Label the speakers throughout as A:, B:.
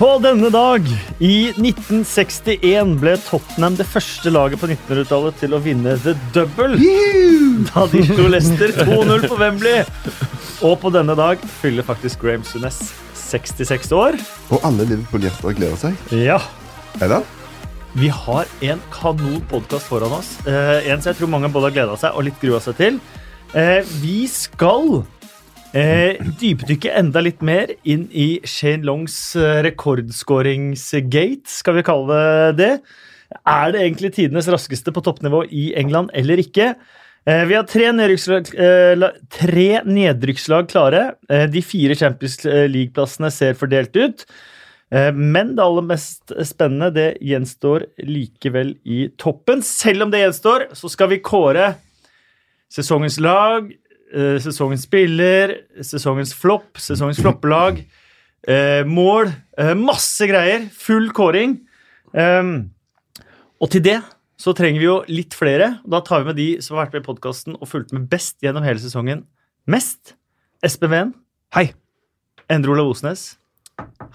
A: På denne dag i 1961 ble Tottenham det første laget på 1900-tallet til å vinne the double. Da de slo Leicester 2-0 på Wembley. Og på denne dag fyller faktisk Graham Sunes 66 år.
B: Og alle Liverpool-hjerter gleder seg.
A: Ja,
B: Er det?
A: vi har en kanon podkast foran oss. Eh, en som jeg tror mange både har gleda seg og litt grua seg til. Eh, vi skal eh, dypdykke enda litt mer inn i Shane Longs eh, rekordskåringsgate, skal vi kalle det det. Er det egentlig tidenes raskeste på toppnivå i England eller ikke? Eh, vi har tre nedrykkslag, eh, la- tre nedrykkslag klare. Eh, de fire Champions League-plassene ser fordelt ut. Eh, Men det aller mest spennende det gjenstår likevel i toppen. Selv om det gjenstår, så skal vi kåre sesongens lag, eh, sesongens spiller, sesongens flopp, sesongens floppelag, eh, mål. eh, Masse greier. Full kåring. Ehm, Og til det så trenger vi jo litt flere. Da tar vi med de som har vært med i podkasten og fulgt med best gjennom hele sesongen. Mest. Espen Ven.
C: Hei.
A: Endre Olav Osnes.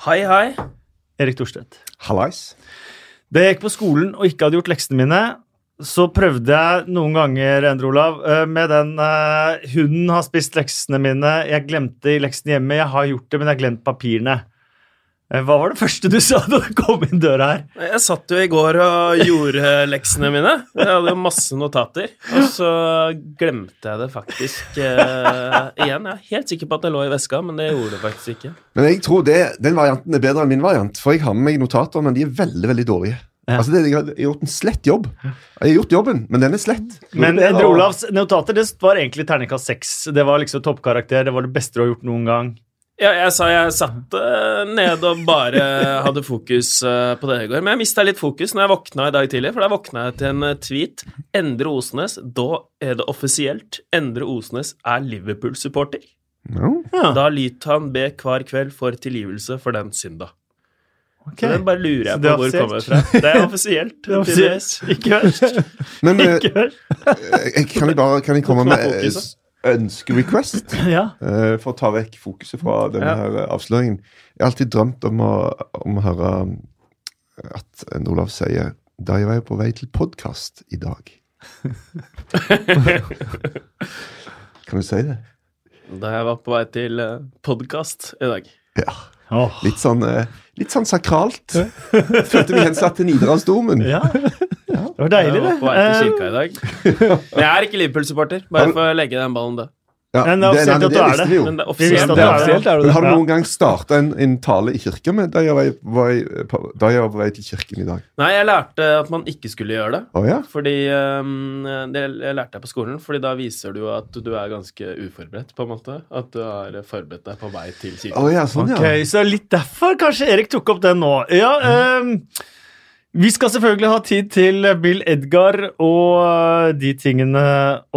D: Hei, hei.
A: Erik Thorstvedt.
B: Hallais.
A: Da jeg gikk på skolen og ikke hadde gjort leksene mine, så prøvde jeg noen ganger Endre Olav, eh, med den eh, 'Hunden har spist leksene mine. Jeg glemte i leksene hjemme. Jeg har gjort det, men jeg har glemt papirene'. Eh, Hva var det første du sa da du kom inn døra her?
D: Jeg satt jo i går og gjorde leksene mine. Jeg hadde jo masse notater. Og så glemte jeg det faktisk eh, igjen. Jeg er helt sikker på at det lå i veska, men det gjorde det faktisk ikke.
B: Men jeg tror det, den varianten er bedre enn min variant, for jeg har med meg notater, men de er veldig veldig dårlige.
A: Ja.
B: Altså, det, Jeg har gjort en slett jobb. Jeg har gjort jobben, men den er slett.
A: Men eh,
B: Det er-
A: Endre Olavs notater det var egentlig terningkast seks. Det var liksom toppkarakter. Det var det beste du har gjort noen gang.
D: Ja, jeg sa jeg satt eh, ned og bare hadde fokus eh, på det i går. Men jeg mista litt fokus når jeg våkna i dag tidlig, for da våkna jeg til en eh, tweet. Endre Osnes, da er det offisielt. Endre Osnes er Liverpool-supporter.
B: No.
D: Da lyt han be hver kveld for tilgivelse for den synda. Så Den bare lurer
A: Så
D: jeg
A: det
D: på
A: er
D: hvor
A: offisielt.
D: kommer fra. Det er offisielt.
A: Det var
D: tydeligvis.
A: offisielt. Ikke verst.
B: Men eh,
A: Ikke verst.
B: jeg, kan jeg bare kan jeg komme med
D: Nå
B: eh,
D: fokuset.
B: ønskerequest?
A: Ja.
B: Eh, for å ta vekk fokuset fra denne
D: Ja.
B: her eh, avsløringen. Jeg har alltid drømt om å, om å høre eh, at en Olav sier da jeg var jo på vei til podkast i dag. kan du si det?
D: Da jeg var på vei til podkast i dag.
B: Ja.
A: Åh.
B: Litt sånn, eh, litt sånn sakralt. Følte vi hensatt til Nidarosdomen.
A: ja. Det var deilig,
D: Jeg
A: det.
D: var på vei til
A: Eh,
D: kirka i dag. Men jeg er ikke Liverpool-supporter, bare for å legge den ballen død.
B: Ja,
A: Men det er offisielt at du er det.
B: vi jo.
D: Men det er
A: Vi visste at
D: offisielt.
A: du
C: Det er
A: er
C: offisielt,
A: det.
C: er det
B: Men
C: det?
B: har du
A: Ja.
B: noen gang starta en, en tale i kirka med da jeg var, var, på- da jeg var på vei til kirken i dag?
D: Nei, jeg lærte at man ikke skulle gjøre det.
B: Å ja?
D: Fordi ehm, Det lærte jeg på skolen, Fordi da viser du jo at du er ganske uforberedt, på en måte. At du har forberedt deg på vei til kirken.
B: Å ja, sånn, ja.
A: Ok, så litt derfor kanskje Erik tok opp den nå. Ja, ehm, vi skal selvfølgelig ha tid til Bill Edgar og eh, de tingene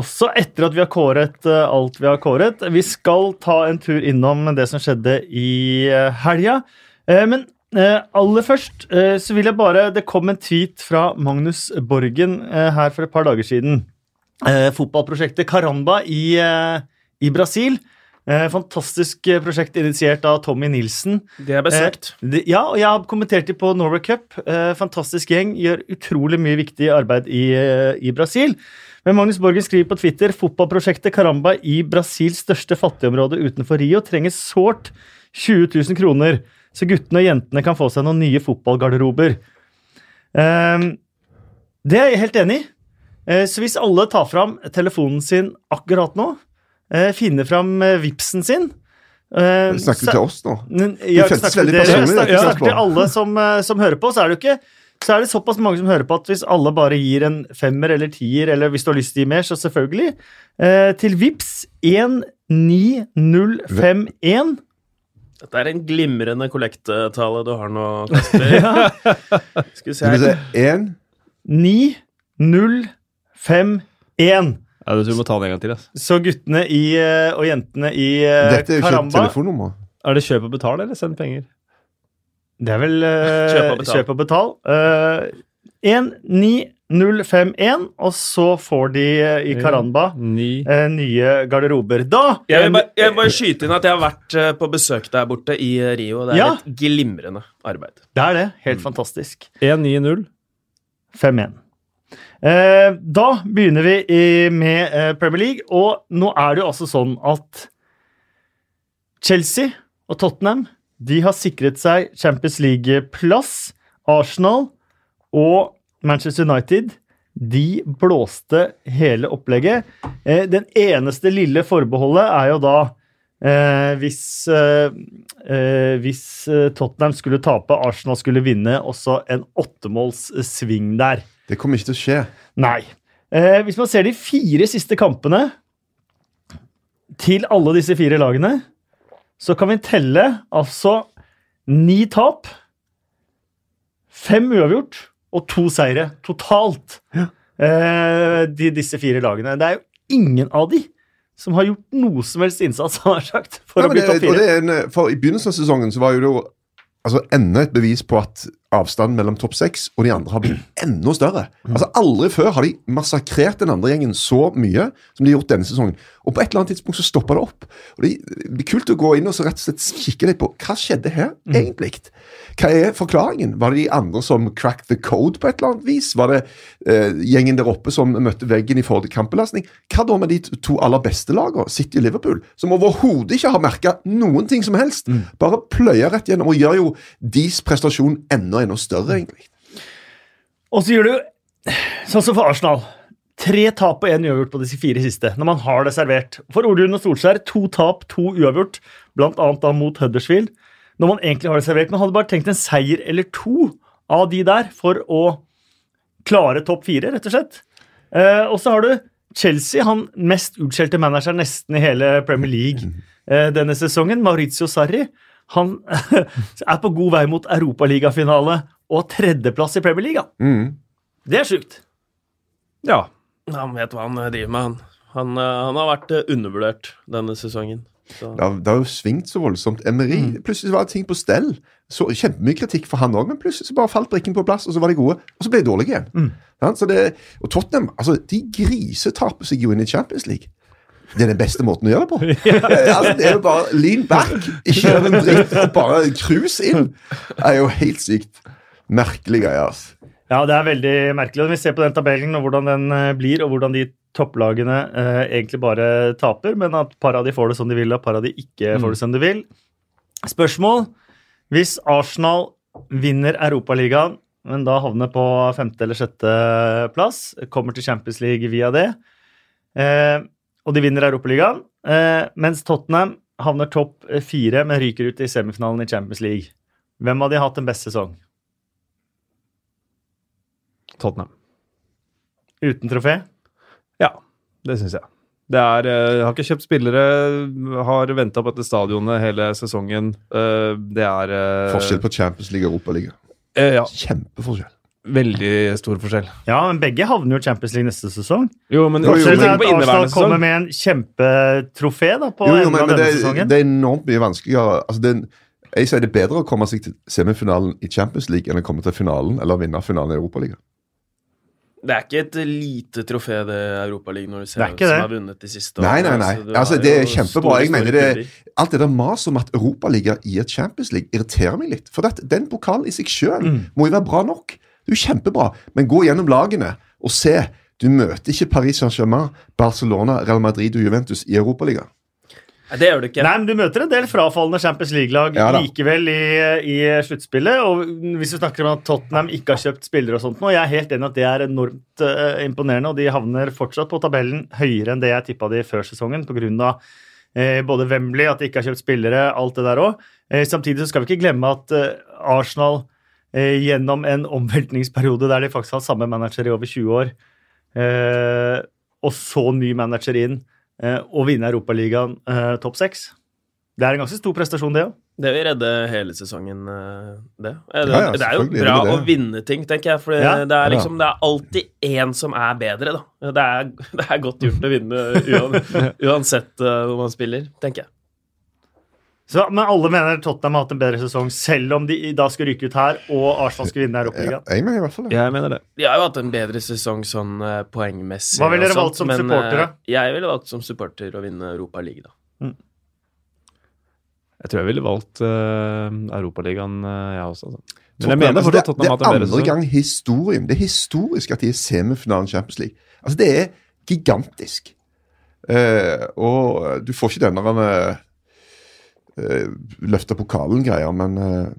A: også, etter at vi har kåret eh, alt vi har kåret. Vi skal ta en tur innom det som skjedde i eh, helga. Eh, Men eh, aller først eh, så vil jeg bare Det kom en tweet fra Magnus Borgen eh, her for et par dager siden. Eh, Fotballprosjektet Caramba i, eh, i Brasil. Eh, Fantastisk eh, prosjekt initiert av Tommy Nilsen.
D: Det er besøkt.
A: De, ja, og jeg har kommentert dem på Norway Cup. Eh, fantastisk gjeng. Gjør utrolig mye viktig arbeid i, eh, i Brasil. Men Magnus Borgen skriver på Twitter fotballprosjektet Caramba i Brasils største fattigområde utenfor Rio trenger sårt 20 000 kroner, så guttene og jentene kan få seg noen nye fotballgarderober. Ehm, det er jeg helt enig i. Eh, så hvis alle tar fram telefonen sin akkurat nå, eh, finner fram eh, vipsen sin eh,
B: Snakker
A: så-
B: du til oss nå?
A: men jeg har ikke
B: føltes
A: snakket med
B: veldig
A: dere, jeg snakker,
B: personlig, rett og slett,
A: snakker til alle som, eh, som hører på, så er det jo ikke så er det såpass mange som hører på at hvis alle bare gir en femmer eller tier, eller hvis du har lyst til å gi mer, så selvfølgelig, eh, til VIPS 19051
D: Dette er en glimrende kollektetale du har nå, Kasper. Skal vi
B: Skal vi
D: se
B: se
D: her.
B: Én
A: 9051.
C: Ja, du tror vi må ta den en gang til. ass.
A: Så guttene i, eh, og jentene i eh,
B: Dette er jo ikke et
A: Karamba
B: telefonnummer.
C: Er det kjøp og betal, eller send penger?
A: Det er vel eh,
D: Kjøp og betal.
A: Kjøp og betal. Eh, 1, 9, 051, og så får de eh, i Karamba
C: Ni
A: eh, nye garderober. Da
D: Jeg vil, bare, jeg vil bare skyte inn at jeg har vært eh, på besøk der borte i eh, Rio. Det er
A: Ja.
D: et glimrende arbeid.
A: Det er det.
D: Mm.
A: Helt fantastisk.
C: 1-9-0.
A: 5-1. Eh, da begynner vi i, med eh, Premier League, og nå er det jo altså sånn at Chelsea og Tottenham de har sikret seg Champions League-plass. Arsenal og Manchester United de blåste hele opplegget. Eh, den eneste lille forbeholdet er jo da eh, hvis, eh, eh, hvis eh, Tottenham skulle tape, Arsenal skulle vinne, også en åttemålssving der.
B: Det kommer ikke til å skje.
A: Nei. Eh, hvis man ser de fire siste kampene til alle disse fire lagene, så kan vi telle altså ni tap, fem uavgjort og to seire totalt. Eh, de, disse fire lagene. Det er jo ingen av de som har gjort noe som helst innsats, har jeg sagt, for å
B: Nei, men
A: bli topp
B: det, og
A: fire.
B: det er en, eh, for I begynnelsen av sesongen så var jo det jo- altså, enda et bevis på at avstanden mellom topp seks og de andre har blitt enda større. Altså Aldri før har de massakrert den andre gjengen så mye som de har gjort denne sesongen. Og på et eller annet tidspunkt så stopper det opp. Og det blir kult å gå inn og så rett og slett kikke litt på hva skjedde her,
A: Mm.
B: egentlig. Hva er forklaringen? Var det de andre som cracked the code på et eller annet vis? Var det eh, gjengen der oppe som møtte veggen i forhold til kampbelastning? Hva da med de t- to aller beste lagene, City og Liverpool, som overhodet ikke har merka noen ting som helst? Bare pløyer rett gjennom og gjør jo deres prestasjon enda, enda større, egentlig.
A: Og så gjør du sånn som for Arsenal. Tre tap og én uavgjort på disse fire siste. når man har det servert. For Ole Lund og Solskjær to tap, to uavgjort, blant annet da mot Huddersfield. Når man egentlig har det servert. Man hadde bare trengt en seier eller to av de der for å klare topp fire, rett og slett. Eh, og så har du Chelsea, han mest utskjelte manageren nesten i hele Premier League eh, denne sesongen, Maurizio Sarri. Han er på god vei mot europaligafinale og tredjeplass i Premier League. Ja. Det er sjukt.
C: Ja.
D: Han vet hva han eh, driver med, han. Han, eh, han har vært eh, undervurdert denne sesongen. Så.
B: Det har, det har jo svingt så voldsomt. Emery, plutselig var ting på stell. Så Kjempemye kritikk for han òg, men plutselig så bare falt brikken på plass, og så var de gode. Og så ble de dårlige igjen. Sant? så det, og Tottenham altså, de grisetaper seg jo inn i Champions League. Det er den beste måten å gjøre det på. Eh, altså, det er jo bare lean back, ikke gjør en dritt, og bare cruise inn. Det er jo helt sykt. Merkelig greie, altså.
A: Ja, det er veldig merkelig. Og vi ser på den tabellen og hvordan den eh, blir, og hvordan de topplagene eh, egentlig bare taper, men at par av de får det som de vil, og par av de ikke får det som de vil. Spørsmål? Hvis Arsenal vinner Europaligaen, men da havner på femte eller sjette plass, kommer til Champions League via det, eh, og de vinner Europaligaen, eh, mens Tottenham havner topp fire, men ryker ut i semifinalen i Champions League. Hvem av de har hatt en best sesong?
C: Tottenham.
A: Uten trofé?
C: Ja, det syns jeg. Det er, eh, har ikke kjøpt spillere, har venta på dette stadionet hele sesongen. Eh, Det er eh,
B: Forskjell på Champions League og Europaliga.
C: eh, Ja,
B: Kjempeforskjell.
C: veldig stor forskjell.
A: Ja, men begge havner jo i Champions League neste sesong.
C: Jo, men
B: Jo, jo,
A: Så
C: forskjellen
A: det
C: er
A: er at
C: på
A: Arsenal
C: inneværende
A: kommer
C: sesong.
A: med en kjempetrofé da, på
B: Jo, jo,
A: enden
B: men,
A: av
B: men
A: denne
B: det, er-
A: sesongen.
B: det er enormt mye vanskeligere altså, det er, Jeg sier det er bedre å komme seg til semifinalen i Champions League enn å komme til finalen eller vinne finalen i Europaligaen.
D: Det er ikke et eh, lite trofé, det Europaligaen, når du ser
A: Det er
D: hvem
A: ikke det.
D: som har vunnet de siste
B: Nei, nei, nei.
D: Så
B: Altså,
D: har
B: det er
D: jo
B: kjempebra.
D: store,
B: Jeg mener
D: store
B: det,
D: klubber.
B: alt det der maset om at Europaliga i et Champions League irriterer meg litt. For dette, den pokalen i seg sjøl
A: Mm.
B: må jo være bra nok. Det er jo kjempebra. Men gå gjennom lagene og se. Du møter ikke Paris Saint-Germain, Barcelona, Real Madrid og Juventus i Europaligaen.
D: Nei, det gjør du ikke.
A: Nei, men Du møter en del frafallende Champions League-lag
B: Ja da.
A: likevel i, i sluttspillet. og Hvis vi snakker om at Tottenham ikke har kjøpt spillere og sånt nå, jeg er helt enig at det er enormt eh, imponerende, og de havner fortsatt på tabellen høyere enn det jeg tippa de før sesongen pga. Eh, både Wembley, at de ikke har kjøpt spillere, alt det der òg. Eh, samtidig så skal vi ikke glemme at eh, Arsenal eh, gjennom en omveltningsperiode der de faktisk har samme manager i over 20 år, eh, og så ny manager inn, eh, og vinne Europaligaen eh, topp seks. Det er en ganske stor prestasjon, det òg.
D: Det vil redde hele sesongen, eh, det. Eh, Det,
B: Ja, ja,
D: det er jo
B: selvfølgelig
D: bra
B: vil det
D: å
B: det.
D: vinne ting, tenker jeg. For det-
A: Ja,
D: det er
B: ja.
D: liksom Det er alltid én som er bedre, da. Det er, det er godt gjort å vinne uan, uansett eh, hvor man spiller, tenker jeg.
A: Så, men alle mener Tottenham har hatt en bedre sesong, selv om de i- da skal ryke ut her og Arsenal skal vinne
B: Ja,
A: Europaligaen.
B: jeg mener i hvert fall det.
C: Jeg mener det.
D: De har jo hatt en bedre sesong sånn eh, poengmessig.
A: Hva ville
D: og
A: dere
D: sånt,
A: valgt som
D: men,
A: supportere?
D: eh, Jeg ville valgt som supporter å vinne Europa League, da.
C: Jeg tror jeg ville valgt uh, Europaligaen, eh, jeg også. Altså. Men jeg
B: Tottenham,
C: mener
B: altså,
C: fortsatt
B: det,
C: Tottenham har hatt
B: det
C: en
B: er andre
C: bedre sesong.
B: gang historien. Det er historisk at de er semifinalen i Champions League. Altså, det er gigantisk. Eh, og du får ikke denne eh, eh, løfta pokalen-greia, men eh,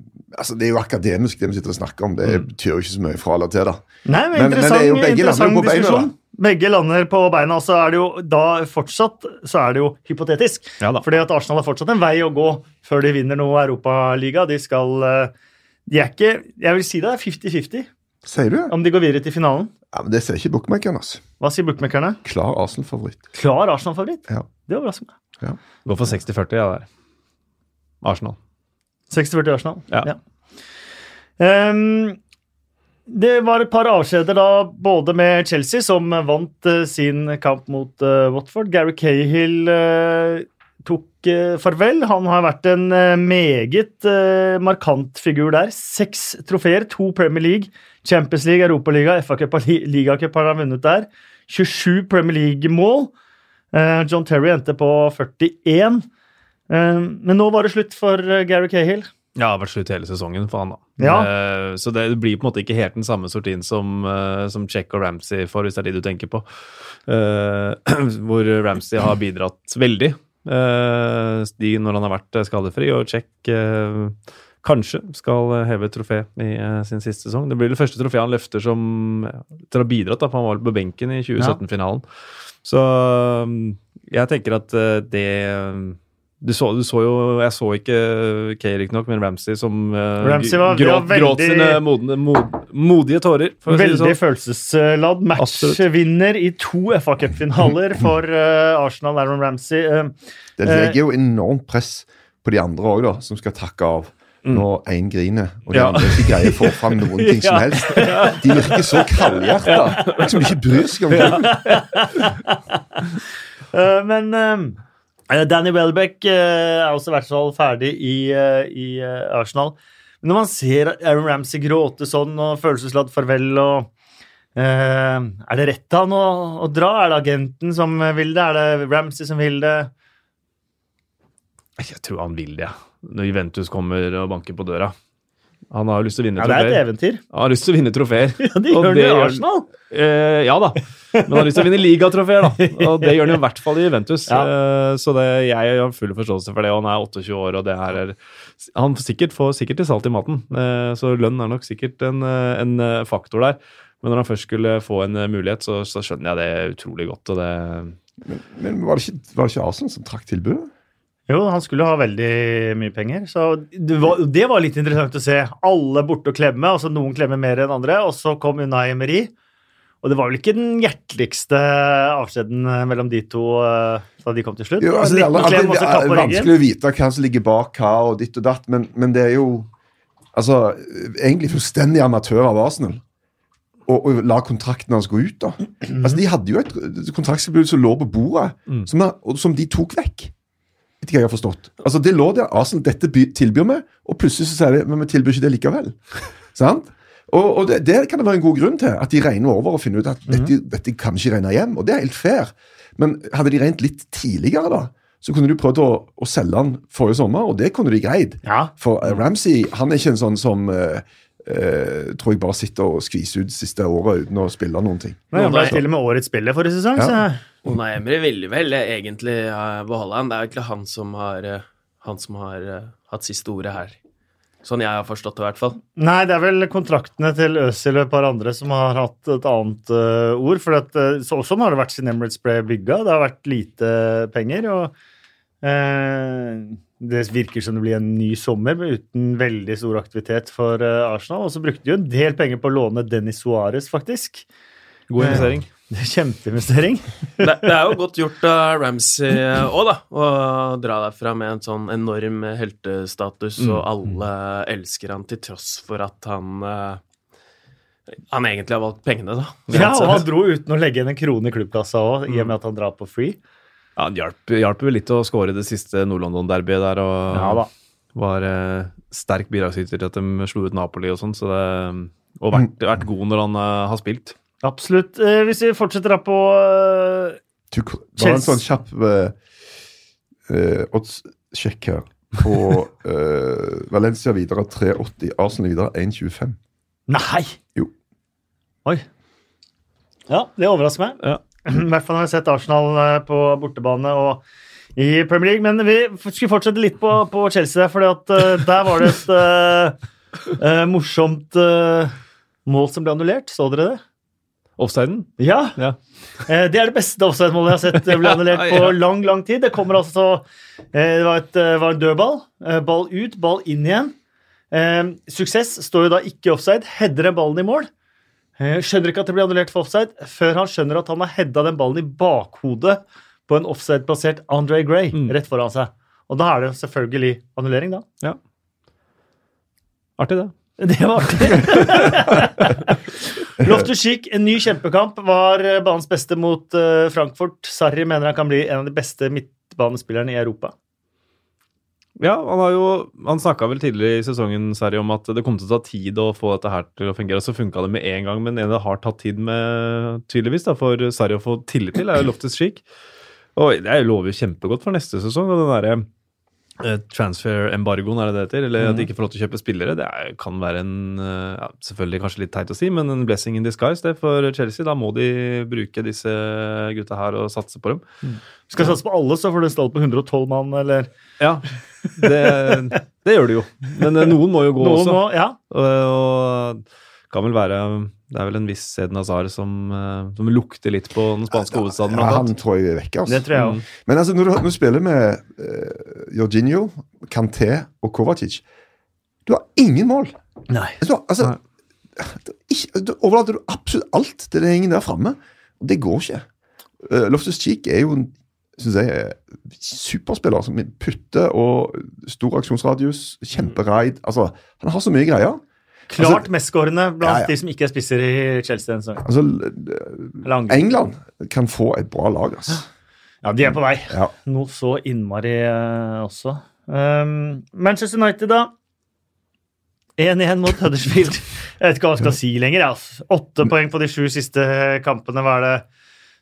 B: altså, det er jo akademisk, det vi sitter og snakker om. Det
C: Mm.
B: betyr jo ikke så mye fra eller til, da.
A: Nei, men
B: Men- men det
A: interessant,
B: er jo begge
A: interessant
B: lander på beina,
A: diskusjon. Begge lander på beina, og så er det jo da fortsatt så er det jo hypotetisk.
C: Ja da.
A: Fordi at Arsenal har fortsatt en vei å gå før de vinner noe Europaliga. De skal eh, De er ikke Jeg vil si det er 50-50
B: Sier du det?
A: om de går videre til finalen.
B: Ja, men Det ser ikke bookmakeren, altså.
A: Hva sier bookmakerne?
B: Klar Arsenal-favoritt.
A: Klar Arsenal-favoritt.
B: Ja.
A: Det overrasker meg.
C: Gå for 60-40, ja, der. Arsenal.
A: 60-40 Arsenal.
C: Ja.
A: Ehm, det var et par avskjeder da, både med Chelsea, som vant eh, sin kamp mot eh, Watford. Gary Cahill eh, tok eh, farvel. Han har vært en eh, meget eh, markant figur der. Seks trofeer, to Premier League, Champions League, Europaliga, FA-cup og li- ligacup har han vunnet der. 27 Premier League-mål. Eh, John Terry endte på 41. Ehm, men nå var det slutt for eh, Gary Cahill.
C: Ja, det har vært slutt hele sesongen for han, da.
A: Ja.
C: Eh, så det blir på en måte ikke helt den samme sortien som, eh, som Check og Ramsey får, hvis det er de du tenker på. Eh, hvor Ramsey har bidratt veldig eh, de, når han har vært eh, skadefri, og Check kanskje skal eh, heve et trofé i eh, sin siste sesong. Det blir det første trofeet han løfter som ja, til å ha bidratt, da, for han var på benken i 2017-finalen. Så mm, jeg tenker at eh, det eh, du så, du så jo Jeg så ikke Kay, riktignok, men Ramsey som eh,
A: Ramsey var- det var
C: gråt, gråt
A: veldig-
C: sine modne, mod, modige tårer. for å si det
A: Veldig
C: sånn.
A: følelsesladd matchvinner i to FA Cup-finaler for eh, Arsenal, Aaron Ramsey. Eh,
B: Det
A: Eh,
B: legger jo enormt press på de andre òg, da, som skal takke av.
A: Mm.
B: Når én griner, og de
C: Ja.
B: andre ikke greier å få fram noen ting som helst. De virker så kaldhjerta, som de ikke bryr seg om det.
A: eh, men eh, Danny Welbeck eh, er også i hvert fall ferdig i, eh, i eh, Arsenal. Men når man ser Aaron Ramsey gråte sånn og følelsesladd farvel og eh, Er det rett av han å, å dra? Er det agenten som vil det? Er det Ramsey som vil det?
C: Jeg tror han vil det, når Juventus kommer og banker på døra. Han har jo lyst til å vinne
A: Ja, det er et
C: trofeer.
A: eventyr.
C: Han har lyst til å vinne trofeer.
A: Ja, de
C: Og
A: gjør det
C: det
A: i
C: gjør-
A: Arsenal.
C: Eh, ja da, men han har lyst til å vinne ligatrofeer, da. Og det gjør han jo i hvert fall i Juventus.
A: Ja.
C: Eh, så det, jeg har full forståelse for det. Og han er 28 år, og det her er Han sikkert får sikkert til salt i maten, eh, så lønn er nok sikkert en, eh, en eh, faktor der. Men når han først skulle få en eh, mulighet, så, så skjønner jeg det utrolig godt. Og det
B: Men var det ikke, var det ikke Arsenal som trakk tilbudet?
A: Jo, han skulle ha veldig mye penger. Så det var, det var litt interessant å se. Alle borte og klemme, altså noen klemmer mer enn andre. Og så kom Unai Emery. Og det var vel ikke den hjerteligste avskjeden mellom de to eh, da de kom til slutt.
B: Jo, altså, det, er,
A: Liten
B: alle-
A: klem, og så
B: det
A: klapp
B: er
A: på ryggen.
B: vanskelig å vite hva som ligger bak hva og ditt og datt, men, men det er jo altså, egentlig fullstendig amatør av Arsenal. Og, og la kontrakten hans gå ut, da. Altså, De hadde jo et kontraktstilbud som lå på bordet, som, er, og, som de tok vekk. Vet ikke hva jeg har forstått. Altså, Det lå der. Arsenal, dette by, tilbyr vi, og plutselig så sier de men vi tilbyr ikke det likevel. Sant? Og, og det, det kan det være en god grunn til, at de regner over og finner ut at dette, dette kan ikke regne hjem. Og det er helt fair. Men hadde de regnet litt tidligere, da, så kunne de prøvd å, å selge han forrige sommer, og det kunne de greid.
A: Ja.
B: For eh, Ramsey han er ikke en sånn som eh, eh, tror jeg bare sitter og skviser ut siste året uten å spille noen ting.
A: Men han ble
D: Nei.
A: til og med årets spiller forrige sesong.
B: Ja.
A: Så.
D: Ona Emry ville vel egentlig eh, beholde han. Det er jo egentlig han som har, eh, han som har eh, hatt siste ordet her. Sånn jeg har forstått det, i hvert fall.
A: Nei, det er vel kontraktene til Øzil og et par andre som har hatt et annet eh, ord. For at, eh, så, sånn har det vært siden Emirates ble bygga. Det har vært lite penger. og Eh, det virker som det blir en ny sommer men uten veldig stor aktivitet for eh, Arsenal. Og så brukte de jo en del penger på å låne Dennis Suárez, faktisk.
C: God investering.
A: Det er Kjempeinvestering.
D: Det, det er jo godt gjort av Ramsey òg, da. Å dra derfra med en sånn enorm heltestatus, og alle elsker han til tross for at han eh, Han egentlig har valgt pengene, da.
A: Ja, og han dro uten å legge igjen en krone i klubbkassa òg, i og med at han drar på free.
C: Ja, det hjalp, hjalp vel litt å score det siste Nord-London-derbyet der, og
A: Ja da.
C: var eh, sterk bidragsyter til at de slo ut Napoli og sånn, så det, og vært, vært god når han eh, har spilt.
A: Absolutt. Eh, hvis vi fortsetter da på eh,
B: Du, bare en
A: Chelsea.
B: sånn kjapp eh, eh, oddssjekk her. På eh, Valencia videre 3,80, Arsenal videre 1,25.
A: Nei!
B: Jo.
A: Oi. Ja, det overrasker meg.
C: Ja.
A: I hvert fall når jeg har sett Arsenal eh, på bortebane og i Premier League. Men vi f- skulle fortsette litt på, på Chelsea, for der var det et eh, eh, morsomt eh, mål som ble annullert. Så dere det?
C: Offsiden?
A: Ja.
C: Ja.
A: Eh, Det er det beste offside-målet jeg har sett eh, bli annullert
C: Ja,
A: på
C: ja.
A: lang lang tid. Det kommer altså eh, Det var, et, eh, var en dødball. eh, Ball ut, ball inn igjen. Eh, Suksess står jo da ikke i offside. Header den ballen i mål. Eh, Skjønner ikke at det blir annullert for offside før han skjønner at han har heada den ballen i bakhodet på en offside-plassert Andre Gray
C: Mm.
A: rett foran seg. Og da er det jo selvfølgelig annullering, da.
C: Ja. Artig, det.
A: Det var artig. Loftus Cheek, en ny kjempekamp, var eh, banens beste mot eh, Frankfurt. Sarri mener han kan bli en av de beste midtbanespillerne i Europa.
C: Ja, han har jo Han snakka vel tidligere i sesongen Sverre, om at det kom til å ta tid å få dette her til å fungere. og Så funka det med en gang, men en det har tatt tid med, tydeligvis, da, for Sverre å få tillit til, er jo Loftus Cheek. Og det lover jo kjempegodt for neste sesong. Og den derre eh, transfer-embargoen, er det det heter? Eller at de ikke får lov til å kjøpe spillere. Det er, kan være en eh, ja, Selvfølgelig kanskje litt teit å si, men en blessing in disguise det for Chelsea. Da må de bruke disse gutta her og satse på dem.
A: Skal satse på alle, så får du en stall på 112 mann, eller
C: Ja, det, det gjør det jo. Men eh, noen må jo gå
A: noe
C: også.
A: nå. Ja.
C: Og, og kan vel være Det er vel en viss Eden Hazar som, eh, som lukter litt på den spanske hovedstaden.
B: Ja,
C: blant
B: han
C: annet.
B: tror jeg er
A: Det
B: vekke. Altså.
A: tror jeg òg.
B: Men altså, når du, når du spiller med uh, Jorginho, Kanté og Kovacic Du har ingen mål!
A: Nei.
B: Du har, altså, det er ikke, du overlater du absolutt alt til den gjengen der framme. Og det går ikke. Eh, Loftus Cheek er jo en synes jeg, eh, superspiller som putter og stor aksjonsradius, kjemperaid
A: Mm.
B: altså, Han har så mye greier.
A: Klart mestskårende blant
B: Ja, ja.
A: de som ikke er spisser i Chelsea. denne sesongen.
B: Altså, l-
A: Eller angriper.
B: England kan få et bra lag, altså.
A: Ja, de er på vei.
B: Ja.
A: Noe så innmari eh, også. Um, Manchester United, da. 1-1 mot Huddersfield. Jeg vet ikke hva jeg skal si lenger. jeg, Altså. Åtte poeng på de sju siste eh, kampene. Hva er det?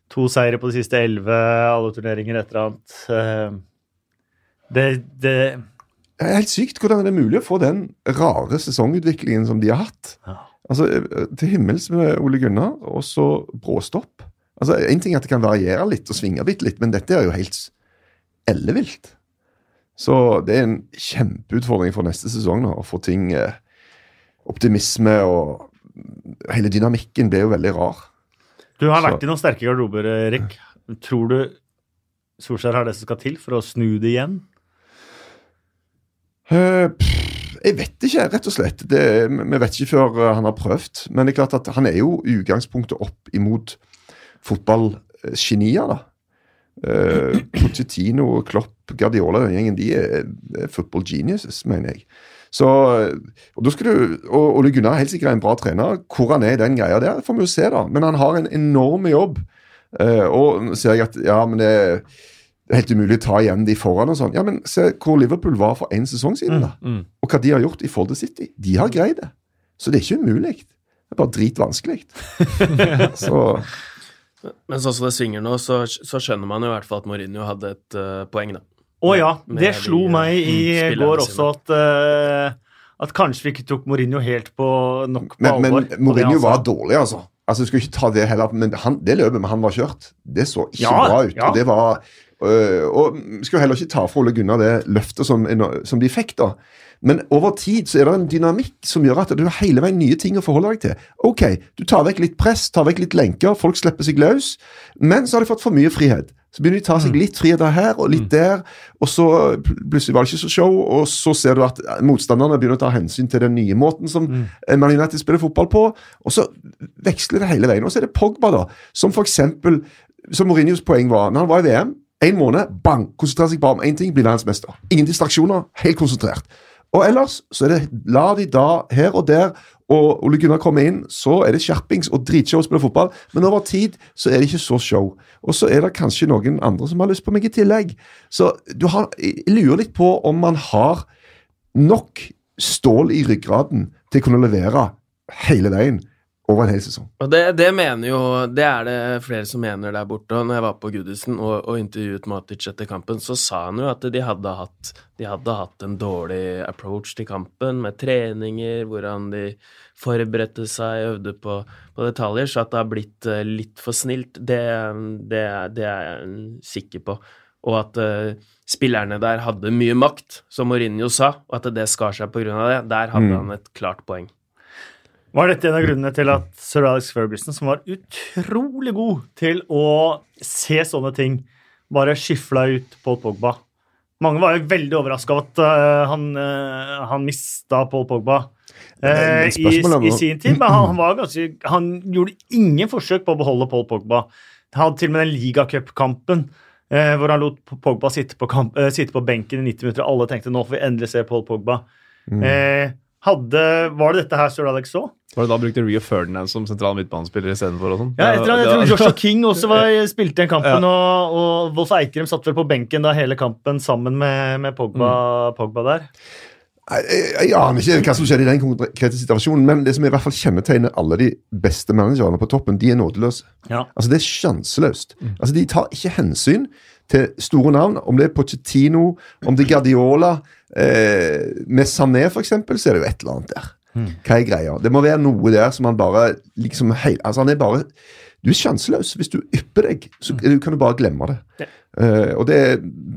A: To seire på de siste elleve, alle turneringer, et eller annet. Um, Det, det
B: Det er helt sykt hvordan det er mulig å få den rare sesongutviklingen som de har hatt.
A: Ja.
B: Altså, eh, Til himmels med Ole Gunnar, og så bråstopp. Altså, Én ting er at det kan variere litt og svinge bitte litt, men dette er jo helt s- ellevilt. Så det er en kjempeutfordring for neste sesong nå, å få ting eh, Optimisme og Hele dynamikken blir jo veldig rar.
A: Du har
B: Så-
A: vært i noen sterke garderober, Erik. Tror du Solskjær har det som skal til for å snu det igjen?
B: Eh, pff, Jeg vet ikke, rett og slett. Det, vi vet ikke før eh, han har prøvd. Men det er klart at han er jo i utgangspunktet opp imot fotballgenier, da. Eh, Pochettino, Klopp, Guardiola den gjengen, de er, er football geniuses, mener jeg. Så, eh, og da skal du, og Ole Gunnar er helt sikkert en bra trener. Hvor han er i den greia der, får vi jo se, da. Men han har en enorm jobb. Eh, og nå ser jeg at ja, men det er det er helt umulig å ta igjen de foran og sånn. Ja, men se hvor Liverpool var for én sesong siden, da.
C: Mm.
B: Og hva de har gjort i forhold til City. De har greid det. Så det er ikke umulig. Det er bare dritvanskelig. så
D: Men sånn som det svinger nå, så, så skjønner man jo i hvert fall at Mourinho hadde et eh, poeng, da.
A: Å ja,
D: Med
A: det
D: de,
A: slo
D: eh,
A: meg i
D: spillerne
A: går
D: sine.
A: også at, eh, at kanskje vi ikke tok Mourinho helt på nok på
B: Men,
A: alvor. på
B: men
A: det
B: Mourinho
A: han sa.
B: var dårlig, altså. Altså, Skulle ikke ta det heller, men han, det løpet med han var kjørt, det så ikke
A: Ja,
B: bra ut.
A: ja.
B: Og det var øh, Og skulle heller ikke ta fra Ole Gunnar det løftet som, som de fikk, da. Men over tid så er det en dynamikk som gjør at du har hele veien nye ting å forholde deg til. Ok, du tar vekk litt press, tar vekk litt lenker, folk slipper seg løs, men så har de fått for mye frihet. Så begynner de å ta
A: Mm.
B: seg litt frihet av her og litt der, og så pl- plutselig var det ikke så show, og så ser du at motstanderne begynner å ta hensyn til den nye måten som eh,
A: Mm.
B: Man United spiller fotball på, og så veksler det hele veien. Og så er det Pogba, da, som for eksempel, som Mourinhos poeng var, når han var i VM, en måned, bang, konsentrerer seg bare om én ting, blir verdensmester. Ingen distraksjoner, helt konsentrert. Og ellers så er det la de da her og der, og Ole Gunnar kommer inn, så er det skjerpings og dritshow å spille fotball, men over tid så er det ikke så show. Og så er det kanskje noen andre som har lyst på meg i tillegg. Så du har, jeg lurer litt på om man har nok stål i ryggraden til å kunne levere hele veien over en hel sesong.
D: Og det, det mener jo Det er det flere som mener der borte. Og når jeg var på Goodison og, og intervjuet Matic etter kampen, så sa han jo at de hadde hatt De hadde hatt en dårlig approach til kampen med treninger, hvordan de forberedte seg, øvde på, på detaljer, så at det har blitt eh, litt for snilt, det, det, det er jeg sikker på. Og at eh, spillerne der hadde mye makt, som Mourinho sa, og at det skar seg på grunn av det. Der hadde han et klart poeng.
A: Var dette en av grunnene til at sir Alex Ferguson, som var utrolig god til å se sånne ting, bare skyfla ut Paul Pogba? Mange var jo veldig overraska over at eh, han, eh, han mista Paul Pogba eh,
B: Men
A: i,
B: spørsmålet er
A: i
B: nå-
A: sin tid, men han, han, var ganske, han gjorde ingen forsøk på å beholde Paul Pogba. Han hadde til og med den ligacupkampen eh, hvor han lot Pogba sitte på, kamp, eh, sitte på benken i 90 minutter, og alle tenkte nå får vi endelig se Paul Pogba.
B: Mm.
A: Eh, hadde, var det dette her sir Alex så?
C: Var det da brukte Rio Ferdinand som sentral midtbanespiller istedenfor? og sånn?
A: Ja, etter at jeg
C: Det var-
A: tror Joshua King også var, spilte den kampen, og, og Wolf Eikrem satt vel på benken da hele kampen sammen med, med Pogba, Pogba der.
B: Jeg, jeg, jeg aner ikke hva som skjedde i den konkrete situasjonen, men det som i hvert fall kjennetegner alle de beste managerne på toppen, de er nådeløse.
A: Ja.
B: Altså, det er sjanseløst. Altså, de tar ikke hensyn til store navn, om det er Pochettino, om det er Guardiola. Eh, med Sané, for eksempel, så er det jo et eller annet der. Hva er greia? Det må være noe der som han bare liksom hei, Altså, han er bare Du er sjanseløs. Hvis du ypper deg, så kan du bare glemme det. Eh, og det,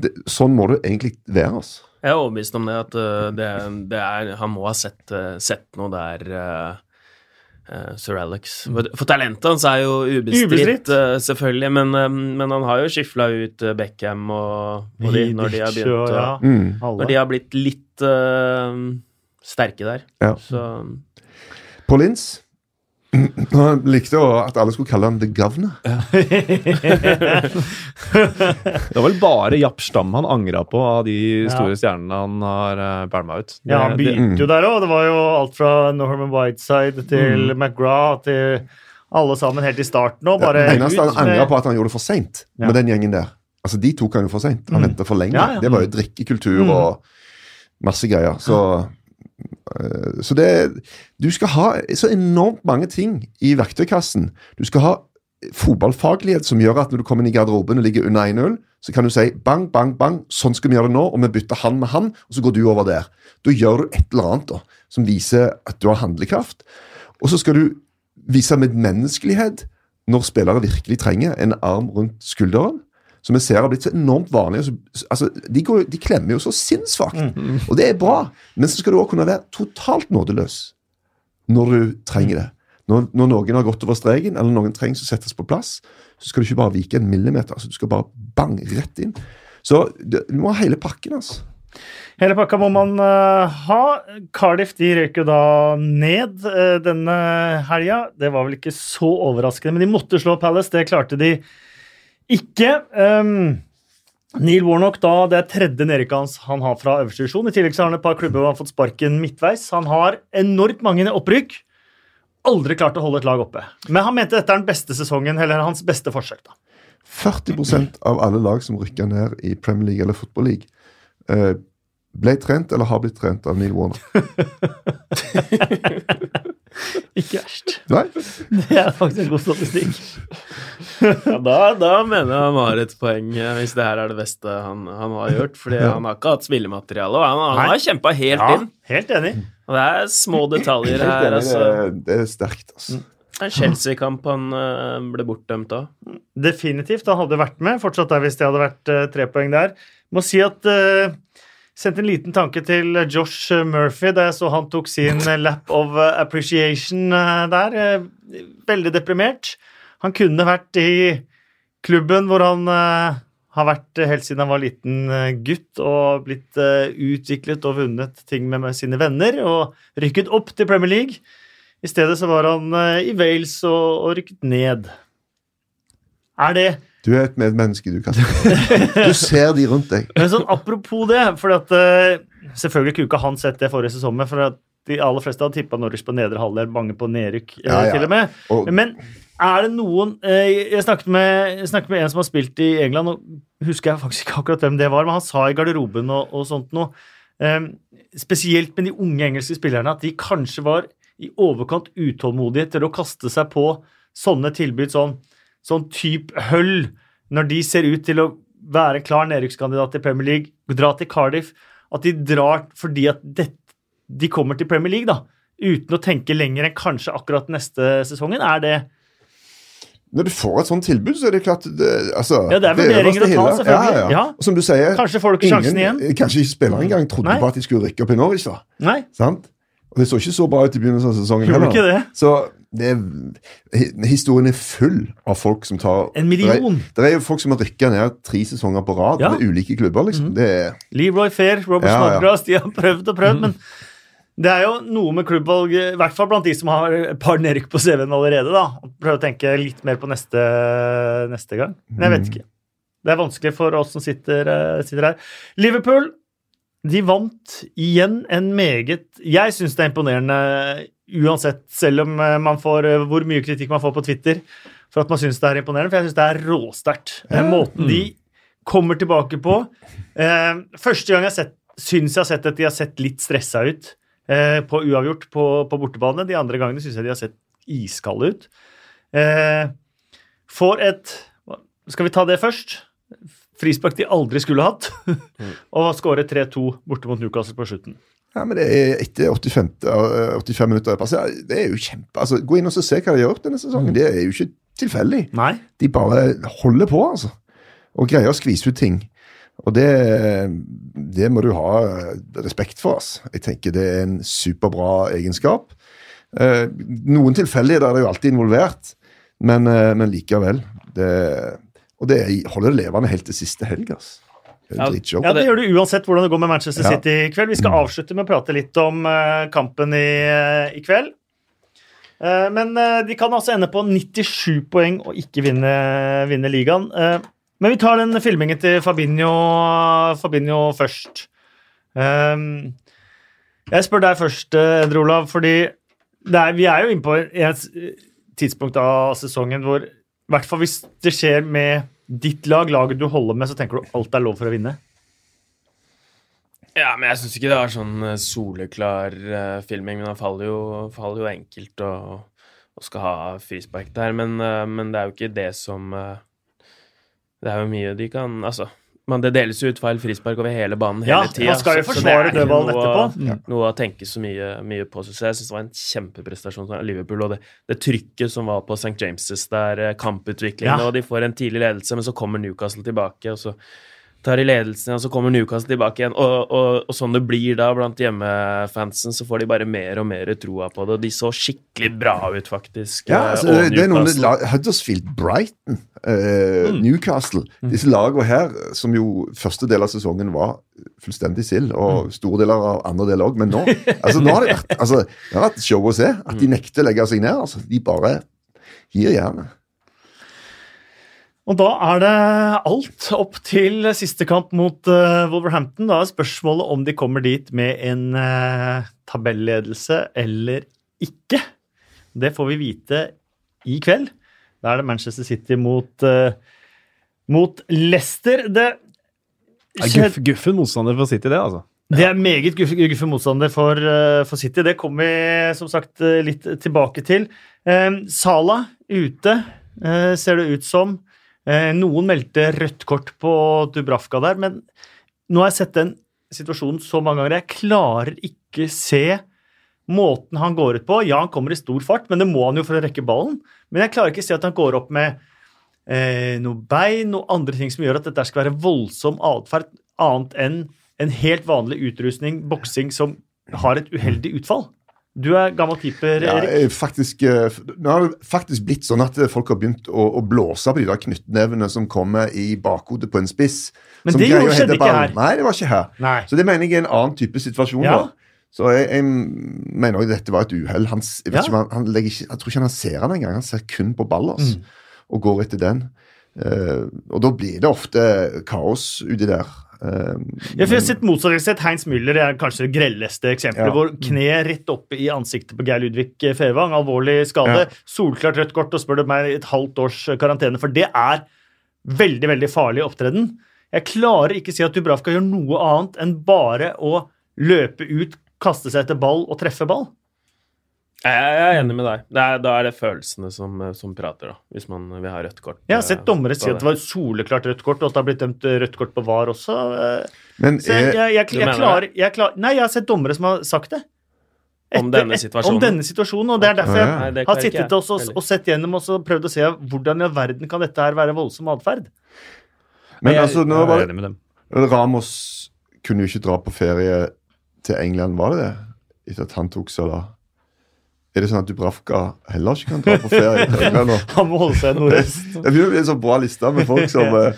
B: det Sånn må du egentlig være, altså.
D: Jeg er overbevist om det, at eh, det, det er, han må ha sett, eh, sett noe der eh, eh, Sir Alex. For, for talentet hans er jo ubestridt,
A: Mm. Ubestridt.
D: eh, selvfølgelig, men, eh, men han har jo skifla ut eh, Beckham og, og de, når, de har
A: Vidic
D: begynt,
A: og- ja,
D: å-
B: Mm.
A: alle.
D: når de har blitt litt eh, sterke der.
B: Ja.
D: Så
B: På Lins. Han likte å, at alle skulle kalle han The Governor.
C: Det var vel bare Japp Stam han angra på av de store stjernene han har uh, bælma ut.
A: Ja, han
C: Det- det-
A: begynte jo der òg. Det var jo alt fra Norman Whiteside til McGrath til alle sammen helt i starten òg. Bare
B: det eneste han
A: ut med-
B: angrer på, at han gjorde det for seint
A: Ja. Mm.
B: med den gjengen der. Altså, De tok han jo for seint. Han venta for lenge.
A: Ja, Mm. ja.
B: Det var jo drikkekultur og masse greier. Så, eh, så det Du skal ha så enormt mange ting i verktøykassen. Du skal ha fotballfaglighet som gjør at når du kommer inn i garderoben og ligger under 1-0, så kan du si bang, bang, bang, sånn skal vi gjøre det nå, og vi bytter han med han, og så går du over der. Da gjør du et eller annet da, som viser at du har handlekraft. Og så skal du vise medmenneskelighet når spillere virkelig trenger en arm rundt skulderen. Som vi ser har blitt så enormt vanlig. og så- Altså, de, går, jo- de klemmer jo så sinnssvakt. Og det er bra, men så skal du òg kunne være totalt nådeløs når du trenger det. Når, når noen har gått over streken, eller noen trengs å settes på plass, så skal du ikke bare vike en millimeter. Altså, du skal bare bang, rett inn. Så det- du må ha hele pakken, altså.
A: Hele pakka må man eh, ha. Cardiff de røyk jo da ned eh, denne helga. Det var vel ikke så overraskende, men de måtte slå Palace. Det klarte de ikke. Um, Neil Warnock, da, det er tredje nedrykket hans han har fra øverste divisjon. I tillegg så har han et par klubber hvor han har fått sparken midtveis. Han har enormt mange opprykk. Aldri klart å holde et lag oppe. Men han mente dette er den beste sesongen, eller hans beste forsøk. da.
B: 40 av alle lag som rykker ned i Premier League eller Football League, eh, ble trent eller har blitt trent av Neil Warner.
A: Ikke verst.
B: Nei?
A: Det er faktisk en god statistikk.
D: ja, da, da mener jeg han har et poeng, eh, hvis det her er det beste han, han har gjort. Fordi han har ikke hatt spillemateriale, og han, han
A: Nei.
D: har kjempa helt inn.
A: Helt enig.
D: Og det er små detaljer
B: Helt
D: her,
B: enig,
D: altså.
B: det, det er sterkt, altså.
D: Det er en Chelsea-kamp han eh, ble bortdømt av.
A: Definitivt. Han hadde vært med. Fortsatt der hvis det hadde vært eh, tre poeng der. Må si at uh, Sendte en liten tanke til eh, Josh Murphy da jeg så han tok sin eh, lap of eh, appreciation eh, der. Eh, Veldig deprimert. Han kunne vært i klubben hvor han eh, har vært eh, helt siden han var liten eh, gutt og blitt eh, utviklet og vunnet ting med, med sine venner og rykket opp til Premier League. I stedet så var han eh, i Wales og, og rykket ned. Er det
B: Du er et medmenneske, du, Kasper. Du ser de rundt deg.
A: Men sånn apropos det, for at eh, Selvfølgelig kunne ikke han sett det forrige sesongen, for at de aller fleste hadde tippa Norwich på nedre halvdel, mange på nedrykk eh,
B: Ja, ja.
A: til og med.
B: Og-
A: Men er det noen eh, Jeg snakket med, jeg snakket med en som har spilt i England, og husker jeg faktisk ikke akkurat hvem det var, men han sa i garderoben og, og sånt noe, eh, spesielt med de unge engelske spillerne, at de kanskje var i overkant utålmodige til å kaste seg på sånne tilbud, sånn, sånn type høll, når de ser ut til å være en klar nedrykkskandidat til Premier League, dra til Cardiff, at de drar fordi at dette, de kommer til Premier League, da, uten å tenke lenger enn kanskje akkurat neste sesongen? Er det
B: Når du får et sånt tilbud, så er det klart det, altså,
A: Ja, det er vurderinger å
B: øverste
A: ta,
B: hylla.
A: selvfølgelig.
B: Ja, ja.
A: Ja.
B: Og som du sier,
A: Kanskje får du ikke sjansen igjen.
B: Kanskje ikke spillere engang trodde
A: Nei.
B: på at de skulle rykke opp i Norwich. da.
A: Nei.
B: Sant? Og det så ikke så bra ut i begynnelsen av sesongen
A: Gjorde ikke det?
B: Så det er, hi- historien er full av folk som tar
A: En million.
B: Det er, det er jo folk som har rykka ned tre sesonger på rad
A: Ja. Mm.
B: med ulike klubber, liksom. Det er
A: Leroy Fair, Robert
B: Ja, Mm. ja.
A: Snodgrass, de har prøvd og prøvd, men det er jo noe med klubbvalg, i hvert fall blant de som har et par nedrykk på CV-en allerede, da. Prøve å tenke litt mer på neste, neste gang. Men jeg vet
B: Mm.
A: ikke. Det er vanskelig for oss som sitter, eh, sitter her. Liverpool de vant igjen en meget Jeg syns det er imponerende uansett, selv om eh, man får eh, hvor mye kritikk man får på Twitter for at man syns det er imponerende, for jeg syns det er råsterkt. Eh, Måten de
B: Mm.
A: kommer tilbake på. Eh, første gang jeg har sett- syns jeg har sett at de har sett litt stressa ut eh, på uavgjort på, på bortebane. De andre gangene syns jeg de har sett iskalde ut. Eh, får et Skal vi ta det først? Frispark de aldri skulle hatt. og skåret 3-2 borte mot Newcastle på slutten.
B: Ja, men det er etter 85, eh, 85 minutter er passert. Det er jo kjempe altså, Gå inn og så se hva de har gjort denne sesongen. Det er jo ikke tilfeldig.
A: Nei.
B: De bare holder på, altså. Og greier å skvise ut ting. Og det, det må du ha respekt for. Altså. Jeg tenker det er en superbra egenskap. Eh, noen tilfeldigheter er det jo alltid involvert, men, eh, men likevel. Det, og det holder det levende helt til siste helg, altså. Det er
D: Ja,
B: dritshow.
A: Ja, Det gjør du uansett hvordan det går med Manchester
B: Ja.
A: City i kveld. Vi skal avslutte med å prate litt om eh, kampen i, eh, i kveld. Eh, men eh, de kan altså ende på 97 poeng og ikke vinne, vinne ligaen. Eh, men vi tar den filmingen til Fabinho, Fabinho først. Eh, jeg spør deg først, eh, Endre Olav, fordi det er, vi er jo inne på et tidspunkt av sesongen hvor i hvert fall hvis det skjer med ditt lag, laget du holder med, så tenker du alt er lov for å vinne.
D: Ja, men jeg syns ikke det var sånn eh, soleklar eh, filming. Men han faller jo, faller jo enkelt og, og skal ha frispark der. Men, eh, men det er jo ikke det som eh, Det er jo mye de kan Altså. Men det deles jo ut feil frispark over hele banen
A: Ja,
D: hele tida.
A: han skal jo
D: så- så
A: forsvare
D: det er ikke
A: dødballen
D: noe-
A: etterpå. Ja.
D: Noe å tenke så mye, mye på, syns jeg. Jeg syns det var en kjempeprestasjon av Liverpool. Og det, det trykket som var på St. James' der, eh, kamputviklingen,
A: Ja.
D: og de får en tidlig ledelse, men så kommer Newcastle tilbake, og så tar de ledelsen igjen, så kommer Newcastle tilbake igjen. Og, og, og sånn det blir da blant hjemmefansen, så får de bare mer og mer troa på det. Og de så skikkelig bra ut, faktisk.
B: Ja,
D: eh,
B: altså,
D: og
B: det er noen
D: Newcastle.
B: la- Huddersfield, Brighton, eh,
A: Mm.
B: Newcastle Disse lagene her, som jo første del av sesongen var fullstendig sild,
A: Mm.
B: og store deler av andre del òg, men nå altså, nå har det vært, altså, det har vært show å se. At
A: Mm.
B: de nekter å legge seg ned. altså, De bare gir jernet.
A: Og da er det alt opp til siste kamp mot eh, Wolverhampton. Da er spørsmålet om de kommer dit med en eh, tabelledelse eller ikke. Det får vi vite i kveld. Da er det Manchester City mot, eh, mot Leicester. Det,
C: Ja, guff, guffen motstander for City, det, altså.
A: det er meget guff- guffen motstander for, eh, for City. Det kommer vi som sagt eh, litt tilbake til. Eh, Sala ute, eh, ser det ut som. Eh, noen meldte rødt kort på Dubravka der, men nå har jeg sett den situasjonen så mange ganger. Jeg klarer ikke se måten han går ut på. Ja, han kommer i stor fart, men det må han jo for å rekke ballen. Men jeg klarer ikke se at han går opp med eh, noe bein, noe andre ting som gjør at dette skal være voldsom atferd, annet enn en helt vanlig utrustning, boksing, som har et uheldig utfall. Du er gammel keeper,
B: Ja,
A: Erik.
B: jeg faktisk, eh, f- nå har det faktisk blitt sånn at eh, folk har begynt å, å blåse på de der knyttnevene som kommer i bakhodet på en spiss.
A: Men
B: som
A: det
B: greier å
A: gjorde-
B: hente
A: skjedde ikke
B: ballen.
A: her.
B: Nei, det var ikke her.
A: Nei.
B: Så det mener jeg er en annen type situasjon.
A: Ja.
B: da. Så jeg, jeg mener også dette var et uhell. Han, s- jeg, vet
A: Ja.
B: ikke om han, han legger ikke- jeg tror ikke han ser han engang. Han ser kun på ballers
C: Mm.
B: og går etter den. Eh, og da blir det ofte kaos uti der. Eh,
A: Ja, for jeg har sett motsatt. Jeg har sett Heinz Müller er kanskje det grelleste eksempelet.
B: Ja.
A: Hvor kne rett oppe i ansiktet på Geir Ludvig Fevang, alvorlig skade.
B: Ja.
A: Solklart rødt kort, og spør du meg et halvt års eh, karantene. For det er veldig, veldig farlig opptreden. Jeg klarer ikke si at Dubravka gjør noe annet enn bare å løpe ut, kaste seg etter ball og treffe ball.
D: Jeg er enig med deg. Det er, da er det følelsene som, eh, som prater, da. Hvis man vil ha rødt kort. eh,
A: Jeg har sett dommere si
D: på
A: at det var soleklart rødt kort, og at det har blitt dømt rødt kort på VAR også. Eh,
B: men
A: Så jeg,
B: er,
A: jeg, jeg,
D: Du
A: jeg,
D: mener
A: klarer, jeg klarer Nei, jeg har sett dommere som har sagt det.
D: Om denne
A: et-
D: situasjonen.
A: Om denne situasjonen, og det er derfor jeg
B: Ja, ja.
D: Nei,
A: har
D: det klarer ikke jeg
A: sittet og,
D: heller.
A: og sett gjennom og så prøvd å se hvordan i all verden kan dette her være voldsom atferd.
B: men
C: Jeg-
B: altså, nå
C: jeg er
B: var det
C: enig med dem.
B: Ramos kunne jo ikke dra på ferie til England, var det det? Etter at han tok Salah. Er det sånn at Dubravka heller ikke kan dra på ferie til England nå?
A: Han må holde seg nordøst.
B: Jeg begynner å bli en sånn bra liste med folk som eh,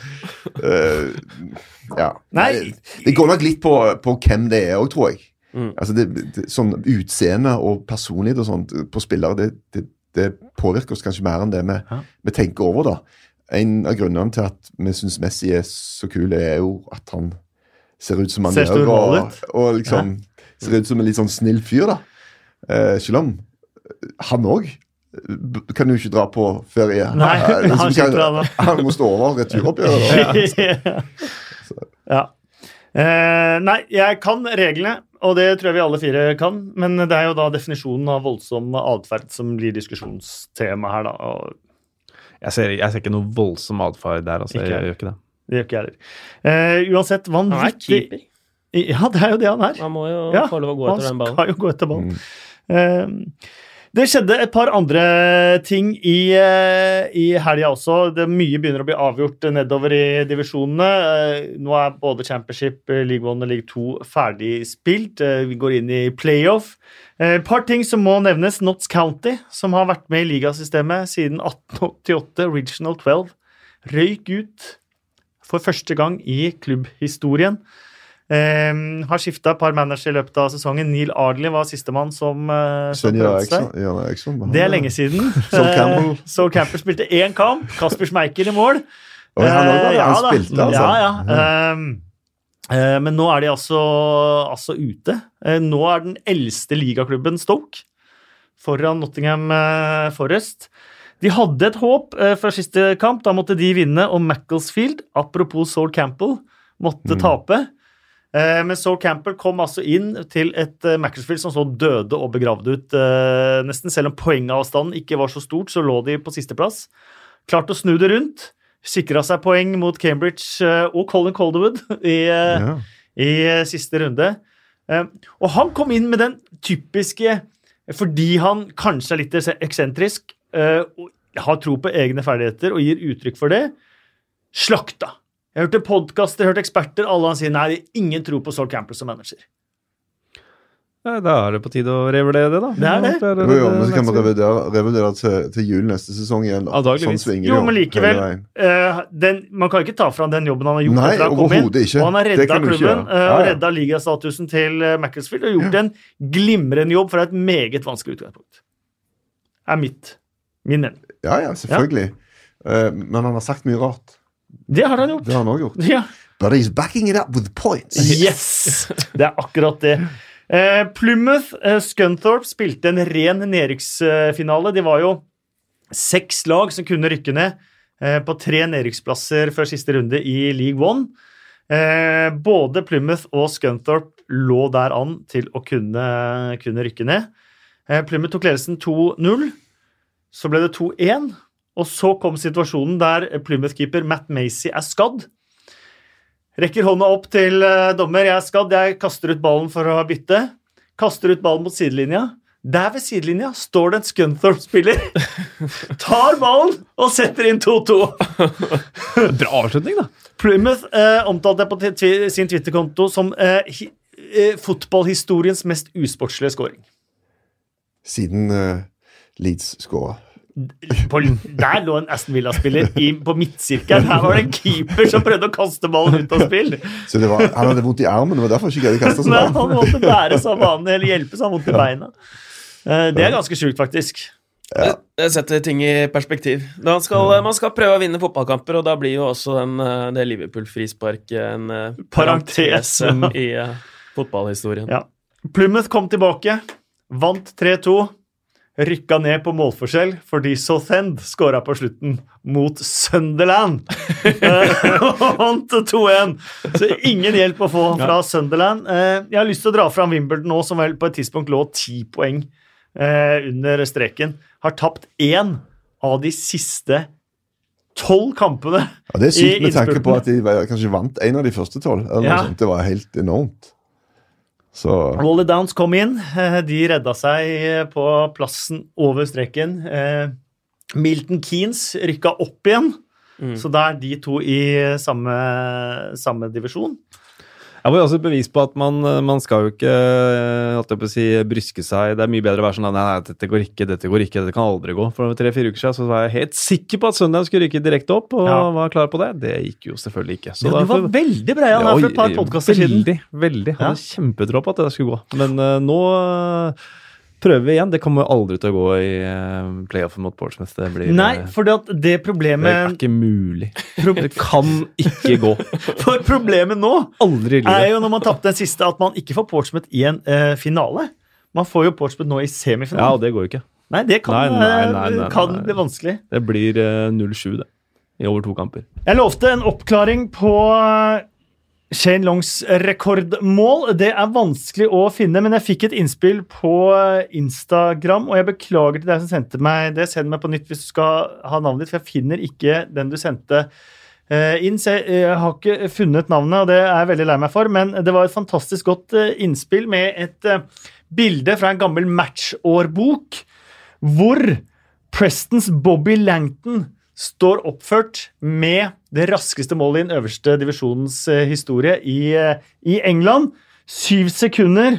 B: eh, Ja.
A: Nei.
B: Det går nok litt på, på hvem det er òg, tror jeg.
D: Mm.
B: Altså det, det, sånn Utseende og personlighet og sånt på spillere, det, det, det påvirker oss kanskje mer enn det vi,
A: Ja.
B: vi tenker over, da. En av grunnene til at vi syns Messi er så kul, er jo at han ser ut som han
A: Ser
B: gjør,
A: normal
B: og, og liksom ser ut som en litt sånn snill fyr, da. Eh, selv om han òg kan jo ikke dra på ferie.
A: Nei,
B: Eh, liksom,
A: han slipper
B: kan-
A: han,
B: han må stå over returoppgjøret. da.
A: ja. Eh, nei, jeg kan reglene, og det tror jeg vi alle fire kan. Men det er jo da definisjonen av voldsom atferd som blir diskusjonstema her, da. Og
C: Jeg ser, jeg ser ikke noe voldsom atferd der, altså.
A: Ikke
C: Jeg,
A: jeg.
C: gjør ikke det.
A: det gjør ikke jeg heller. Eh, uansett,
D: Han er
A: vanvittig
D: keeper.
A: Ja, det er jo det han er.
D: Han må jo
A: Ja,
D: få lov å gå
A: Han
D: etter den ballen.
A: skal jo gå etter ballen. Eh, Det skjedde et par andre ting i, eh, i helga også. Det er mye begynner å bli avgjort eh, nedover i divisjonene. Eh, Nå er både Championship, eh, League One og League 2 ferdig spilt. Eh, Vi går inn i playoff. Eh, Et par ting som må nevnes. Notts County, som har vært med i ligasystemet siden 1888, Regional 12, røyk ut for første gang i klubbhistorien. Eh, har skifta et par managere i løpet av sesongen. Neil Ardley var sistemann som eh, som
B: Sven Jørgen
A: prøvde seg.
B: Eriksson- Jørgen Eriksson, han-
A: Det er lenge siden.
B: Sol Campbell.
A: Eh, Sol Campbell spilte én kamp. Kasper Schmeichel i mål.
B: Oi, han,
A: Eh,
B: også, da. han
A: ja da.
B: spilte, altså.
A: Ja, ja. Um, eh, men nå er de altså, altså ute. Eh, Nå er den eldste ligaklubben Stoke foran Nottingham eh, Forest. De hadde et håp eh, før siste kamp. Da måtte de vinne, og Macclesfield, apropos Sol Campbell, måtte
B: Mm.
A: tape. Eh, Men Sol Campbell kom altså inn til et eh, Macclesfield som så døde og begravde ut eh, nesten. Selv om poengavstanden ikke var så stort, så lå de på sisteplass. Klarte å snu det rundt. Sikra seg poeng mot Cambridge eh, og Colin Calderwood i, eh,
B: Ja.
A: i eh, siste runde. Eh, Og han kom inn med den typiske Fordi han kanskje er litt eksentrisk eh, og har tro på egne ferdigheter og gir uttrykk for det. Slakta. Jeg hørte podkaster, hørte eksperter, alle han sier nei, ingen tror på Sol Campbell som manager.
C: Nei, Da er det på tide å revurdere det, da.
A: Det er det.
B: Det var jo om, så kan vi revidere, revidere til, til jul neste sesong igjen. da.
C: Antageligvis.
B: Sånn svinger
A: Jo,
B: det
A: men
B: hele
A: likevel.
B: veien.
A: Eh, den, man kan ikke ta fra han den jobben han har gjort.
B: Nei,
A: etter han kom inn.
B: overhodet ikke.
A: Og han har
B: Det
A: redda
B: kan du ikke
A: klubben
B: gjøre.
A: eh,
B: Ja,
A: og
B: ja.
A: redda ligastatusen til eh, Macclesfield og gjort en glimrende jobb fra et meget vanskelig utgangspunkt. Er mitt. Min mening.
B: Ja, ja, selvfølgelig. Eh, men han har sagt mye rart.
A: Det har han gjort.
B: Det har han òg gjort.
A: Ja.
B: But he's backing it up with points.
A: Yes! Det er akkurat det. Eh, Plymouth eh, Scunthorpe spilte en ren nedrykksfinale. De var jo seks lag som kunne rykke ned eh, på tre nedrykksplasser før siste runde i League One. Eh, både Plymouth og Scunthorpe lå der an til å kunne, kunne rykke ned. Eh, Plymouth tok ledelsen 2-0. Så ble det 2-1. Og så kom situasjonen der Plymouth-keeper Matt Macy er skadd. Rekker hånda opp til eh, dommer. Jeg er skadd. Jeg kaster ut ballen for å bytte. Kaster ut ballen mot sidelinja. Der ved sidelinja står det en Scunthorpe-spiller. Tar ballen og setter inn 2-2.
C: Bra avslutning, da.
A: Plymouth eh, omtalte det på t- twi- sin Twitter-konto som eh, hi, eh, fotballhistoriens mest usportslige scoring.
B: Siden eh, Leeds skåra.
A: På, der lå en Aston Villa-spiller i- på midtsirkelen. Her var det en keeper som prøvde å kaste ballen ut av spill.
B: Så det var, han hadde vondt i armen, det var derfor han ikke greide å kaste seg.
A: Nei,
B: bra.
A: han måtte bæres av banen eller hjelpes av vondt i beina. Eh, Det er ganske sjukt, faktisk.
D: Det- Det setter ting i perspektiv. Da skal, Man skal prøve å vinne fotballkamper, og da blir jo også den, eh, det Liverpool-frisparket en eh,
A: Parentes.
D: parentese i eh, fotballhistorien.
A: Ja. Plymouth kom tilbake, vant 3-2. Rykka ned på målforskjell fordi Southend skåra på slutten mot Sunderland. Eh, Og vant 2-1. Så ingen hjelp å få fra Sunderland. Eh, Jeg har lyst til å dra fram Wimbledon nå, som vel på et tidspunkt lå ti poeng eh, under streken. Har tapt én av de siste tolv kampene.
B: Ja, det er
A: I
B: sykt med tanke
A: innspurten.
B: på at de var- kanskje vant en av de første tolv. eller noe
A: Ja.
B: sånt. Det var helt enormt. Så
A: Wally Downs kom inn. Eh, De redda seg eh, på plassen over streken. Eh, Milton Keanes rykka opp igjen,
C: Mm.
A: så da er de to i eh, samme, samme divisjon.
C: Jeg var jo også et bevis på at man, eh, man skal jo ikke eh, holdt jeg på å si, bryske seg. Det er mye bedre å være sånn nei, nei, dette går ikke, dette går ikke, dette kan aldri gå. For tre-fire uker siden så var jeg helt sikker på at Sunderland skulle rykke direkte opp, og
A: Ja.
C: var klar på det. Det gikk jo selvfølgelig ikke. Så
A: Ja, du var
C: derfor-
A: veldig breial her for et par
C: Oi,
A: podkaster siden.
C: Veldig, veldig. Jeg hadde kjempetro på at det der skulle gå. Men eh, nå eh, prøver vi igjen. Det kommer aldri til å gå i eh, playoffen mot Portsmouth. Det blir
A: Nei,
C: eh,
A: for det, at det
C: det er
A: problemet
C: ikke mulig. Det kan ikke gå.
A: For problemet nå
C: Aldri
A: er
C: i livet.
A: jo når man tapte den siste, at man ikke får Portsmouth i en eh, finale. Man får jo Portsmouth nå i
C: Ja, og
A: semifinalen.
C: det går jo ikke.
A: Nei, det kan,
C: Nei, nei, nei,
A: eh,
C: nei,
A: kan
C: nei.
A: bli vanskelig.
C: Det blir eh, 0-7, det. I over to kamper.
A: Jeg lovte en oppklaring på eh, Shane Longs rekordmål. Det er vanskelig å finne, men jeg fikk et innspill på eh, Instagram, og jeg beklager til deg som sendte meg det. Send meg på nytt hvis du skal ha navnet ditt, for jeg finner ikke den du sendte eh, inn. Så jeg, jeg har ikke funnet navnet, og det er jeg veldig lei meg for, men det var et fantastisk godt eh, innspill med et eh, bilde fra en gammel matchårbok hvor Prestons Bobby Langton står oppført med det raskeste målet i den øverste divisjonens eh, historie i, eh, i England. Syv sekunder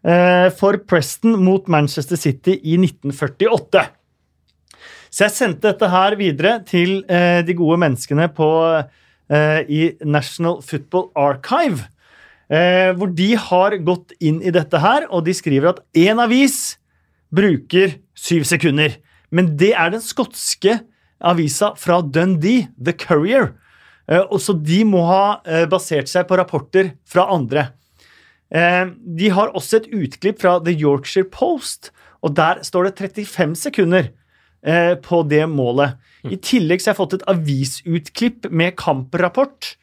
A: eh, for Preston mot Manchester City i 1948. Så jeg sendte dette her videre til eh, de gode menneskene på, eh, i National Football Archive. Eh, hvor de har gått inn i dette her, og de skriver at én avis bruker syv sekunder. Men det er den skotske avisa fra Dundee, The Courier. Eh, og så de må ha eh, basert seg på rapporter fra andre. Eh, de har også et utklipp fra The Yorkshire Post, og der står det 35 sekunder eh, på det målet. I tillegg så har jeg fått et avisutklipp med kamprapport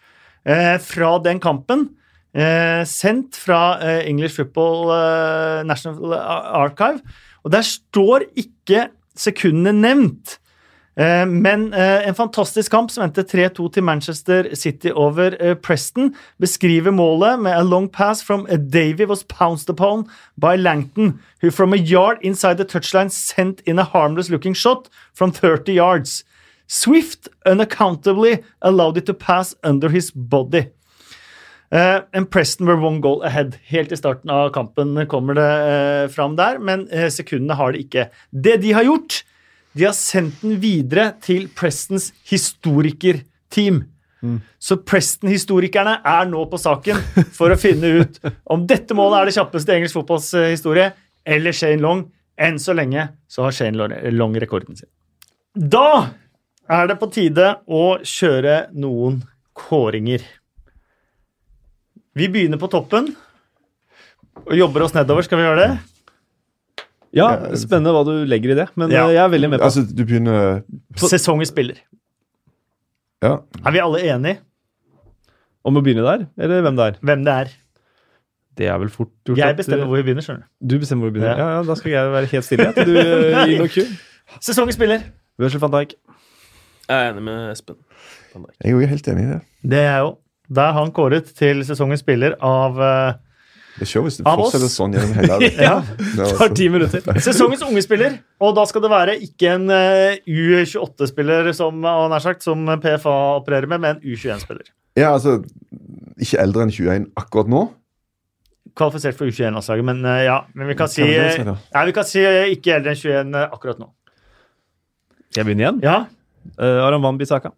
A: eh, fra den kampen. Eh, sendt fra eh, English Football eh, National Archive. Og der står ikke sekundene nevnt. Eh, Men eh, en fantastisk kamp som endte 3-2 til Manchester City over eh, Preston. Beskriver målet med a long pass from a Davy was pounced upon by Langton, who from a yard inside the touchline sent in a harmless looking shot from 30 yards. Swift unaccountably allowed it to pass under his body. Eh, and Preston were one goal ahead. Helt i starten av kampen kommer det eh, fram der, men eh, sekundene har det ikke. Det de har gjort, de har sendt den videre til Prestons historikerteam. Så Preston-historikerne er nå på saken for å finne ut om dette målet er det kjappeste i engelsk fotballs eh, historie, eller Shane Long. Enn så lenge så har Shane Long- eh, Long rekorden sin. Da er det på tide å kjøre noen kåringer. Vi begynner på toppen og jobber oss nedover. Skal vi gjøre det?
C: Ja, spennende hva du legger i det, men
A: Ja.
C: eh, jeg er veldig med på
B: Altså, du begynner
A: Sesongens spiller.
B: Ja.
A: Er vi alle enige
C: om å begynne der, eller hvem det er.
A: hvem det er?
C: Det er vel fort gjort.
A: Jeg
C: at- eh,
A: bestemmer hvor vi begynner. skjønner du.
C: Du bestemmer hvor vi
A: Ja.
C: begynner. Ja. ja, Da skal jeg være helt stille. Til du eh, gir noe kul.
A: Sesongens spiller.
C: Virgil van Dijk.
D: Jeg er enig med Espen.
B: Jeg er jo helt enig i det.
A: Det er jeg òg. Da er han kåret til sesongens spiller av eh,
B: Det er show hvis det
A: Av oss?
B: fortsetter sånn gjennom hele det.
A: ja,
B: Det er
C: Tar
B: altså-
C: ti minutter.
A: sesongens unge spiller. Og da skal det være ikke en eh, U28-spiller som, og nær sagt, som PFA opererer med, men en U21-spiller.
B: Ja, altså Ikke eldre enn 21 akkurat nå.
A: Kvalifisert for U21-landslaget, men eh, ja. Men vi kan si,
B: Kan vi det, sier du?
A: nei, vi kan si eh, ikke eldre enn 21 akkurat nå.
C: Skal jeg begynne igjen?
A: Ja,
C: Eh, Aram Van Bissaka.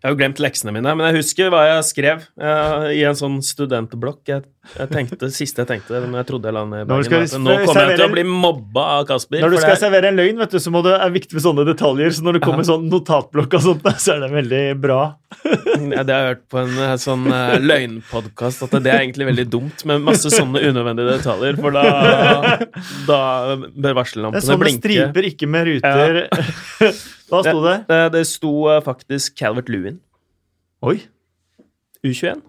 D: Jeg har jo glemt leksene mine, men jeg husker hva jeg skrev eh, i en sånn studentblokk. Jeg Jeg tenkte, det siste jeg tenkte når jeg trodde jeg la ned
A: Når du
D: Bergen, var at
A: skal
D: nå kommer jeg til å
A: servere-
D: bli mobba av Kasper.
A: Når du
D: for
A: skal
D: det er-
A: servere en løgn, vet du, så må det er viktig med sånne detaljer. Så når det kommer sånn notatblokk og sånt, så er det veldig bra.
D: Ja, det har jeg hørt på en eh, sånn eh, løgnpodkast, at det er egentlig veldig dumt med masse sånne unødvendige detaljer, for da, da
A: Det er
D: bør
A: sånn
D: varsellampene
A: med
D: blinke.
A: striper, ikke med ruter. Hva sto det?
D: Det, det sto eh, faktisk Calvert Lewin.
A: Oi.
D: U21.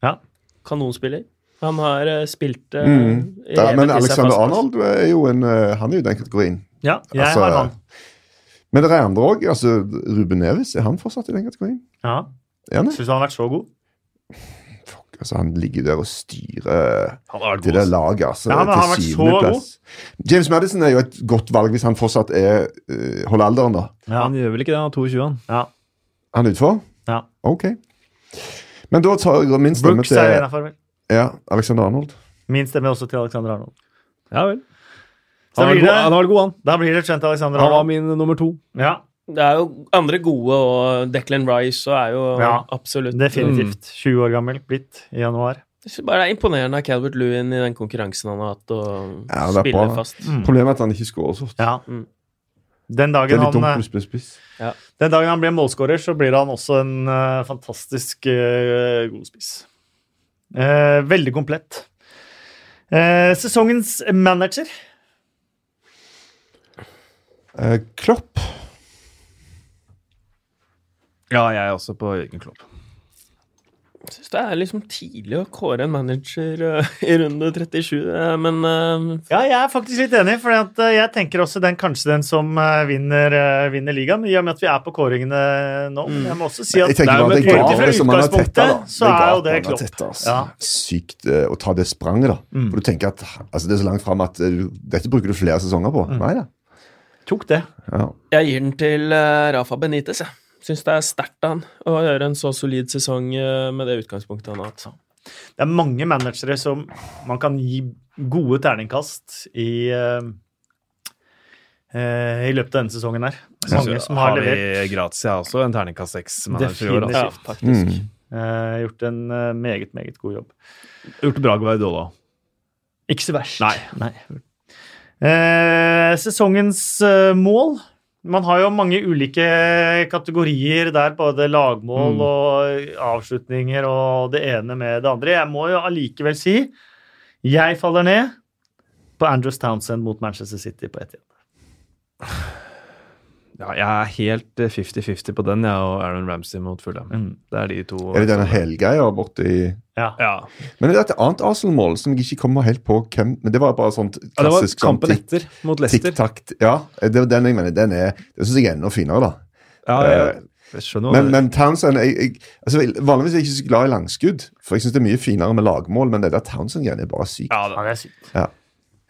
A: Ja.
D: Kanonspiller. Han har eh, spilt eh,
B: Mm.
D: i
B: Da,
D: hele
B: men
D: tiden seg
B: Alexander
D: fast.
B: Arnold er jo en, eh, han er jo den kategorien.
A: Ja, jeg
B: Altså,
A: har han.
B: Men det er andre òg. Altså, Ruben Neves, er han fortsatt i den kategorien?
A: Ja.
B: Er han det?
A: Syns du han har vært så god?
B: Fuck, altså, han ligger der og styrer eh,
C: Han har vært
B: det der laget altså,
A: Ja, men han har vært
B: til
A: så
B: syvendeplass. James Madison er jo et godt valg hvis han fortsatt er eh, holder alderen, da.
A: Ja.
C: Han gjør vel ikke det, han er 22, han.
A: ja.
B: Han er utfor?
A: Ja.
B: OK. Men da tar jeg min stemme
A: Brooks
B: til
A: er innafor, vel.
B: ja, Alexander Arnold.
A: Min stemmer også til Alexander Arnold.
C: Ja vel.
A: Så
C: Han var
A: blir
C: god,
A: det,
C: han. Var god, han.
A: da blir det skjønt Alexander
C: han var
A: Arnold.
C: min nummer to.
A: Ja,
D: Det er jo andre gode, og Declan Rice og er jo
A: Ja.
D: absolutt
A: definitivt. 20 år gammel, blitt i januar.
D: Jeg synes bare Det er imponerende av Calvert Lewin i den konkurransen han har hatt, og
B: Ja, det er
D: spille
B: bra.
D: fast.
A: Mm.
B: Problemet er at han ikke scorer så ofte.
A: Ja.
D: Mm.
A: Den
B: Det er
A: dagen,
B: litt
A: han,
B: dumt
A: eh,
B: når du spiller spiss.
A: den dagen han blir målskårer, så blir han også en eh, fantastisk eh, god spiss. Eh, veldig komplett. Eh, sesongens manager.
B: Eh, Klopp
C: Ja, jeg er også på Jørgen Klopp.
D: Jeg syns det er liksom tidlig å kåre en manager eh, i runde 37, eh, men eh,
A: Ja, jeg er faktisk litt enig, for jeg tenker også den kanskje den som eh, vinner, eh, vinner ligaen, i og med at vi er på kåringene nå. Men Jeg må også si at
B: Mm. Jeg tenker
A: Nei,
B: bare at
A: men
B: det er
A: egentlig fra
B: gapet som han har
A: utgangspunktet
B: tetta, da.
A: eh, Så er jo det
B: gapet han har
A: klopp.
B: tettet, altså.
A: Ja. Mm.
B: Sykt eh, å ta det spranget, da. For du tenker at altså, det er så langt fram at eh, du- dette bruker du flere sesonger på. Nei da.
A: Mm. Tok det.
B: Ja.
D: jeg gir den til eh, Rafa Benitez, jeg. Syns det er sterkt av han å gjøre en så solid sesong eh, med det utgangspunktet han har hatt.
A: Det er mange managere som man kan gi gode terningkast i eh, eh, i løpet av denne sesongen her. Mange som har levert.
C: vi Grazia også, en terningkast seks-manager i år.
A: Definitivt,
C: altså.
A: faktisk.
B: Mm.
A: Eh, gjort en eh, meget, meget god jobb.
C: Gjort det bra med Guardiola.
A: Ikke så verst.
C: Nei.
A: Eh, sesongens eh, mål. Man har jo mange ulike kategorier der, både lagmål
C: Mm.
A: og avslutninger og det ene med det andre. Jeg må jo allikevel si jeg faller ned på Andrews Townsend mot Manchester City på ett igjen.
C: Ja, jeg er helt eh, 50-50 på den, jeg og Aaron Ramsey mot Fulham.
A: Mm.
C: Det er de to. altså.
B: Er det denne helgreia borti
A: Ja.
C: Ja.
B: Men det er et annet Arsenal-mål som jeg ikke kommer helt på hvem Men det var bare sånt
C: ja, det var
B: klassisk sånn
C: kampen
B: tikk-
C: etter mot Leicester.
B: tikk-takk. Ja, det var den jeg mener. Den er Det syns jeg er enda finere, da. Eh,
C: Ja, jeg, jeg skjønner hva
B: Men,
C: det-
B: men Townsend jeg, jeg, altså, Vanligvis er jeg ikke så glad i langskudd, for jeg syns det er mye finere med lagmål, men det der Townsend-greiene er bare sykt.
C: ja,
A: Ja,
C: da.
A: det er sykt.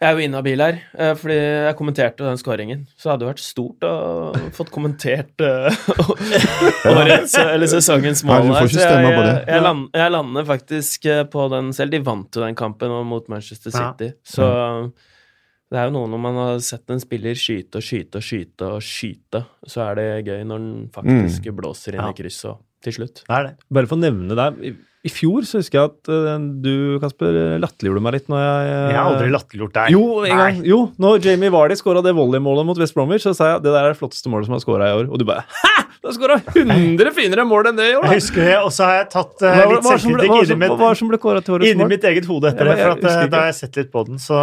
D: Jeg er jo inhabil her, eh, fordi jeg kommenterte den skåringen. Så det hadde vært stort å fått kommentert eh, årets, eh, eller sesongens
B: Nei,
D: mål
B: du får
D: her.
B: ikke
D: Så jeg,
B: stemme på
D: jeg,
B: det.
D: jeg, land, jeg lander faktisk eh, på den selv. De vant jo den kampen og mot Manchester
A: Ja.
D: City. Så eh, det er jo noe når man har sett en spiller skyte og skyte og skyte og skyte, så er det gøy når
B: Mm.
D: den faktisk blåser inn
A: Ja.
D: i krysset og til slutt.
A: Det er det.
C: Bare for å nevne deg. I, I fjor så husker jeg at eh, du, Kasper, eh, latterliggjorde meg litt når jeg eh,
A: Jeg har aldri latterliggjort deg.
C: Jo, en gang,
A: Nei.
C: jo, når Jamie Vardy skåra det volleymålet mot West Bromwich, så sa jeg det der er det flotteste målet som har skåra i år. Og du bare Hæ! Du har skåra 100 finere mål enn det i
A: Jeg
C: år! da!»
A: husker det, og så har jeg tatt eh,
C: Hva, hva,
A: litt
C: hva, som ble-
A: selvkritikk
C: hva,
A: inni
C: som-
A: mitt,
C: hva som ble kåra til årets
A: inni
C: mål?
A: mitt eget hode etter
C: Ja,
A: det,
C: men
A: for
C: jeg
A: at, eh,
C: husker ikke.
A: da har jeg sett litt på den, så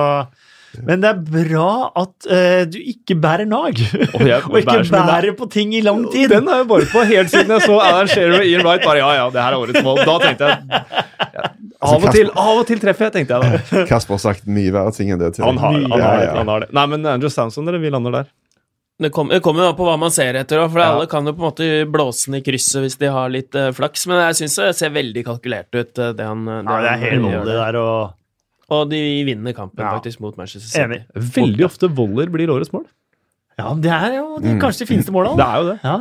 A: Men det er bra at eh, du ikke bærer nag, og,
C: jeg
A: ikke
C: bærer som en
A: bærer på ting i lang tid.
C: Den har jeg bare på helt siden jeg så Alan Shearer og Ian Wright. Bare ja, ja, det her er årets mål. Da tenkte jeg ja, Av og til av og til treffer jeg, tenkte jeg da.
B: Kasper har sagt mye verre ting enn det til
C: Han har, han
B: Ja,
C: har, det,
B: ja.
C: han har det. Nei, men Andrew Samson, dere, vi lander der.
D: Det kom- det kommer jo an på hva man ser etter, også, for alle kan jo på en måte blåse den i krysset hvis de har litt eh, flaks, men jeg syns det ser veldig kalkulert ut, eh, det han eh,
A: Ja, det
D: han
A: er helt
D: gjør
A: vanlig der og
D: Og de vinner kampen
A: Ja.
D: faktisk mot Manchester City.
A: Enig.
C: Veldig ofte voller blir årets mål.
A: Ja, det er jo det er kanskje de fineste
C: Det
A: måla.
C: er jo det.
A: Ja.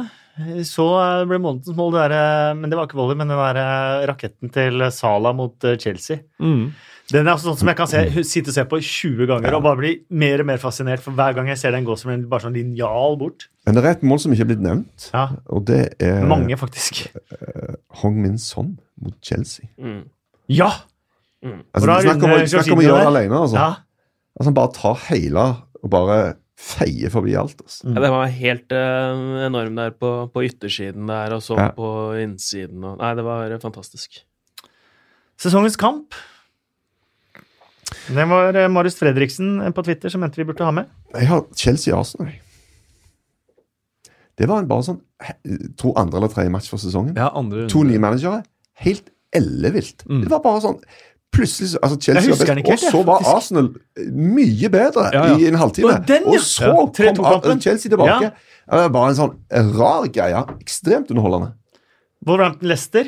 A: Så eh, ble månedens mål det derre Men det var ikke volley, men den derre raketten til Sala mot eh, Chelsea.
C: Mm.
A: Den er sånn som jeg kan se, sitte og se på 20 ganger og bare bli mer og mer fascinert. For hver gang jeg ser den gå som en bare sånn linjal bort.
B: Men det er et mål som ikke er blitt nevnt,
A: Ja,
B: og det er
A: Mange, faktisk.
B: Hong Min Son mot Chelsea.
D: Mm.
A: Ja!
B: Altså,
A: Bra
B: snakk om,
A: runde,
B: snakk om
A: Jorginho
B: å gjøre det
A: der.
B: alene, altså.
A: Ja.
B: altså. Han bare tar hele og bare feier forbi alt. Altså.
D: Ja, den var helt eh, enorm der på, på yttersiden der, og så
B: Ja.
D: på innsiden og Nei, det var eh, fantastisk.
A: Sesongens kamp. Det var eh, Marius Fredriksen på Twitter som mente vi burde ha med.
B: Jeg har Chelsea Arsenal. Det var en bare sånn jeg tror andre eller tredje match for sesongen.
C: Ja, andre
B: To nye managere. Helt ellevilt.
C: Mm.
B: Det var bare sånn Plutselig så- altså
A: Jeg
B: Chelsea var
A: husker
B: best,
A: den ikke
B: og
A: helt, jeg,
B: så var
A: faktisk.
B: Arsenal eh, mye bedre
C: Ja, ja.
B: i en halvtime.
A: Og den, ja.
B: Og så
A: Ja.
B: kom
A: 3-2-kampen.
B: Ar- Chelsea tilbake.
A: Ja.
B: Det var bare en sånn rar greie. Ekstremt underholdende.
A: Wolverhampton Lester.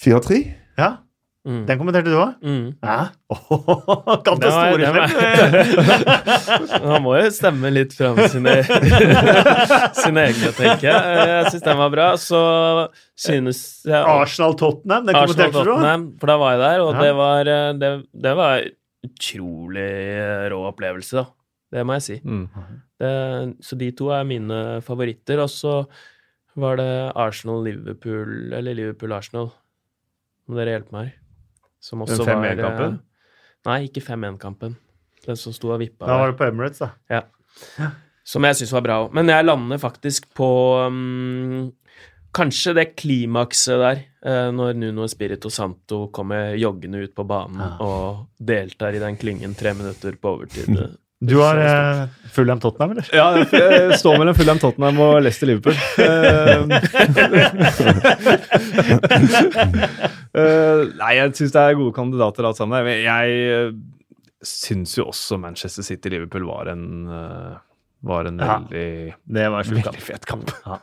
B: 4-3.
A: Ja,
D: Mm.
A: den kommenterte du òg?
D: Mm.
A: Ja. Åh, kan ta
D: Det var-
A: store
D: det var-
A: slem.
D: Han må jo stemme litt fram sine, sine egne, tenker jeg. Eh, Jeg syns den var bra. Så synes jeg
A: Arsenal-Tottenham, den kommenterte du òg?
D: Arsenal-Tottenham, for da var jeg der, og
A: Ja.
D: det var eh, det, det var utrolig eh, rå opplevelse, da. Det må jeg si.
C: Mm.
D: Det, så de to er mine favoritter. Og så var det Arsenal-Liverpool, eller Liverpool-Arsenal, om dere hjelper meg her. Som også
C: Den
D: var
C: 5-1-kampen?
D: eh, Nei, ikke 5-1-kampen. Den som sto og
A: Da
D: vippa. der.
A: var det på Emirates, da.
D: Som jeg syns var bra òg. Men jeg lander faktisk på um, kanskje det klimakset der, eh, når Nuno Espirito Santo kommer joggende ut på banen
A: Ja.
D: og deltar i den klyngen tre minutter på overtid.
A: Du har eh, Fulham-Tottenham, eller?
C: Ja, jeg står mellom Fulham Tottenham og Leicester Liverpool. Eh, eh, nei, jeg syns det er gode kandidater alt sammen. Men jeg eh, syns jo også Manchester City-Liverpool var en eh, var en
A: Ja.
C: veldig,
A: Det var sjukt.
C: veldig fet kamp.
A: Ja.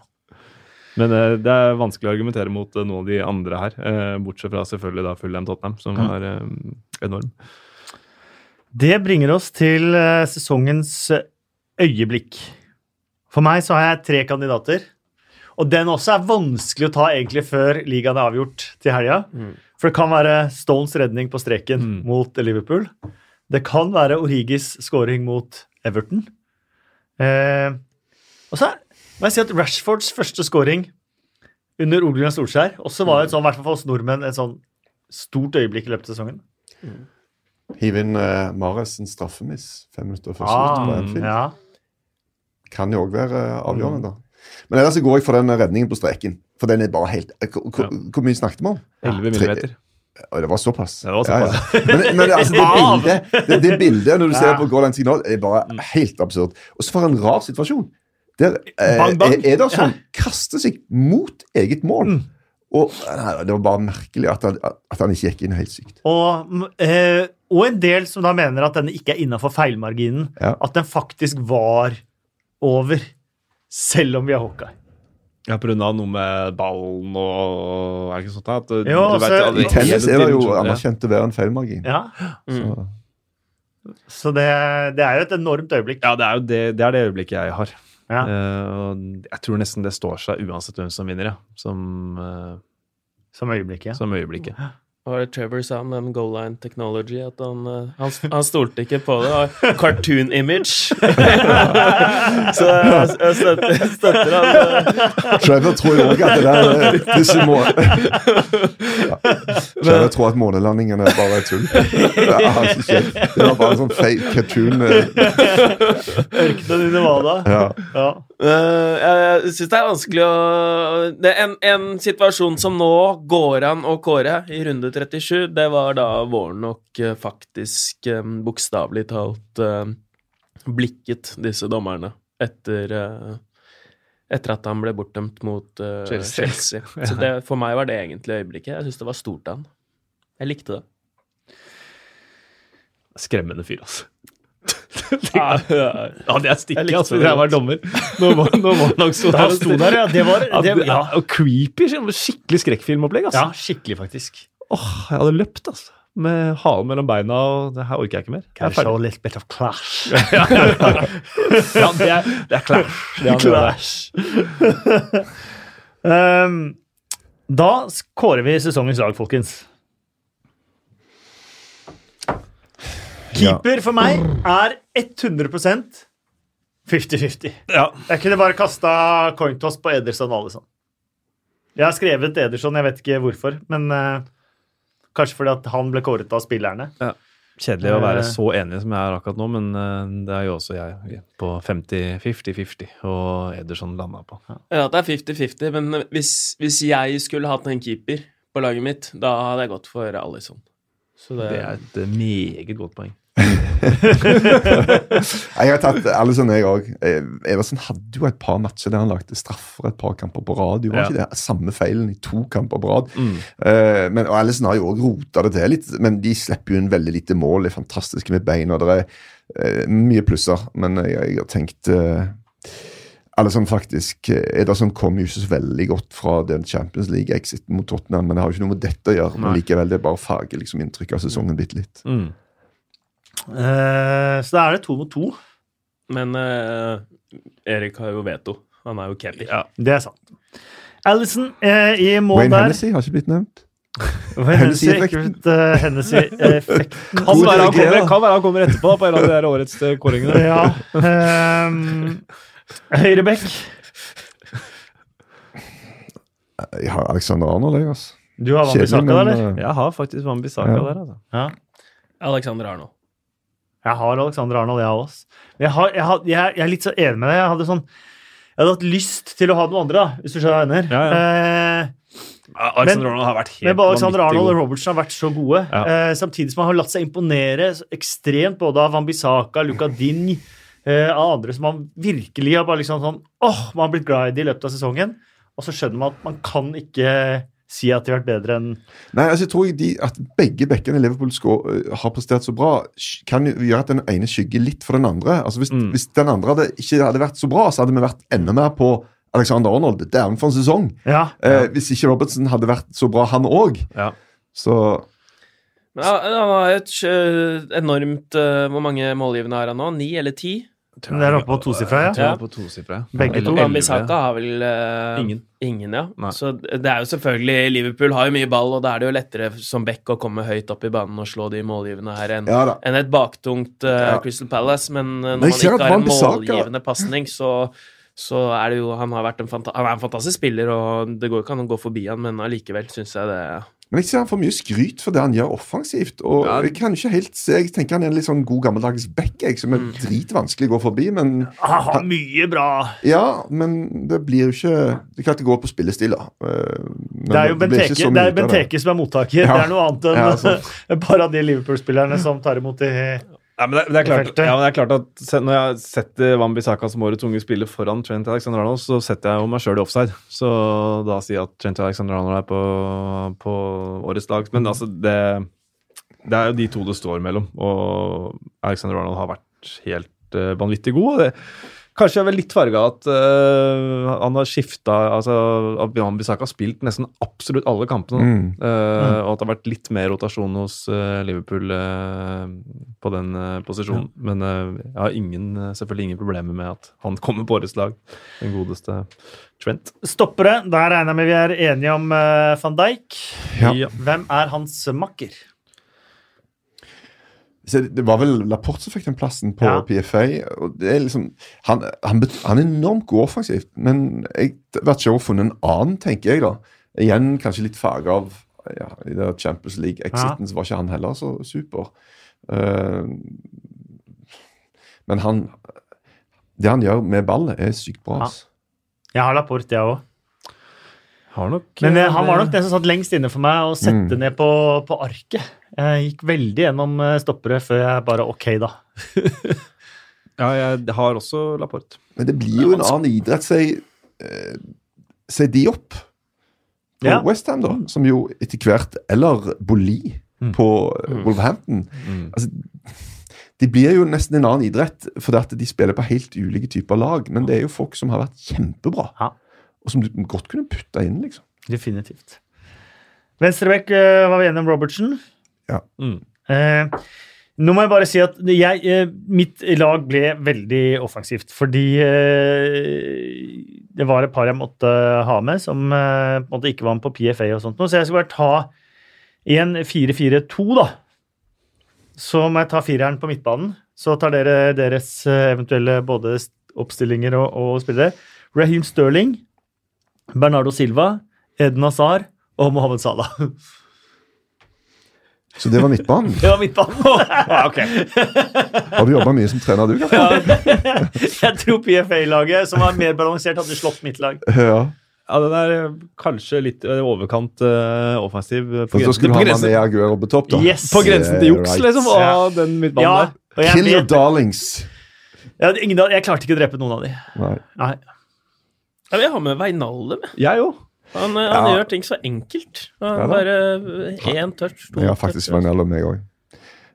C: Men eh, det er vanskelig å argumentere mot eh, noen av de andre her. eh, bortsett fra selvfølgelig da Fulham Tottenham, som
A: Mm.
C: var eh, enorm.
A: Det bringer oss til eh, sesongens øyeblikk. For meg så har jeg tre kandidater. Og den også er vanskelig å ta egentlig før ligaen er avgjort til helga.
D: Mm.
A: For det kan være Stones redning på streken
C: Mm.
A: mot Liverpool. Det kan være Origis scoring mot Everton. Eh, og så må jeg si at Rashfords første scoring under Ole Gunnar Solskjær også var et sånn, i hvert fall for oss nordmenn, et sånn stort øyeblikk i løpet av sesongen.
B: Hiv inn eh, Mares sin straffemiss fem minutter før slutt. på
A: Ah,
B: Anfield.
A: ja.
B: Kan jo òg være eh, avgjørende, da. Men ellers så går jeg for den redningen på streken. For den er bare helt eh, Hvor hvor- hvor mye snakket vi om?
C: 11 millimeter.
B: Å, det var såpass?
C: Ja, det var såpass.
B: Ja, ja. Men, men altså, det bildet det, det bildet når du ser på Goal Line Signal, er bare
C: Mm.
B: helt absurd. Og så for en rar situasjon. Der eh,
A: Bang, bang.
B: er- Ederson kaster seg mot eget
C: Mm.
B: mål. Og nei, Det var bare merkelig at han, at han ikke gikk inn helt sykt.
A: Og, mm, eh, og en del som da mener at denne ikke er innafor feilmarginen.
B: Ja.
A: At den faktisk var over, selv om vi har Hawkeye.
C: Ja, på grunn av noe med ballen og Er det ikke sånt da? At du-
A: Jo,
C: du vet
A: altså,
C: aldri-
B: I tennis er det jo
C: Ja.
B: anerkjent å være en feilmargin.
A: Ja.
D: Mm.
B: Så-
A: Så det, det er jo et enormt øyeblikk.
C: Ja, det er jo det, det, er det øyeblikket jeg har.
A: Ja.
C: Eh, og jeg tror nesten det står seg uansett hvem som vinner, ja. som, eh,
A: Som øyeblikk, ja.
C: som øyeblikket.
D: Hva var det Trevor sa om den goal line technology? At han, eh, han, han stolte ikke på det. Og cartoon image. så jeg, jeg støtter, støtter han. eh.
B: Trevor tror jo også at det der eh, disse må... ja. Trevor tror at månelandingene er bare er tull. Det er altså ikke kjekt. Det var bare sånn feil cartoon. eh,
A: Ørkenen i Nevada.
B: Ja.
A: Ja.
D: Eh, jeg syns det er vanskelig å det er en, en situasjon som nå går an å kåre i runde 37, det var da Warnock eh, faktisk eh, bokstavelig talt eh, blikket disse dommerne etter eh, etter at han ble bortdømt mot eh,
C: Chelsea.
D: Chelsea. Så det, for meg var det egentlig øyeblikket. Jeg syns det var stort av han. Jeg likte det.
C: Skremmende fyr, altså.
D: Ja,
C: Ja, det er stikket,
D: Jeg likte
C: altså.
D: det
C: Hvis jeg var
D: godt.
C: dommer. Nå må, nå må nok stå
A: Han sto der, ja. Det var,
C: Ja,
A: det,
C: det-
A: ja.
C: ja, og creepy. sånn Skikkelig skrekkfilmopplegg.
A: ja,
C: Altså.
A: skikkelig, faktisk.
C: Åh, jeg hadde løpt, altså. Med halen mellom beina og Det her orker jeg ikke mer. Jeg er
A: Kanskje
C: ferdig.
A: a little bit of clash.
C: Ja, det er, det er clash. Det er han gjør der.
A: um, da kårer vi sesongens lag, folkens. Keeper for meg er 100 50-50.
C: Ja.
A: Jeg kunne bare kasta cointoss på Ederson og Alison. Jeg har skrevet Ederson, jeg vet ikke hvorfor, men eh, Kanskje fordi at han ble kåret av spillerne.
C: Kjedelig å
D: Eh.
C: være så enig som jeg er akkurat nå, men eh, det er jo også jeg på 50-50-50, og Ederson landa på.
D: Ja, det er 50-50, men hvis, hvis jeg skulle hatt en keeper på laget mitt, da hadde jeg gått for Alison. Så det,
C: Det er et eh, meget godt poeng.
B: Jeg har tatt Alison, jeg òg. Eversen hadde jo et par matcher der han lagde straffer et par kamper på rad. Det Var
C: Ja. Mm.
B: ikke det samme feilen i to kamper på rad? Eh, men, og Alison har jo òg rota det til litt, men de slipper jo inn veldig lite mål. er fantastiske med beina. Det er eh, mye plusser, men jeg, jeg har tenkt uh, Alison faktisk eh, Ederson kom jo ikke så veldig godt fra den Champions League-exiten mot Tottenham, men det har jo ikke noe med dette å gjøre. Men
C: Nei.
B: likevel, det er bare farger liksom inntrykket av sesongen bitte litt.
C: Mm.
A: Eh, så da er det to mot to.
D: Men eh, Erik har jo veto. Han er jo keeper.
C: Ja.
A: Det er sant. Allison eh, i mål
B: Wayne
A: der.
B: Hennessy har ikke blitt nevnt.
A: Wayne Hennessy.
B: Hennessy-effekten.
A: effekt, eh, Hennessy-effekten.
C: Kan
B: God
C: være han
B: reagere,
C: kommer,
B: da.
C: kan være han kommer etterpå, da, på en av de der årets eh, kåringene.
A: ja. ehm, Høyrebekk.
B: Jeg har Alexander Arnold, jeg, altså.
A: Du har vanlig saka,
B: men,
A: eller?
B: eh,
C: Jeg har faktisk Van Bissaka
B: Ja.
C: der, altså.
A: Ja.
D: Alexander Arno.
A: Jeg har Alexander Arnold, jeg også. Jeg, har, jeg, har, jeg, jeg er litt så enig med deg. Jeg hadde sånn jeg hadde hatt lyst til å ha noen andre, da, hvis du skjønner hva jeg mener.
C: Ja,
A: Eh, Alexander
C: Arnold har vært helt
A: men bare Alexander Arnold og Robertson har vært så gode,
C: Ja.
A: eh, samtidig som han har latt seg imponere så ekstremt både av Wambisaka, Luka Ding, eh, av andre som han virkelig har bare liksom sånn åh, man har blitt glad i det i løpet av sesongen. Og så skjønner man at man kan ikke si at de har vært bedre enn
B: Nei, altså jeg tror de, at begge bekkene i Liverpool skå- øh, har prestert så bra, sk- kan jo gjøre at den ene skygger litt for den andre. Altså Hvis,
C: Mm.
B: hvis den andre hadde, ikke hadde vært så bra, så hadde vi vært enda mer på Alexander Arnold. Det er han for en sesong.
A: Ja.
B: Eh, hvis ikke Robertsen hadde vært så bra, han òg.
C: Ja.
B: Så
D: Men han- han har et eh, enormt eh, Hvor mange målgivende har han nå? Ni eller ti?
A: Men det er oppe på tosifra, ja.
C: Jeg tror jeg er på tosifra. ja.
A: Begge
C: Eller
A: to.
C: elleve.
D: Wambisaka har vel eh,
C: Ingen.
D: Ingen, ja.
C: Nei.
D: Så det er jo selvfølgelig Liverpool har jo mye ball, og da er det jo lettere som back å komme høyt opp i banen og slå de målgivende her enn
B: ja da.
D: enn et baktungt eh,
B: Ja.
D: Crystal Palace. Men eh,
B: Men jeg
D: når man
B: ser
D: ikke
B: at
D: har en
B: Wan-Bissaka-
D: målgivende pasning, så, så er det jo Han har vært en, fanta han er en fantastisk spiller, og det går jo ikke an å gå forbi han, men allikevel syns jeg det
B: Men jeg ser han får mye skryt for det han gjør offensivt. Og
C: Ja.
B: jeg kan ikke helt se Jeg tenker han er en litt sånn god gammeldags back, jeg, som
C: Mm.
B: er dritvanskelig å gå forbi. Men
A: Han har mye bra
B: ja, men det blir jo ikke Det er klart det går på spillestil, da. Eh, men
A: Det er jo
B: blir ikke
A: Benteke,
B: så
A: det er
B: mye ut av det.
A: Benteke som er mottaker.
B: Ja.
A: Det er noe annet enn
B: Ja, altså. sant.
A: bare av de Liverpool-spillerne som tar imot de
C: Ja, men det, det, er klart,
A: Feltet.
C: ja, men det er klart at se- Når jeg setter Wambisaka som årets unge spiller foran Trent Alexander Arnold, så setter jeg jo meg sjøl i offside. Så da sier jeg at Trent Alexander Arnold er på, på årets lag. Men altså, det, det er jo de to det står mellom. Og Alexander Arnold har vært helt eh, vanvittig god. og det Kanskje jeg er vel litt farga at eh, han har skifta altså, At Wambisaka har spilt nesten absolutt alle kampene. da.
B: Mm.
C: Eh, Og at det har vært litt mer rotasjon hos eh, Liverpool eh, på den eh, posisjonen. Men eh, jeg har ingen, eh, selvfølgelig ingen problemer med at han kommer på årets lag. Den godeste Trent.
A: stoppere. Der regner jeg med vi er enige om eh, van Dijk.
B: Ja.
A: Hvem er hans makker?
B: Så det det var vel Laporte som fikk den plassen på
A: Ja.
B: PFA. og det er liksom, han, han, bet- han er enormt god offensivt, men jeg vet ikke om jeg har funnet en annen, tenker jeg. da. Igjen kanskje litt farget av ja, i det Champions League-exiten, så var ikke han heller så super. Eh, men han Det han gjør med ballet, er sykt bra.
A: Ja.
B: ass.
A: Jeg har Laporte, jeg òg.
C: Har nok
A: Men eh,
C: eh,
A: han var nok den som satt lengst inne for meg å
B: Mm.
A: sette ned på, på arket. Jeg gikk veldig gjennom eh, stoppere før jeg bare OK, da.
C: Ja, jeg har også Laporte.
B: Men det blir jo en
A: altså-
B: annen idrett, sier eh, sier de opp. På
A: Ja.
B: Westham, da, som jo etter hvert Eller Boli
A: Mm.
B: på eh, Wolverhampton. Altså, de blir jo nesten en annen idrett, fordi at de spiller på helt ulike typer lag. Men det er jo folk som har vært kjempebra,
A: Ja.
B: og som du godt kunne putta inn. liksom.
A: Definitivt. Venstrebekk eh, var vi enige om Robertsen.
B: Ja.
C: Mm.
A: Eh, nå må jeg bare si at jeg, eh, mitt lag ble veldig offensivt, fordi eh, det var et par jeg måtte ha med, som eh, på en måte ikke var med på PFA og sånt noe, så jeg skal bare ta en 4-4-2, da. Så må jeg ta fireren på midtbanen. Så tar dere deres eh, eventuelle både oppstillinger og, og spillere. Raheem Sterling, Bernardo Silva, Eden Hazar og Mohammed Salah.
B: Så det var midtbanen.
A: Det var midtbanen.
C: Ah, ok.
B: Har du jobba mye som trener, du? Karsten?
A: Jeg tror PFA-laget, som var mer balansert, hadde slått mitt lag.
B: Ja.
C: Ja, den er eh, kanskje litt eh, overkant eh, offensiv. eh, På
B: Og så
C: grensen,
B: skulle du
C: på
B: ha
C: grensen,
B: Mané Aguero på topp, da.
A: Yes.
C: på grensen til juks,
B: Right.
C: liksom.
A: Ja.
C: av den midtbanen
A: Ja,
C: der.
A: og jeg,
B: Kill your
A: vet,
B: darlings.
A: jeg, hadde ingen, av- jeg klarte ikke å drepe noen av de.
B: Nei.
A: Nei.
D: Ja, vi har med Veinaldum. jeg.
C: Jeg òg.
D: Han, eh, han
B: Ja.
D: gjør ting så enkelt. Han
B: Ja da.
D: bare eh, én touch, to
B: Jeg har
D: touch.
B: faktisk
A: altså.
B: Wijnaldum, jeg òg.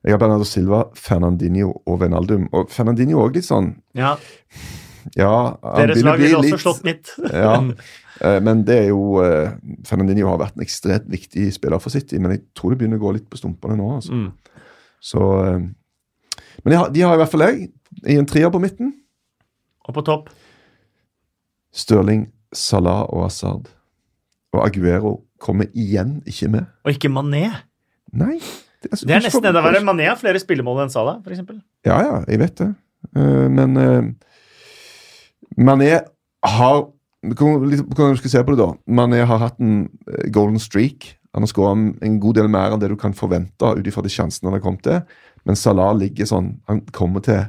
B: Jeg har Bernardo Silva, Fernandinho og Wijnaldum. Og Fernandinho òg litt sånn
A: Ja,
B: Ja, han
A: deres
B: begynner å
A: lag
B: bli
A: ville også
B: litt
A: slått mitt.
B: ja. Eh, Men det er jo eh, Fernandinho har vært en ekstremt viktig spiller for City, men jeg tror det begynner å gå litt på stumpene nå. Altså.
C: Mm.
B: Så, eh, men jeg har, de har i hvert fall jeg, i en trier på midten.
A: Og på topp.
B: Stirling, Salah og Hazard. Og Aguero kommer igjen ikke med.
A: Og ikke Mané.
B: Nei. altså-
A: Det er nesten enda verre. Mané har flere spillemål enn Salah, for eksempel.
B: Ja, ja, jeg vet det. Eh, Men eh, Mané har kom- litt- Hvordan du skal se på det, da? Mané har hatt en eh, golden streak. Han har skåra en god del mer enn det du kan forvente ut ifra de sjansene han har kommet til. Men Salah ligger sånn Han kommer til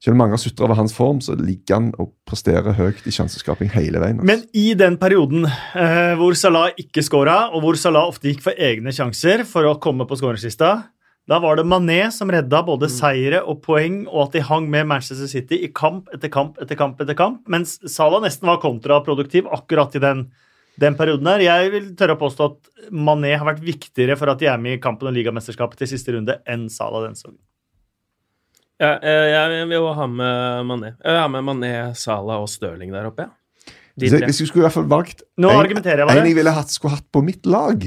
B: Selv om mange har sutra over hans form, så ligger han og presterer høyt i sjanseskaping hele veien. altså.
A: Men i den perioden eh, hvor Salah ikke skåra, og hvor Salah ofte gikk for egne sjanser for å komme på skåringslista, da var det Mané som redda både seire og poeng, og at de hang med Manchester City i kamp etter kamp etter kamp, etter kamp, mens Salah nesten var kontraproduktiv akkurat i den, den perioden her. Jeg vil tørre å påstå at Mané har vært viktigere for at de er med i kampen om ligamesterskapet til siste runde, enn Salah den sesongen.
D: Ja, eh, jeg vil jo ha med Mané. Jeg vil ha med Mané, Salah og Stirling der oppe, ja. De
B: Så
D: tre.
B: Hvis jeg skulle i hvert fall valgt
A: Nå
B: en,
A: argumenterer jeg bare.
B: en jeg ville hatt, skulle hatt på mitt lag,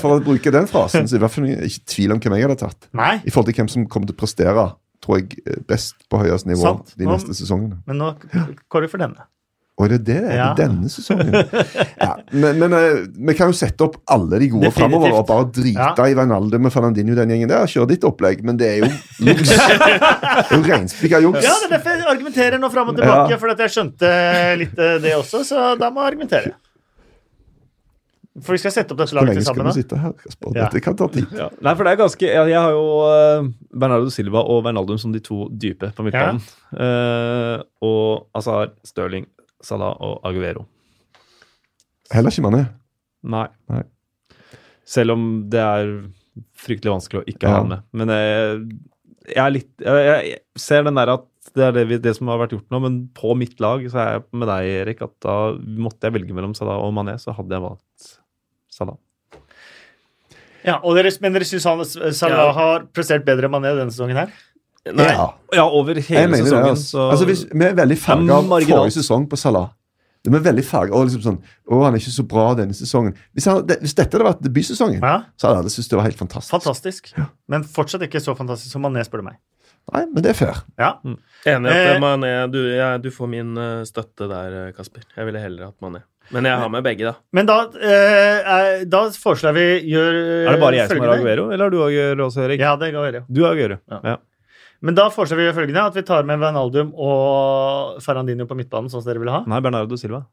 B: for å bruke den frasen, så er det i hvert fall ikke tvil om hvem jeg hadde tatt.
A: Nei,
B: I forhold til hvem som kommer til å prestere tror jeg, eh, best på høyeste nivå
A: Sant.
B: de
A: Nå-
B: neste sesongene.
A: men nå går vi for denne.
B: Og det er det det er
A: Ja.
B: denne sesongen. Ja, men men eh, vi kan jo sette opp alle de gode
A: Definitivt.
B: framover og bare drite
A: Ja.
B: i Wijnaldum med Fernandinho den gjengen der. Kjør ditt opplegg, men det er jo juks. Det er jo renspikka juks.
A: Ja, det er derfor jeg argumenterer nå fram og tilbake,
B: Ja.
A: for at jeg skjønte litt eh, det også, så da må jeg argumentere. For vi skal sette opp dette
B: Hvor
A: laget
B: lenge
A: til
B: skal
A: sammen,
B: vi
A: da.
B: sitte her? Kasper?
A: Ja.
B: Dette kan ta tid.
C: Ja. Nei, for det er ganske Jeg, jeg har jo eh, Bernardo Silva og Wijnaldum som de to dype på midtbanen. Eh, og Azar, Stirling, Salah og Aguero.
B: Heller ikke Mané.
C: Nei.
B: Nei.
C: Selv om det er fryktelig vanskelig å ikke
B: Ja.
C: ha han med. Men jeg, jeg er litt jeg, jeg ser den der at det er det, vi, det som har vært gjort nå, men på mitt lag så er jeg med deg, Erik, at da måtte jeg velge mellom Salah og Mané, så hadde jeg valgt Salah.
A: Ja, og dere, men dere syns han Salah
D: Ja.
A: har prestert bedre enn Mané denne sesongen her?
D: Nei,
B: Ja.
C: Ja, over
B: Jeg
C: hele
B: mener
C: sesongen,
B: det, altså.
C: så
B: altså hvis, Vi er veldig
C: Det
B: farga
C: er
B: av
C: marginalt.
B: forrige sesong på Salah. Det er veldig farget, og liksom sånn, å, han er ikke så bra denne sesongen. Hvis, han, det, hvis dette hadde vært debutsesongen,
A: Ja,
B: så hadde alle syntes det var helt fantastisk.
A: fantastisk. Men fortsatt ikke så fantastisk som Mané, spør du meg.
B: Nei, men det er fair.
A: Ja.
D: enig at
A: Eh.
D: eh, Mané du, jeg- du får min eh, støtte der, eh, Kasper. Jeg ville heller hatt Mané. Men jeg har med begge, da.
A: Men da, eh, er- da foreslår jeg vi gjør eh,
C: Er det bare jeg som har
A: følgende.
C: Aguero, eller har du Aguero også, Erik?
A: Ja, det kan være. jo.
C: Du har Aguero.
A: Ja.
C: Ja.
A: Men da foreslår vi gjør følgende at vi tar med Wijnaldum og Ferrandino på midtbanen, sånn som dere vil ha.
C: Nei, Bernardo Silva.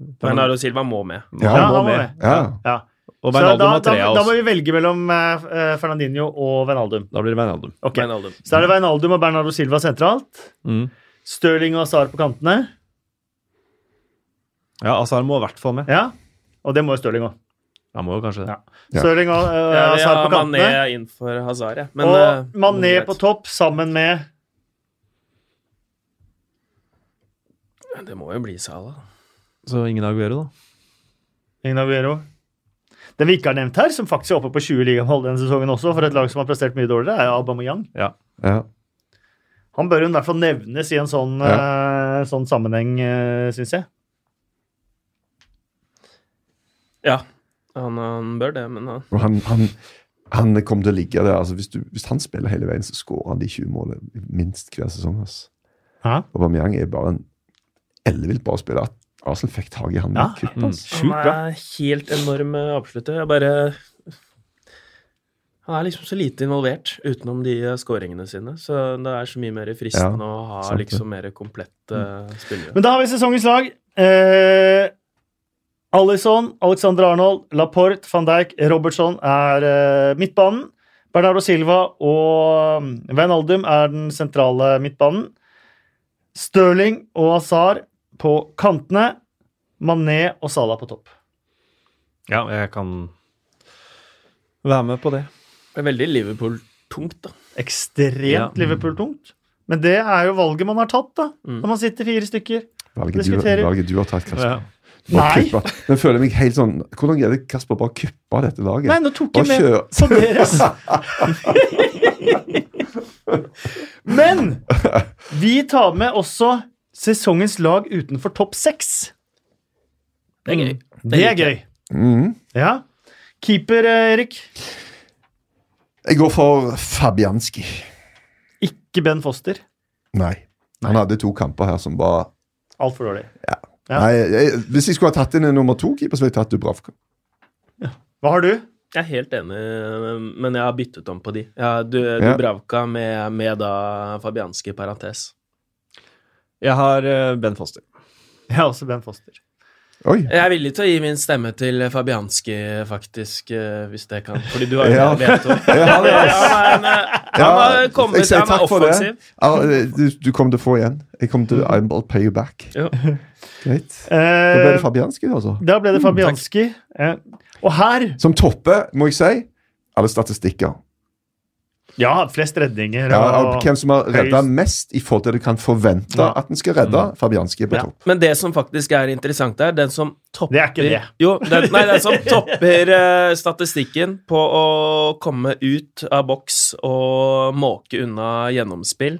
D: Bernardo Silva må med.
B: Ja,
A: Ja, han må med.
B: Ja.
A: Ja.
C: Og
A: Så da,
C: Bernardo har
A: da,
C: tre av
A: da må
C: oss.
A: vi velge mellom eh, Fernandinho og Wijnaldum.
C: Da blir det Bernardo.
A: Ok.
D: Wijnaldum.
A: Så da er det Wijnaldum og Bernardo Silva sentralt.
C: Mm.
A: Stirling og Azar på kantene.
C: Ja, Azar må i hvert fall med.
A: Ja, Og det må jo Stirling òg.
C: Han må jo kanskje det.
A: Ja.
B: Ja.
A: Stirling og eh,
D: Ja, vi
A: Azar
D: har
A: på kantene.
D: Mané innenfor Hazard, jeg. Men, eh,
A: og Mané
D: greit.
A: på topp sammen med
D: Det må jo bli Salah.
C: Så ingen Aguero, da.
A: Ignaguero. Den vi ikke har nevnt her, som faktisk er oppe på 20 ligamål denne sesongen også, for et lag som har prestert mye dårligere, er jo Aubameyang.
B: Ja.
A: Han bør jo i hvert fall nevnes i en sånn, eh, sånn sammenheng, uh, syns jeg.
D: Ja, han, han bør det, men han
B: Og han, han, han kommer til å ligge der. Altså, hvis, du, hvis han spiller hele veien, så skårer han de 20 målene minst hver sesong. Altså.
A: Ja.
B: Aubameyang er bare en ellevilt bra spiller. At Arsenal fikk tak i han med
A: Ja.
B: kupp.
C: Mm.
B: Altså.
D: Han
A: Sjukt bra.
D: er helt enorm eh, avslutter. Jeg bare Han er liksom så lite involvert utenom de eh, skåringene sine, så det er så mye mer fristende å ha
B: sant det.
A: Mm.
D: liksom mer komplette eh, spillere.
A: Men da har vi sesongens lag. Eh, Alison, Alexander Arnold, Laporte, van Dijk, Robertson er eh, midtbanen. Bernardo Silva og mm, Van Aldum er den sentrale midtbanen. Stirling og Azar på kantene. Mané og Salah på topp.
C: Ja, jeg kan være med på det.
D: Det er veldig Liverpool-tungt, da.
A: Ekstremt
C: Ja.
A: Liverpool-tungt. Men det er jo valget man har tatt, da.
D: Mm.
A: Når man sitter fire stykker.
B: Valget du,
A: Diskuterer.
B: valget du har tatt, Kasper.
C: Ja.
B: Bare
A: Nei.
B: kuppe. Men føler jeg meg helt sånn Hvordan greide Kasper bare å kuppe dette laget?
A: Nei, nå tok
B: Bare
A: jeg med
B: kjør.
A: på deres. altså. Men vi tar med også sesongens lag utenfor topp seks.
D: Det er gøy.
A: Det er
D: liker
A: gøy.
B: Mhm.
A: Ja. Keeper, eh, Erik.
B: Jeg går for Fabianski.
A: Ikke Ben Foster.
B: Nei. Han hadde to kamper her som var
A: Altfor dårlig. Ja.
B: Nei, jeg, Hvis jeg skulle ha tatt inn en nummer to keeper, så ville jeg tatt Dubravka.
A: Hva har du?
D: Jeg er helt enig, men jeg har byttet om på de. Jeg har du,
B: Ja.
D: Dubravka med, med da Fabianski i parentes.
C: Jeg har eh, Ben Foster.
A: Jeg har også Ben Foster.
B: Oi.
D: Jeg er villig til å gi min stemme til Fabianski, faktisk, eh, hvis det kan. Fordi du har jo
B: Ja.
D: veto.
B: Jeg har det,
D: Ja,
B: ass.
D: Han eh, han har kommet, han er offensiv.
B: Ja, du, du kommer til å få igjen. Jeg kommer til I'll pay you back.
D: Ja.
B: Greit. Da
A: Eh,
B: ble det Fabianski, altså.
A: da ble det Fabianski. Eh, og her
B: Som topper, må jeg si, alle statistikker.
A: Ja, flest redninger.
B: Ja,
A: og-
B: av hvem som har redda
A: høyest.
B: mest i forhold til det du kan forvente
A: Ja. Mm.
B: at en skal redde. Fabianski er på
A: Ja.
B: topp.
D: Men det som faktisk er interessant der, den som topper
A: Det er ikke det.
D: Jo, den, nei, den som topper eh, statistikken på å komme ut av boks og måke unna gjennomspill,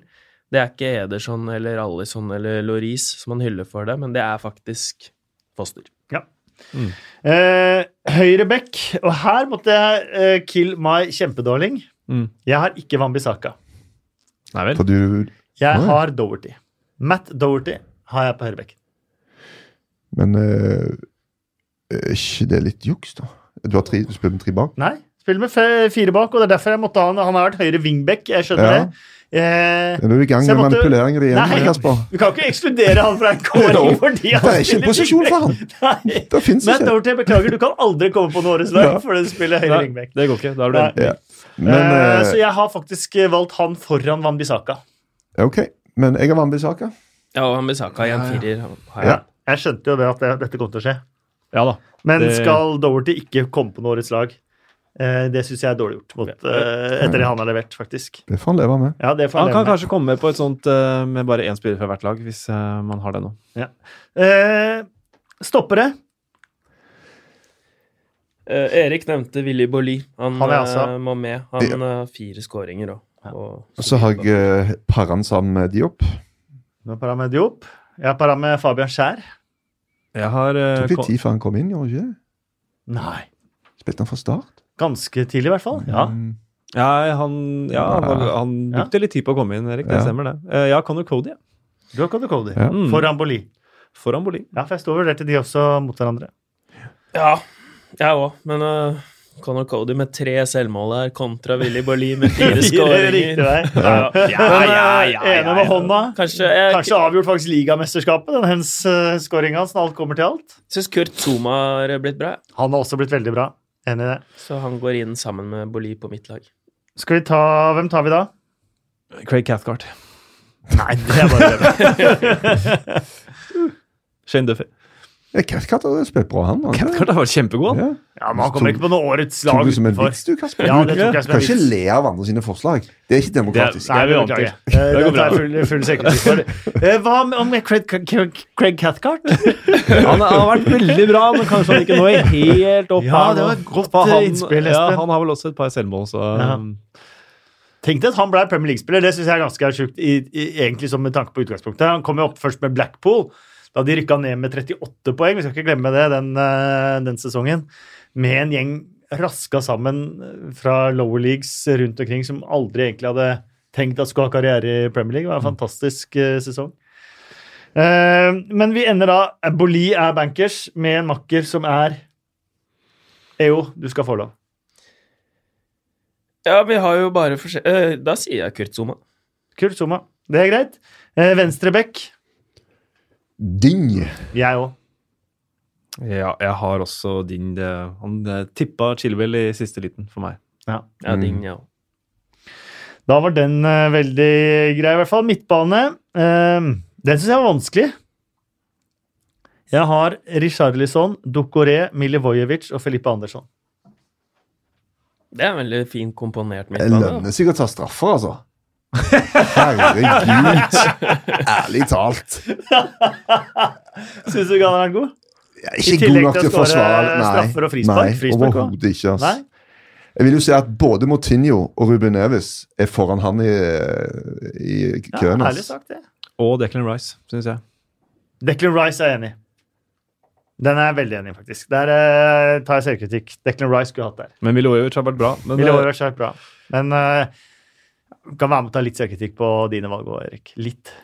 D: det er ikke Ederson eller Allison eller Loris som han hyller for det, men det er faktisk Foster.
A: Eh, høyre back, og her måtte jeg eh, kill my kjempedarling.
C: Mm.
A: Jeg har ikke Wambisaka.
C: Nei vel.
B: For du
A: Jeg
B: Oi.
A: har Doverty. Matt Doverty har jeg på høyre back.
B: Men eh, er ikke det litt juks, da? Du har tre, du spiller med tre bak?
A: Nei, spiller med fe- fire bak, og det er derfor jeg måtte ha han. Han har vært høyre wingback, jeg skjønner
B: Ja.
A: det. Eh,
B: Nå er du i gang
A: Så jeg
B: med
A: måtte-
B: manipulering av det igjen,
A: Nei.
B: Kasper.
A: vi kan ikke ekskludere han fra en kåring
B: Jo,
A: fordi
B: Det
A: han
B: er ikke en posisjon for han!
A: han. Nei.
B: Det fins
A: Matt
B: ikke.
A: Doverty, beklager, du kan aldri komme på noen årets lag
B: Ja.
A: fordi du spiller høyre
C: Nei,
A: wingback.
C: det går ikke. Da er du
A: Nei.
C: enten
B: Ja. Men,
A: eh,
B: eh,
A: så jeg har faktisk eh, valgt han foran Wambisaka.
B: ok. Men jeg har Wambisaka.
D: Ja, og Ambisaka i en firer. har
B: Ja.
D: jeg.
A: Jeg skjønte jo det at det, dette kom til å skje.
C: Ja da.
A: Men
C: Det-
A: skal Doverty ikke komme på noe årets lag? Eh, det syns jeg er dårlig gjort mot, eh, etter det han har levert, faktisk.
B: Det får han leve med.
A: Ja, det får
C: Han
A: jeg
C: kan
A: leve med.
C: kanskje komme med på et sånt eh, med bare én spiller fra hvert lag, hvis eh, man har det nå.
A: Eh, stoppere.
D: Eh, Erik nevnte Willy Bolly. Han,
A: Han er altså-
D: eh, må med. Han har fire skåringer òg.
B: Og så har jeg eh, parret han sammen med Diop.
A: Nå er para med Diop. Jeg er para med Fabian Skjær.
C: Jeg har eh,
B: Tok litt
C: kon-
B: tid før han kom inn, gjorde han ikke det?
A: Nei.
B: Spilte han fra start?
A: Ganske tidlig, i hvert fall. Ja.
B: Mm.
C: Ja, han, ja, han, var- han
A: Ja.
C: brukte litt tid på å komme inn, Erik. Det
B: Ja.
C: stemmer, det. Eh, ja, Connor Cody. ja.
A: Du har Cody Cody.
B: Ja.
C: Mm.
A: Foran Boli.
C: Foran Bolin.
A: Ja, for jeg står og vurderte de også mot hverandre.
D: Ja, jeg òg. Men eh, Conor Cody med tre selvmål her, kontra Willy Bolly med fire
A: Riktig
D: skåringer.
A: vei.
D: Ja, ja,
A: Den
C: eh,
D: ja, ja, ja, ja.
A: ene med hånda.
D: Kanskje jeg
A: Kanskje avgjort faktisk ligamesterskapet, den hens uh, skåringa hans, når alt kommer til alt.
D: syns Kurt Zuma har blitt bra, jeg.
A: Han har også blitt veldig bra. Enig i det.
D: så han går inn sammen med Bolly på mitt lag.
A: Skal vi ta Hvem tar vi da?
C: Craig Cathcart.
A: Nei, det er bare det.
C: Shane Duffy.
B: Ja, Cathcart har spilt bra, han. har han ikke det?
C: Cathcart har vært kjempegod, han.
B: Ja.
A: Ja, men han kommer ikke på noe årets lag
B: Tok du som en
A: utenfor.
B: vits, du, Kasper?
A: Ja, det tok jeg
B: Du
A: som en
B: kan ikke
A: vits.
B: le av andre sine forslag. Det er ikke demokratisk.
A: Nei,
C: Det er vi
A: det
C: vant
A: beklager jeg.
C: til.
A: Eh,
C: Det går
A: Det
C: bra.
A: er full, full sekretess for. Eh, Hva med- om Craig, Craig, Craig Cathcart?
C: Han har vært veldig bra, men kanskje han ikke når helt opp.
A: Ja,
C: her
A: det
C: nå.
A: var et godt,
C: For
A: eh, innspill,
C: ja,
A: Espen.
C: han har vel også et par selvmål, så um,
A: Ja. Tenk deg at han ble Premier League-spiller. Det syns jeg er ganske sjukt, i, i, egentlig som med tanke på utgangspunktet. Han kom jo opp først med Blackpool, da de rykka ned med 38 poeng. Vi skal ikke glemme det den, eh, den sesongen. Med en gjeng raska sammen fra lower leagues rundt omkring som aldri egentlig hadde tenkt at skulle ha karriere i Premier League. Det var en fantastisk eh, sesong. Eh, men vi ender da Boli er bankers med en makker som er EO, du skal få lov.
D: Ja, vi har jo bare forskjell... eh, Da sier jeg Kurt Zuma.
A: Kurt Zuma. Det er greit. Eh, Venstrebekk.
B: Ding!
A: Jeg òg.
C: Ja, jeg har også din det, Han eh, tippa Chilwell i siste liten for meg.
A: Ja.
D: Ja,
C: Mm.
D: din, ja.
A: Da var den eh, veldig grei, i hvert fall. Midtbane. Eh, den syns jeg var vanskelig. Jeg har Richarlison, Ducoré, Milivojevic og Felipe Andersson.
D: Det er en veldig fint komponert
B: Det
D: midtbane. da.
B: lønner seg å ta straffer, altså. Herregud. Ærlig talt.
A: Syns du ikke han er god?
B: Jeg er
A: I
B: ikke
A: tillegg
B: god nok
A: til å
B: til å
A: skåre
B: forsvare
A: straffer og frispark.
B: Nei,
A: Frispark, hva?
B: overhodet ikke. Altså.
A: Nei?
B: Jeg vil jo si at både Motinho og Ruben Neves er foran han i, eh, i
A: Ja,
B: køen.
A: ærlig
B: altså.
A: sagt, det.
C: Og Declan Rice, syns jeg.
A: Declan Rice er jeg enig. i. Den er jeg veldig enig i, faktisk. Der eh, tar jeg selvkritikk. Declan Rice skulle hatt der.
C: Men Milojevic har vært bra. Men
A: Ville
C: eh,
A: vært svært bra. Men eh, kan være med å ta litt selvkritikk på dine valg òg, Erik. Litt.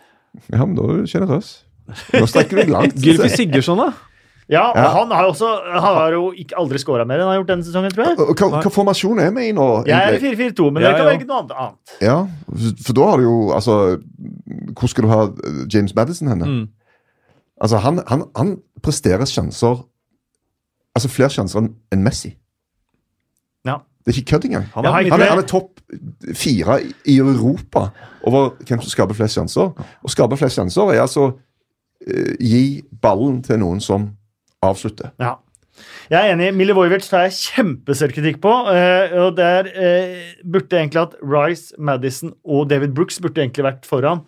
B: Ja, men da er du sjenerøs. Nå strekker du deg langt.
C: Gylfi Sigurdsson, da?
A: Ja, og
B: Ja.
A: han har jo også Han har jo ikke, aldri scora mer enn han har gjort denne sesongen, tror jeg.
B: Og Hva, hva formasjon er vi i nå?
A: Jeg er
B: egentlig?
A: 4-4-2, men
C: Ja,
A: dere kan
C: ja.
A: velge noe annet- annet.
B: Ja, for da har du jo Altså, hvor skal du ha eh, James Madison henne?
C: Mm.
B: Altså, han, han, han presterer sjanser Altså flere sjanser enn enn Messi.
A: Ja.
B: Det er ikke kødd engang.
C: Han
A: Jeg
C: er
A: har ikke-
B: Han er, han er topp fire i Europa over hvem som skaper flest sjanser. Å skape flest sjanser er altså eh, gi ballen til noen som avslutter.
A: Ja. Jeg er enig. Milivojevic tar jeg kjempeselvkritikk på. eh, og der eh, burde egentlig at Rice, Madison og David Brooks burde egentlig vært foran.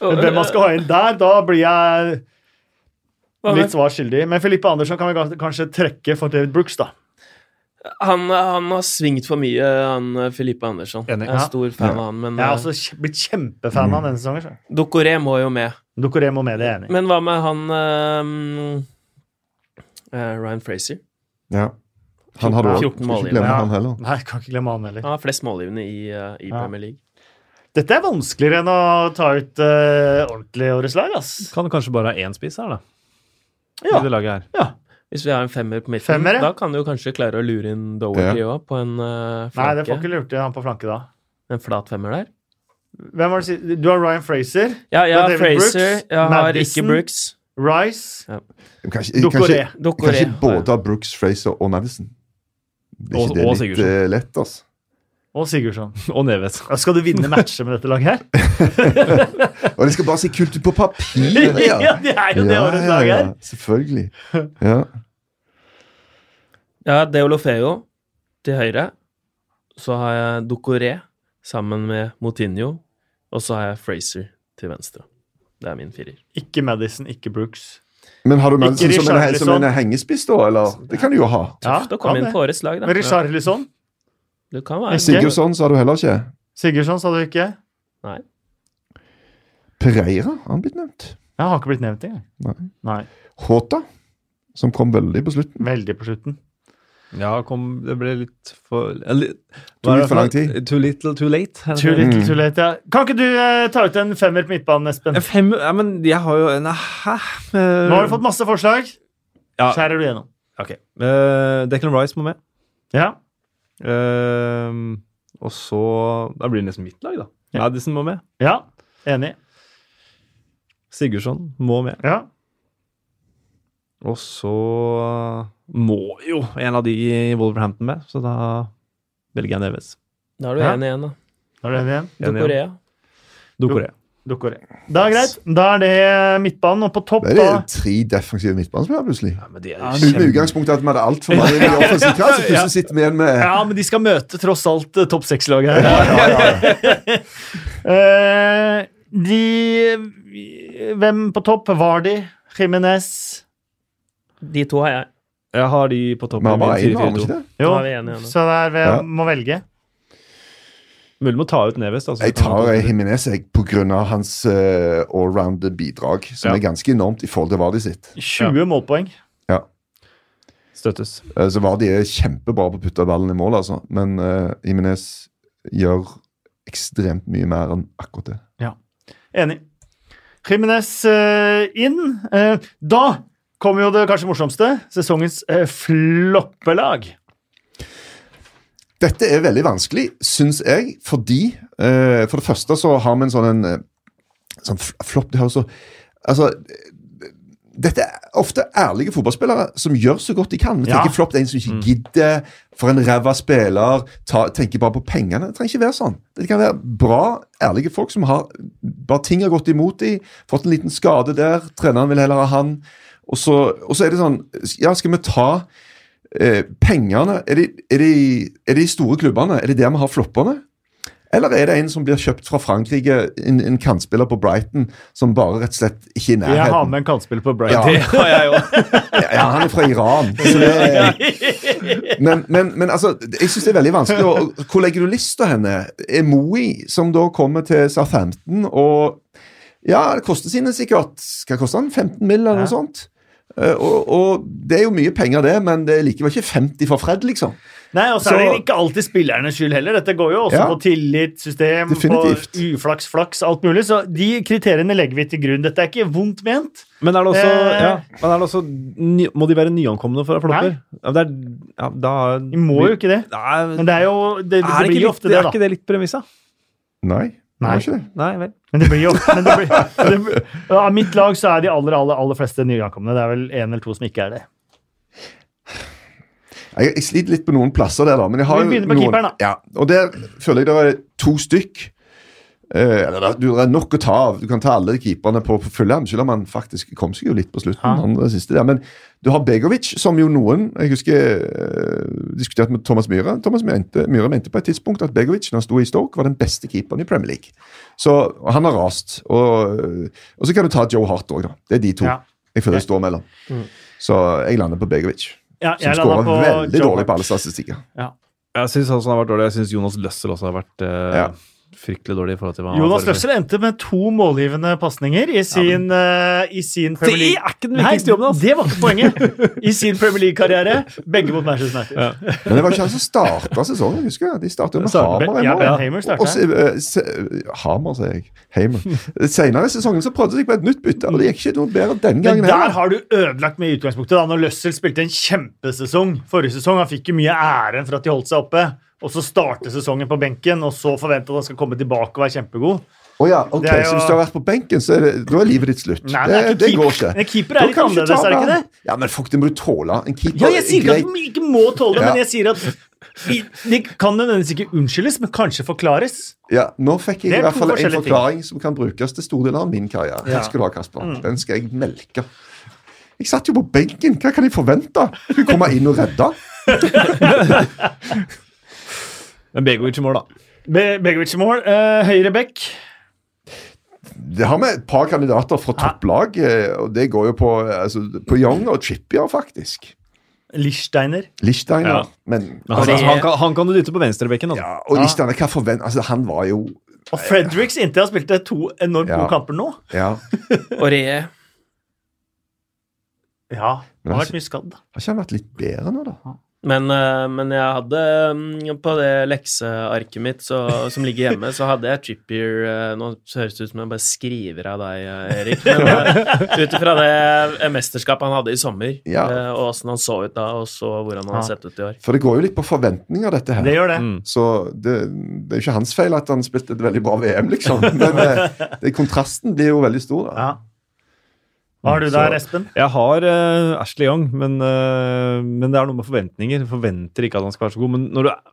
A: Men
D: eh,
A: Hvem man skal ha inn der, da blir jeg
D: Hva med-
A: litt svar skyldig. Men Filippe Andersson kan vi gans- kanskje trekke for David Brooks, da.
D: Han, han har svingt for mye, han eh, Filippe Andersson.
C: Enig.
D: Jeg er
A: Ja.
D: stor fan av han, men
A: Jeg er
D: eh,
A: også kje- blitt kjempefan av denne sesongen. så.
D: Doucouré må jo med.
A: Ducoré må med, det er jeg enig. i.
D: Men hva med han eh, eh, Ryan Fraser?
B: Ja. Han har du også.
D: 14
B: Skal
D: mål
B: ikke
D: igjen.
B: glemme
A: Ja.
B: han heller.
A: Nei, jeg kan ikke glemme han heller.
D: Han har flest målgivende i, eh, i
A: Ja.
D: Premier League.
A: Dette er vanskeligere enn å ta ut eh, ordentlig årets lag, ass.
C: Kan kanskje bare ha én spiss her, da.
A: Ja.
C: I det laget her.
D: Hvis vi har en femmer på midten,
A: Femmer, ja.
D: da kan du jo kanskje klare å lure inn Doherty òg, på en eh,
A: Nei, det
D: flanke.
A: får ikke lurt inn han på flanke da.
D: En flat femmer der.
A: Hvem var det, si- du har Ryan Fraser,
D: Ja, jeg
A: Det er
D: har
A: David
D: Fraser.
A: Brooks,
D: jeg har
A: Madison.
D: ikke Brooks.
A: Rice,
B: Kanskje, kanskje,
A: Ducoré.
D: Doucouré.
B: kanskje både av Brooks, Fraser og Madison. Det er
C: Og-
B: ikke det
C: og
B: litt
C: Sigurdsson.
B: eh, lett, altså.
A: og Sigurdsson.
C: Og Neves.
A: Ja, Skal du vinne matcher med dette laget her?
B: Og de skal bare si kult ut på papiret!
A: ja, det er jo det årets lag
B: ja,
A: her.
B: Selvfølgelig. Ja.
D: Ja, Deolofeo til høyre. Så har jeg Doucouré sammen med Moutinho. Og så har jeg Fraser til venstre. Det er min firer.
A: Ikke Madison, ikke Brooks.
B: Men har du Madison som en,
A: Richarlison.
B: som en hengespiss, da? Eller? Det kan du jo ha.
A: Ja,
D: Da kom
A: kan
D: vi inn
A: det.
D: på årets lag,
A: Men
D: da.
A: Richarlison?
D: Du kan være
A: Sigurd-
B: Sigurdsson sa du heller ikke.
A: Sigurdsson sa du ikke?
D: Nei.
B: Pereira har han blitt nevnt.
A: Ja, han har ikke blitt nevnt engang.
B: Nei.
A: Nei.
B: Håta, som kom veldig på slutten.
A: Veldig på slutten.
C: Ja, kom, det ble litt for eller,
B: Too
C: hva
B: little
C: er det
B: for lang tid.
C: Too little, too late. er det
A: Too
C: det?
A: little,
B: Mm.
A: too late, ja. Kan ikke du eh, ta ut en femmer på midtbanen, Espen?
C: En Fem, ja, men jeg har jo Nei, hæ?
A: Nå har du fått masse forslag.
C: Ja.
A: Skjærer du gjennom.
C: Ok. Eh, Declan Rice må med.
A: Ja.
C: Eh, og så Da blir det nesten mitt lag, da.
A: Ja.
C: Madison må med.
A: ja. Enig.
C: Sigurdsson må med.
A: Ja.
C: Og så må jo en av de i Wolverhampton med, så da velger jeg Neves.
D: Da er du
A: Ja.
D: én igjen, da.
A: Da er det en igjen.
C: Enig, ja.
D: Doucouré.
C: Doucouré.
A: Dukker det. Da er greit. Da er det midtbanen, og på topp
B: Det er
A: da
B: det tre defensive midtbanespillere, plutselig.
C: Ja, men det
A: Ja,
C: er jo
B: Uten utgangspunkt i at vi hadde altfor mange i offensiv klasse. Plutselig sitter vi igjen med
A: Ja, men de skal møte tross alt eh, topp seks-laget her. Eh, de Hvem på topp? Var de? Jimenez?
D: De to har jeg.
C: Jeg har de på topp
B: Vi har
C: av
B: bare én, har
C: min
B: vi ikke
C: 4-4-2.
B: det?
A: Jo,
D: Da er vi enige igjen, da.
A: så der vi
B: Ja.
A: må velge.
C: Mulig må ta ut Neves. Da, så
B: Jeg
C: kan han
B: tar
C: ta
B: eh,
C: ut-
B: Jimenez jeg, på grunn av hans uh, allround-bidrag, som
C: Ja.
B: er ganske enormt i forhold til Vardi sitt.
A: 20 målpoeng.
B: Ja.
C: Støttes.
B: Eh, Så Vardi er kjempebra på å putte ballen i mål, altså. Men uh, Jimenez gjør ekstremt mye mer enn akkurat det.
A: Enig. Jimenez eh, inn. Eh, da kommer jo det kanskje morsomste. Sesongens eh, floppelag.
B: Dette er veldig vanskelig, syns jeg, fordi eh, For det første så har vi en sånn en eh, sånn f- flopp Det høres så Altså, Dette er ofte ærlige fotballspillere som gjør så godt de kan. Vi
A: Ja.
B: tenker flopp, det er en som ikke gidder, for en ræva spiller, ta, tenker bare på pengene. Det trenger ikke være sånn. Det kan være bra, ærlige folk som har bare ting har gått imot de, fått en liten skade der, treneren vil heller ha han. Og så, og så er det sånn Ja, skal vi ta eh, pengene er det, er, det, er det de store klubbene? Er det der vi har floppene? Eller er det en som blir kjøpt fra Frankrike, en, en kantspiller på Brighton, som bare rett og slett ikke er i
A: Jeg har
B: nærheten?
A: med en kantspiller på
B: Ja,
A: Brighton.
C: har jeg òg.
B: ja, han er fra Iran. Så det er, men, men, men altså, jeg syns det er veldig vanskelig. å- å- Hvor legger du lista henne? Er Moey, som da kommer til Southampton og Ja, det koster sine sikkert Skal koste han 15 mill. eller noe
A: Ja.
B: sånt? Eh, Og, og det er jo mye penger, det, men det er likevel ikke 50 for Fred, liksom.
A: Nei, og så er
B: Så-
A: det ikke alltid spillernes skyld heller. Dette går jo også
B: Ja.
A: på tillit, system,
B: Definitivt.
A: på uflaks, flaks, alt mulig. Så de kriteriene legger vi til grunn. Dette er ikke vondt ment.
C: Men er det også,
A: Eh.
C: ja, men er det også ny, Må de være nyankomne for å ha flopper? Ja, det er, ja, da,
A: Vi må jo ikke det.
C: Nei,
A: Men det er jo Det, det,
C: er det
A: blir
C: ikke
A: jo
C: litt,
A: ofte det,
C: er
A: da.
C: ikke det litt premissa?
B: Nei.
A: Nei.
B: Det var ikke det.
C: Nei vel.
A: Men det blir jo men det blir, det blir, Av mitt lag så er de aller, aller, aller fleste nyankomne. Det er vel én eller to som ikke er det.
B: Jeg, jeg sliter litt på noen plasser der, da. Men jeg
A: Vi
B: har jo
A: begynner med
B: noen,
A: keeperen, da.
B: Ja, og der føler jeg det er to stykk. Eh, eller det er- du, det er nok å ta av. Du kan ta alle keeperne på, på Fulham, selv om han faktisk kom seg jo litt på slutten.
A: Ja.
B: Han var siste der. Men du har Begovic, som jo noen Jeg husker eh, diskuterte med Thomas Myhre. Thomas mente, Myhre mente på et tidspunkt at Begovic når han sto i Stoke, var den beste keeperen i Premier League. Så og han har rast. Og, og så kan du ta Joe Hart òg, da. Det er de to.
A: Ja. Mm.
B: Jeg føler jeg står mellom. Så jeg lander på Begovic.
A: Ja,
B: Som
A: jeg
B: skårer
A: landet på
B: veldig
A: Joe
B: dårlig
A: Hart.
B: på alle statistikker.
C: Jeg syns han som har vært dårlig. Jeg syns Jonas Løssel også har vært eh,
B: Ja.
C: fryktelig dårlig. i forhold til hva han
A: Jonas
C: var før.
A: Løfsel endte med to målgivende pasninger i sin, eh, i sin Premier
C: Det
A: League.
C: er ikke den viktigste jobben hans!
A: det var ikke poenget! I sin Premier League-karriere. Begge mot Manchester United.
B: Men det var ikke han som starta sesongen, husker jeg. De starta jo med
A: Startet-
B: Hamer.
A: ja,
B: ennå.
A: Ben Hamer startet.
B: Og så, eh, se, Hamer, sier jeg. Hamer. Senere i sesongen så prøvde de seg på et nytt bytte, og det gikk ikke noe bedre den
A: Men
B: gangen
A: der
B: heller.
A: har du ødelagt med utgangspunktet. da, Når Løssel spilte en kjempesesong forrige sesong. Han fikk jo mye æren for at de holdt seg oppe. Og så starte sesongen på benken, og så forvente at han skal komme tilbake og være kjempegod.
B: Å ja, ok,
A: Det er jo-
B: Så hvis du har vært på benken, så er, det, da er livet ditt slutt.
A: Nei, men
B: det,
A: det er ikke
B: det
A: keep-
B: går ikke.
A: men keeper er
B: Da
A: litt
B: kan du ikke ta
A: annerledes, er det ikke
B: med- Ja, men fuck, det må du tåle. En keeper
A: Ja, jeg sier ikke at
B: grei-
A: de ikke må tåle det,
B: Ja.
A: men jeg sier at i- de kan nødvendigvis ikke unnskyldes, men kanskje forklares.
B: ja, Nå
A: Det
B: fikk jeg
A: er
B: i hvert
A: to
B: fall en
A: forskjellige ting.
B: forklaring som kan brukes til store deler av min karriere. Her skal du ha, Kasper.
A: Mm.
B: Den skal jeg melke. Jeg satt jo på benken. Hva kan jeg forvente? Skulle komme inn og redde.
C: Men Begovic i mål, da.
A: Be Begovic i mål. eh, høyre back.
B: Det har vi et par kandidater fra topplag, eh, og det går jo på, altså, på Young og Chippier, faktisk.
A: Lichsteiner.
B: Lichsteiner.
C: Ja.
B: Men,
C: Men han,
B: altså,
C: han, kan, han kan du dytte på venstrebekken. Altså.
B: ja, og Lichsteiner, hva forvent... Altså, han var jo
A: Og Fredericks inntil han spilte to enormt
B: Ja.
A: gode kamper nå.
B: Ja.
D: Aurier.
A: Ja, han
B: Men
A: har vært
B: han-
A: mye skadd.
B: Har ikke han vært litt bedre nå, da?
D: Men, eh, men jeg hadde mm, på det leksearket mitt så, som ligger hjemme, så hadde jeg Trippier eh, Nå høres det ut som jeg bare skriver av deg, eh, Erik. Men ut ifra det eh, mesterskapet han hadde i sommer,
B: Ja.
D: eh, og åssen han så ut da, og så hvordan han har sett ut i år.
B: For det går jo litt på forventninger, dette her.
A: Det gjør
C: Mm.
A: det.
B: Så det, det er jo ikke hans feil at han spilte et veldig bra VM, liksom. Men eh, det, kontrasten blir jo veldig stor. da.
A: Ja. Hva
B: Mm,
A: har du der, Espen?
C: Jeg har eh, Ashley Young, men, eh, men det er noe med forventninger. Jeg Forventer ikke at han skal være så god. Men når du er,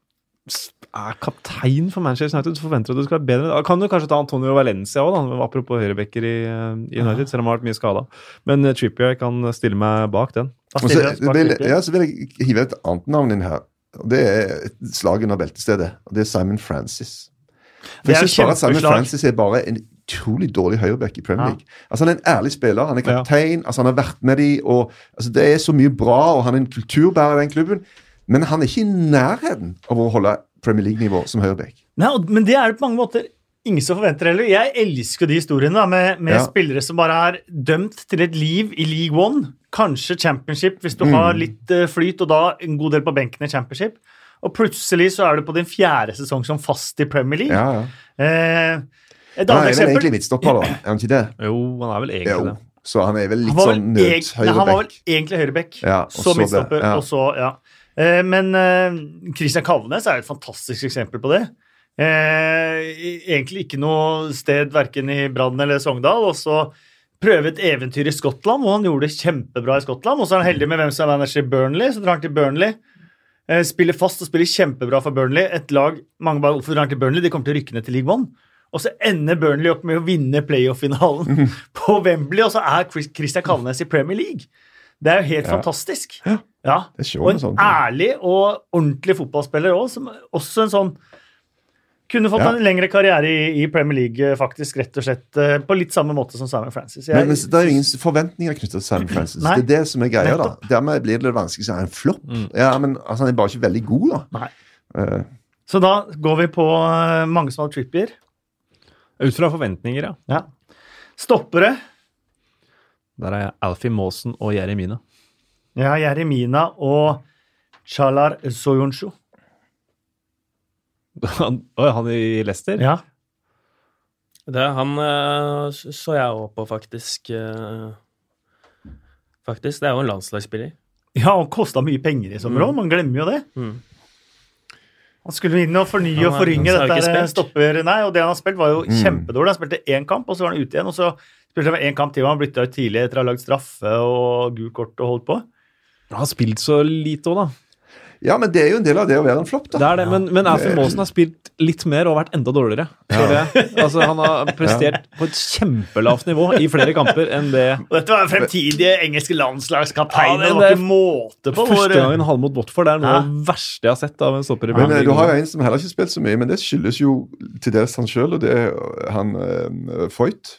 C: er kaptein for Manchester United, så forventer du at du skal være bedre. Da kan du kanskje ta Antonio Valencia òg, apropos høyrebacker i eh, i United, selv om han har vært mye skada. Men eh, Trippier kan stille meg bak den.
A: Hva
B: Og så,
A: stiller vi oss bak
B: vil,
A: Trippier?
B: ja, så vil jeg hive et annet navn inn her. Og Det er et slag under beltestedet, og det er Simon Francis. For
A: Det er
B: jeg
A: et
B: synes bare at Simon
A: kjempeslag.
B: Francis er bare en utrolig dårlig høyreback i Premier
A: Ja.
B: League. Altså Han er en ærlig spiller, han er
C: Ja.
B: kaptein, altså han har vært med de, og altså det er så mye bra, og han er en kulturbærer i den klubben, men han er ikke i nærheten av å holde Premier League-nivå som høyreback.
A: Nei, og- men det er det på mange måter ingen som forventer heller. Jeg elsker jo de historiene da, med, med
B: Ja.
A: spillere som bare er dømt til et liv i League One, kanskje Championship hvis du
B: Mm.
A: har litt eh, flyt, og da en god del på benken i Championship. Og plutselig så er du på din fjerde sesong som fast i Premier League.
B: Ja, ja.
A: Eh, et
B: Han
A: annet
B: er vel egentlig
A: eksempel
B: midtstopper, da, er han ikke det?
C: Jo, han er vel egentlig
B: Jo.
C: det.
B: Så han er vel
A: han
B: litt
A: var,
B: sånn
A: vel eg, nei, han var vel
B: nød-høyreback.
A: egentlig høyreback,
B: Ja, og
A: så
B: så ble-
A: midtstopper,
B: ja.
A: og så ja. Eh, men eh, Christian Kalvenes er et fantastisk eksempel på det. Eh, egentlig ikke noe sted verken i Brann eller Sogndal, og så prøve et eventyr i Skottland, hvor han gjorde det kjempebra i Skottland. Og så er han heldig med hvem som er manager i Burnley, så drar han til Burnley. eh, Spiller fast og spiller kjempebra for Burnley. Et lag mange bare, Hvorfor drar han til Burnley? De kommer til å rykke ned til League One. Og så ender Burnley opp med å vinne playoff-finalen
B: Mhm.
A: på Wembley, og så er Chris- Christian Kalnes i Premier League. Det er jo helt fantastisk. Ja.
B: Det er sjå
A: Og
B: med sånne
A: en
B: ting.
A: ærlig og ordentlig fotballspiller òg, som også en sånn Kunne fått
B: Ja.
A: en lengre karriere i, i Premier League, eh, faktisk, rett og slett. eh, På litt samme måte som Simon Francis. Jeg,
B: Men, men det er jo ingen forventninger knyttet til Sam Francis.
A: Nei.
B: Det er det som er greia, da.
A: Nettopp.
B: Dermed blir det vanskelig å si en flopp.
C: Mm.
B: Ja, men altså, han er bare ikke veldig god, da.
A: Nei.
B: Eh,
A: Så da går vi på eh, mange som hadde trippier.
C: Ut fra forventninger, ja.
A: Ja. Stoppere.
C: Der er jeg Alfie Maasen og Jeremina.
A: Ja, Jeremina og Chalar Soyuncu.
C: Han, Oi, han i Leicester?
A: Ja.
D: Det er han eh, s- så jeg òg på, faktisk. eh, Faktisk. Det er jo en landslagsspiller.
A: ja, han kosta mye penger i sommer òg, man glemmer jo det.
D: Mm.
A: Han skulle inn og fornye
D: Han
A: og
D: er-
A: forringe
D: han har
A: dette
D: ikke
A: her
D: spilt.
A: stopper... Nei, og det han har spilt, var jo kjempedårlig. Han spilte én kamp, og så var han ute igjen. Og så spilte han én kamp til, og han bytta ut tidlig etter å ha lagd straffe og gult kort og holdt på.
C: Han har spilt så lite òg, da.
B: ja, men det er jo en del av det å være en flopp,
C: Det
B: da.
C: er det, men, men Alfie Maasen har spilt litt mer og vært enda dårligere. føler jeg. Altså, han har prestert på et kjempelavt nivå i flere kamper enn det
A: Og dette var fremtidige engelske landslagskaptein.
C: Ja, men
A: det var
C: det-
A: ikke måte på hvor
C: første gangen han mot Watford. Det er noe av
A: Hæ?
C: det verste jeg har sett av en stopper i
B: Men eh,
C: Premier
B: du har
C: League.
B: jo en som heller ikke har spilt så mye, men det skyldes jo til dels han sjøl, og det er eh, han eh, Foyt.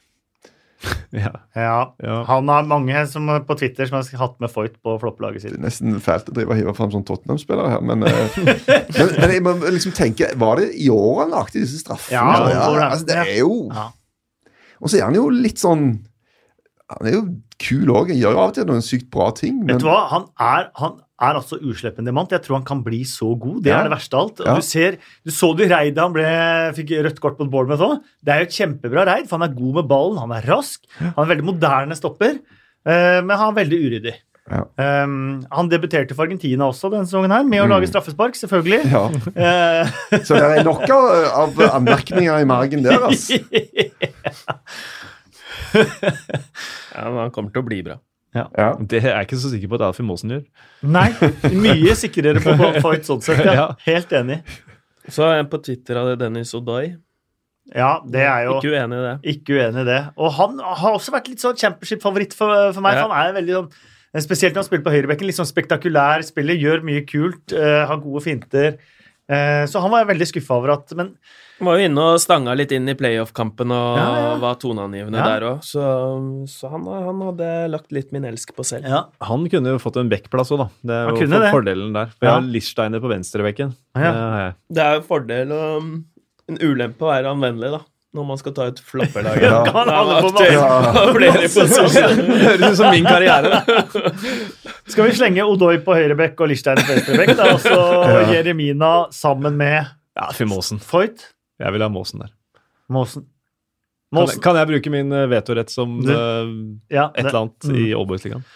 C: Ja,
A: ja.
C: Ja.
A: Han har mange som, på Twitter som har hatt med Foyt på flopplaget
B: Det
A: sitt.
B: er nesten fælt å drive og hive fram sånn Tottenham-spillere her, men, eh, men, men jeg må liksom tenke Var det i år han lagde disse straffene?
A: Ja,
B: Altså,
A: det var det.
B: altså, det er jo
A: Ja.
B: Og så er han jo litt sånn Han er jo kul òg. Han gjør jo av og til noen sykt bra ting. Men
A: Vet du hva? Han er, han er altså usleppen demant. Jeg tror han kan bli så god. Det
B: Ja.
A: er det verste av alt. Og
B: Ja.
A: Du, ser, du så det i reidet han ble, fikk rødt kort mot Bournemouth òg. Det er jo et kjempebra reid, for han er god med ballen, han er rask, han er veldig moderne stopper, eh, men han er veldig uryddig.
B: Ja.
A: Um, han debuterte for Argentina også denne sesongen her, med å lage straffespark, selvfølgelig.
B: Mm. ja.
A: Eh,
B: Så det er nok av, av anmerkninger i margen der, altså.
D: Ja, men han kommer til å bli bra.
B: Ja.
C: Det er jeg ikke så sikker på at Alfie Maasen gjør.
A: nei, mye sikrere på Fight sånn sett. Ja.
C: Ja.
A: Helt enig.
D: Så er en på Twitter av det Dennis Odoi.
A: Ja, det er jo
D: Ikke uenig i det.
A: Ikke uenig i det. Og han har også vært litt sånn championship-favoritt for, for meg.
D: Ja.
A: for Han er veldig sånn, Spesielt når han spiller på høyrebekken. Litt sånn spektakulær spiller, gjør mye kult, eh, har gode finter. Eh, så han var jeg veldig skuffa over at Men
D: Han var jo inne og stanga litt inn i playoff-kampen og
A: Ja, ja.
D: var toneangivende
A: Ja.
D: der òg, så, så han, han hadde lagt litt min elsk på selv.
A: ja.
C: Han kunne jo fått en backplass òg, da. Det er
A: Han
C: jo
A: kunne det.
C: fordelen der. For
A: Ja. Ah,
C: jeg har Lichsteiner på venstrebekken.
A: Ja.
C: Det har jeg.
D: Det er jo en fordel og um, en ulempe å være anvendelig, da. Når man skal ta ut flopperlag.
B: Ja.
A: Kan
D: Da er
A: alle
D: man
A: få
D: aktuell
B: masse-
D: på flere posisjoner.
C: Høres ut som min karriere. da.
A: Skal vi slenge Odoi på høyrebekk og Lichstein på venstrebekk? Det er også Jeremina sammen med
C: Ja, Alfie Maasen.
A: Foyt
C: Jeg vil ha Maasen der.
A: Maasen.
C: Kan,
A: Maasen.
C: kan jeg bruke min eh, vetorett som
A: Du-
C: eh,
A: Ja,
C: et
A: det-
C: eller annet i
A: Mm.
C: Oldboys-ligaen?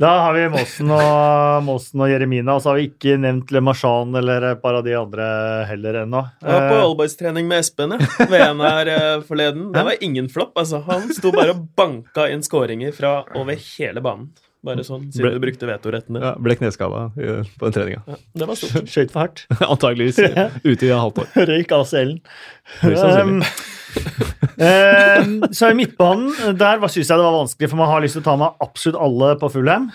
A: Da har vi Måsen og, Maasen og Jeremina, og så har vi ikke nevnt Le Marchand eller et par av de andre heller ennå.
D: Jeg var på
A: Eh,
D: Allboys-trening med Espen ja. VM her eh, forleden. Det var ingen flopp. altså. Han sto bare og banka inn skåringer fra over hele banen. Bare sånn,
C: Ble-
D: siden du brukte vetoretten din.
C: Ja, ble kneskada eh, på den treninga.
D: Det var stort.
A: Skøyt for hardt.
C: Antageligvis eh, ute i et halvt år.
A: Røyk ACL-en.
C: Høyst sannsynlig.
A: Um, um, så i midtbanen, der syns jeg det var vanskelig, for man har lyst til å ta med absolutt alle på Fulham.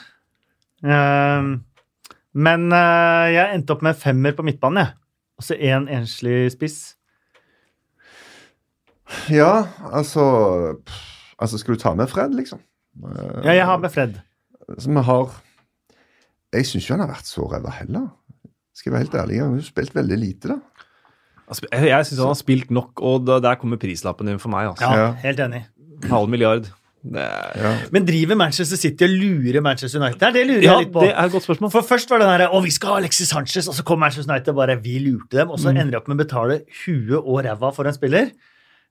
A: Um, men uh, jeg endte opp med en femmer på midtbanen, jeg. Og så én enslig spiss.
B: ja, altså pff, Altså, skal du ta med Fred, liksom? Eh,
A: Ja, jeg har med Fred.
B: Som har Jeg syns ikke han har vært så ræva heller. Skal jeg være helt ærlig, han har jo spilt veldig lite, da.
C: Altså, Jeg, jeg syns han har spilt nok, og da, der kommer prislappen inn for meg. Altså.
A: Ja,
B: Ja.
A: Helt enig.
C: Halv milliard. Det er,
B: Ja.
A: Men driver Manchester City og lurer Manchester United? Det er det jeg lurer
C: ja,
A: jeg litt på.
C: det er et godt spørsmål.
A: For først var det den her, å vi skal ha Alexis Sanchez, og så kom Manchester United og bare vi lurte dem, og så ender de opp med å betale huet og ræva for en spiller.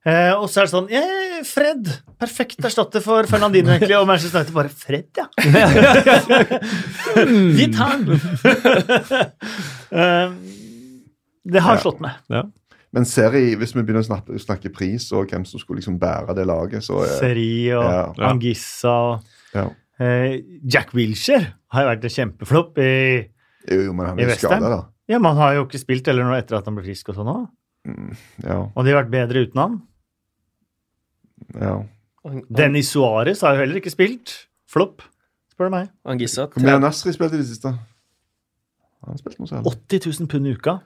A: Eh, og så er det sånn eh, Fred! Perfekt erstatter for Fernandino, egentlig. Og Manchester United bare Fred, ja! Vi tar den! Eh, Ehm, det har slått meg.
C: Ja.
B: Men serie, hvis vi begynner å snakke, snakke pris og hvem som skulle liksom bære det laget, så eh,
A: Seri og
B: Ja.
C: Ja.
A: Angissa og
B: ja.
A: eh, Jack Wilshere har jo vært en kjempeflopp i
B: Jo, jo, men han
A: I
B: er
A: West Ham?
B: skada, da.
A: Ja, men han har jo ikke spilt eller noe etter at han ble frisk og sånn òg.
B: Ja,
A: Og de har vært bedre uten han.
B: ja.
A: Dennis Suárez har jo heller ikke spilt. Flopp, spør du meg.
D: Angissa.
B: Hvor mye har Nasri spilt i det siste? Han spilte noe særlig.
A: 80 000 pund i uka.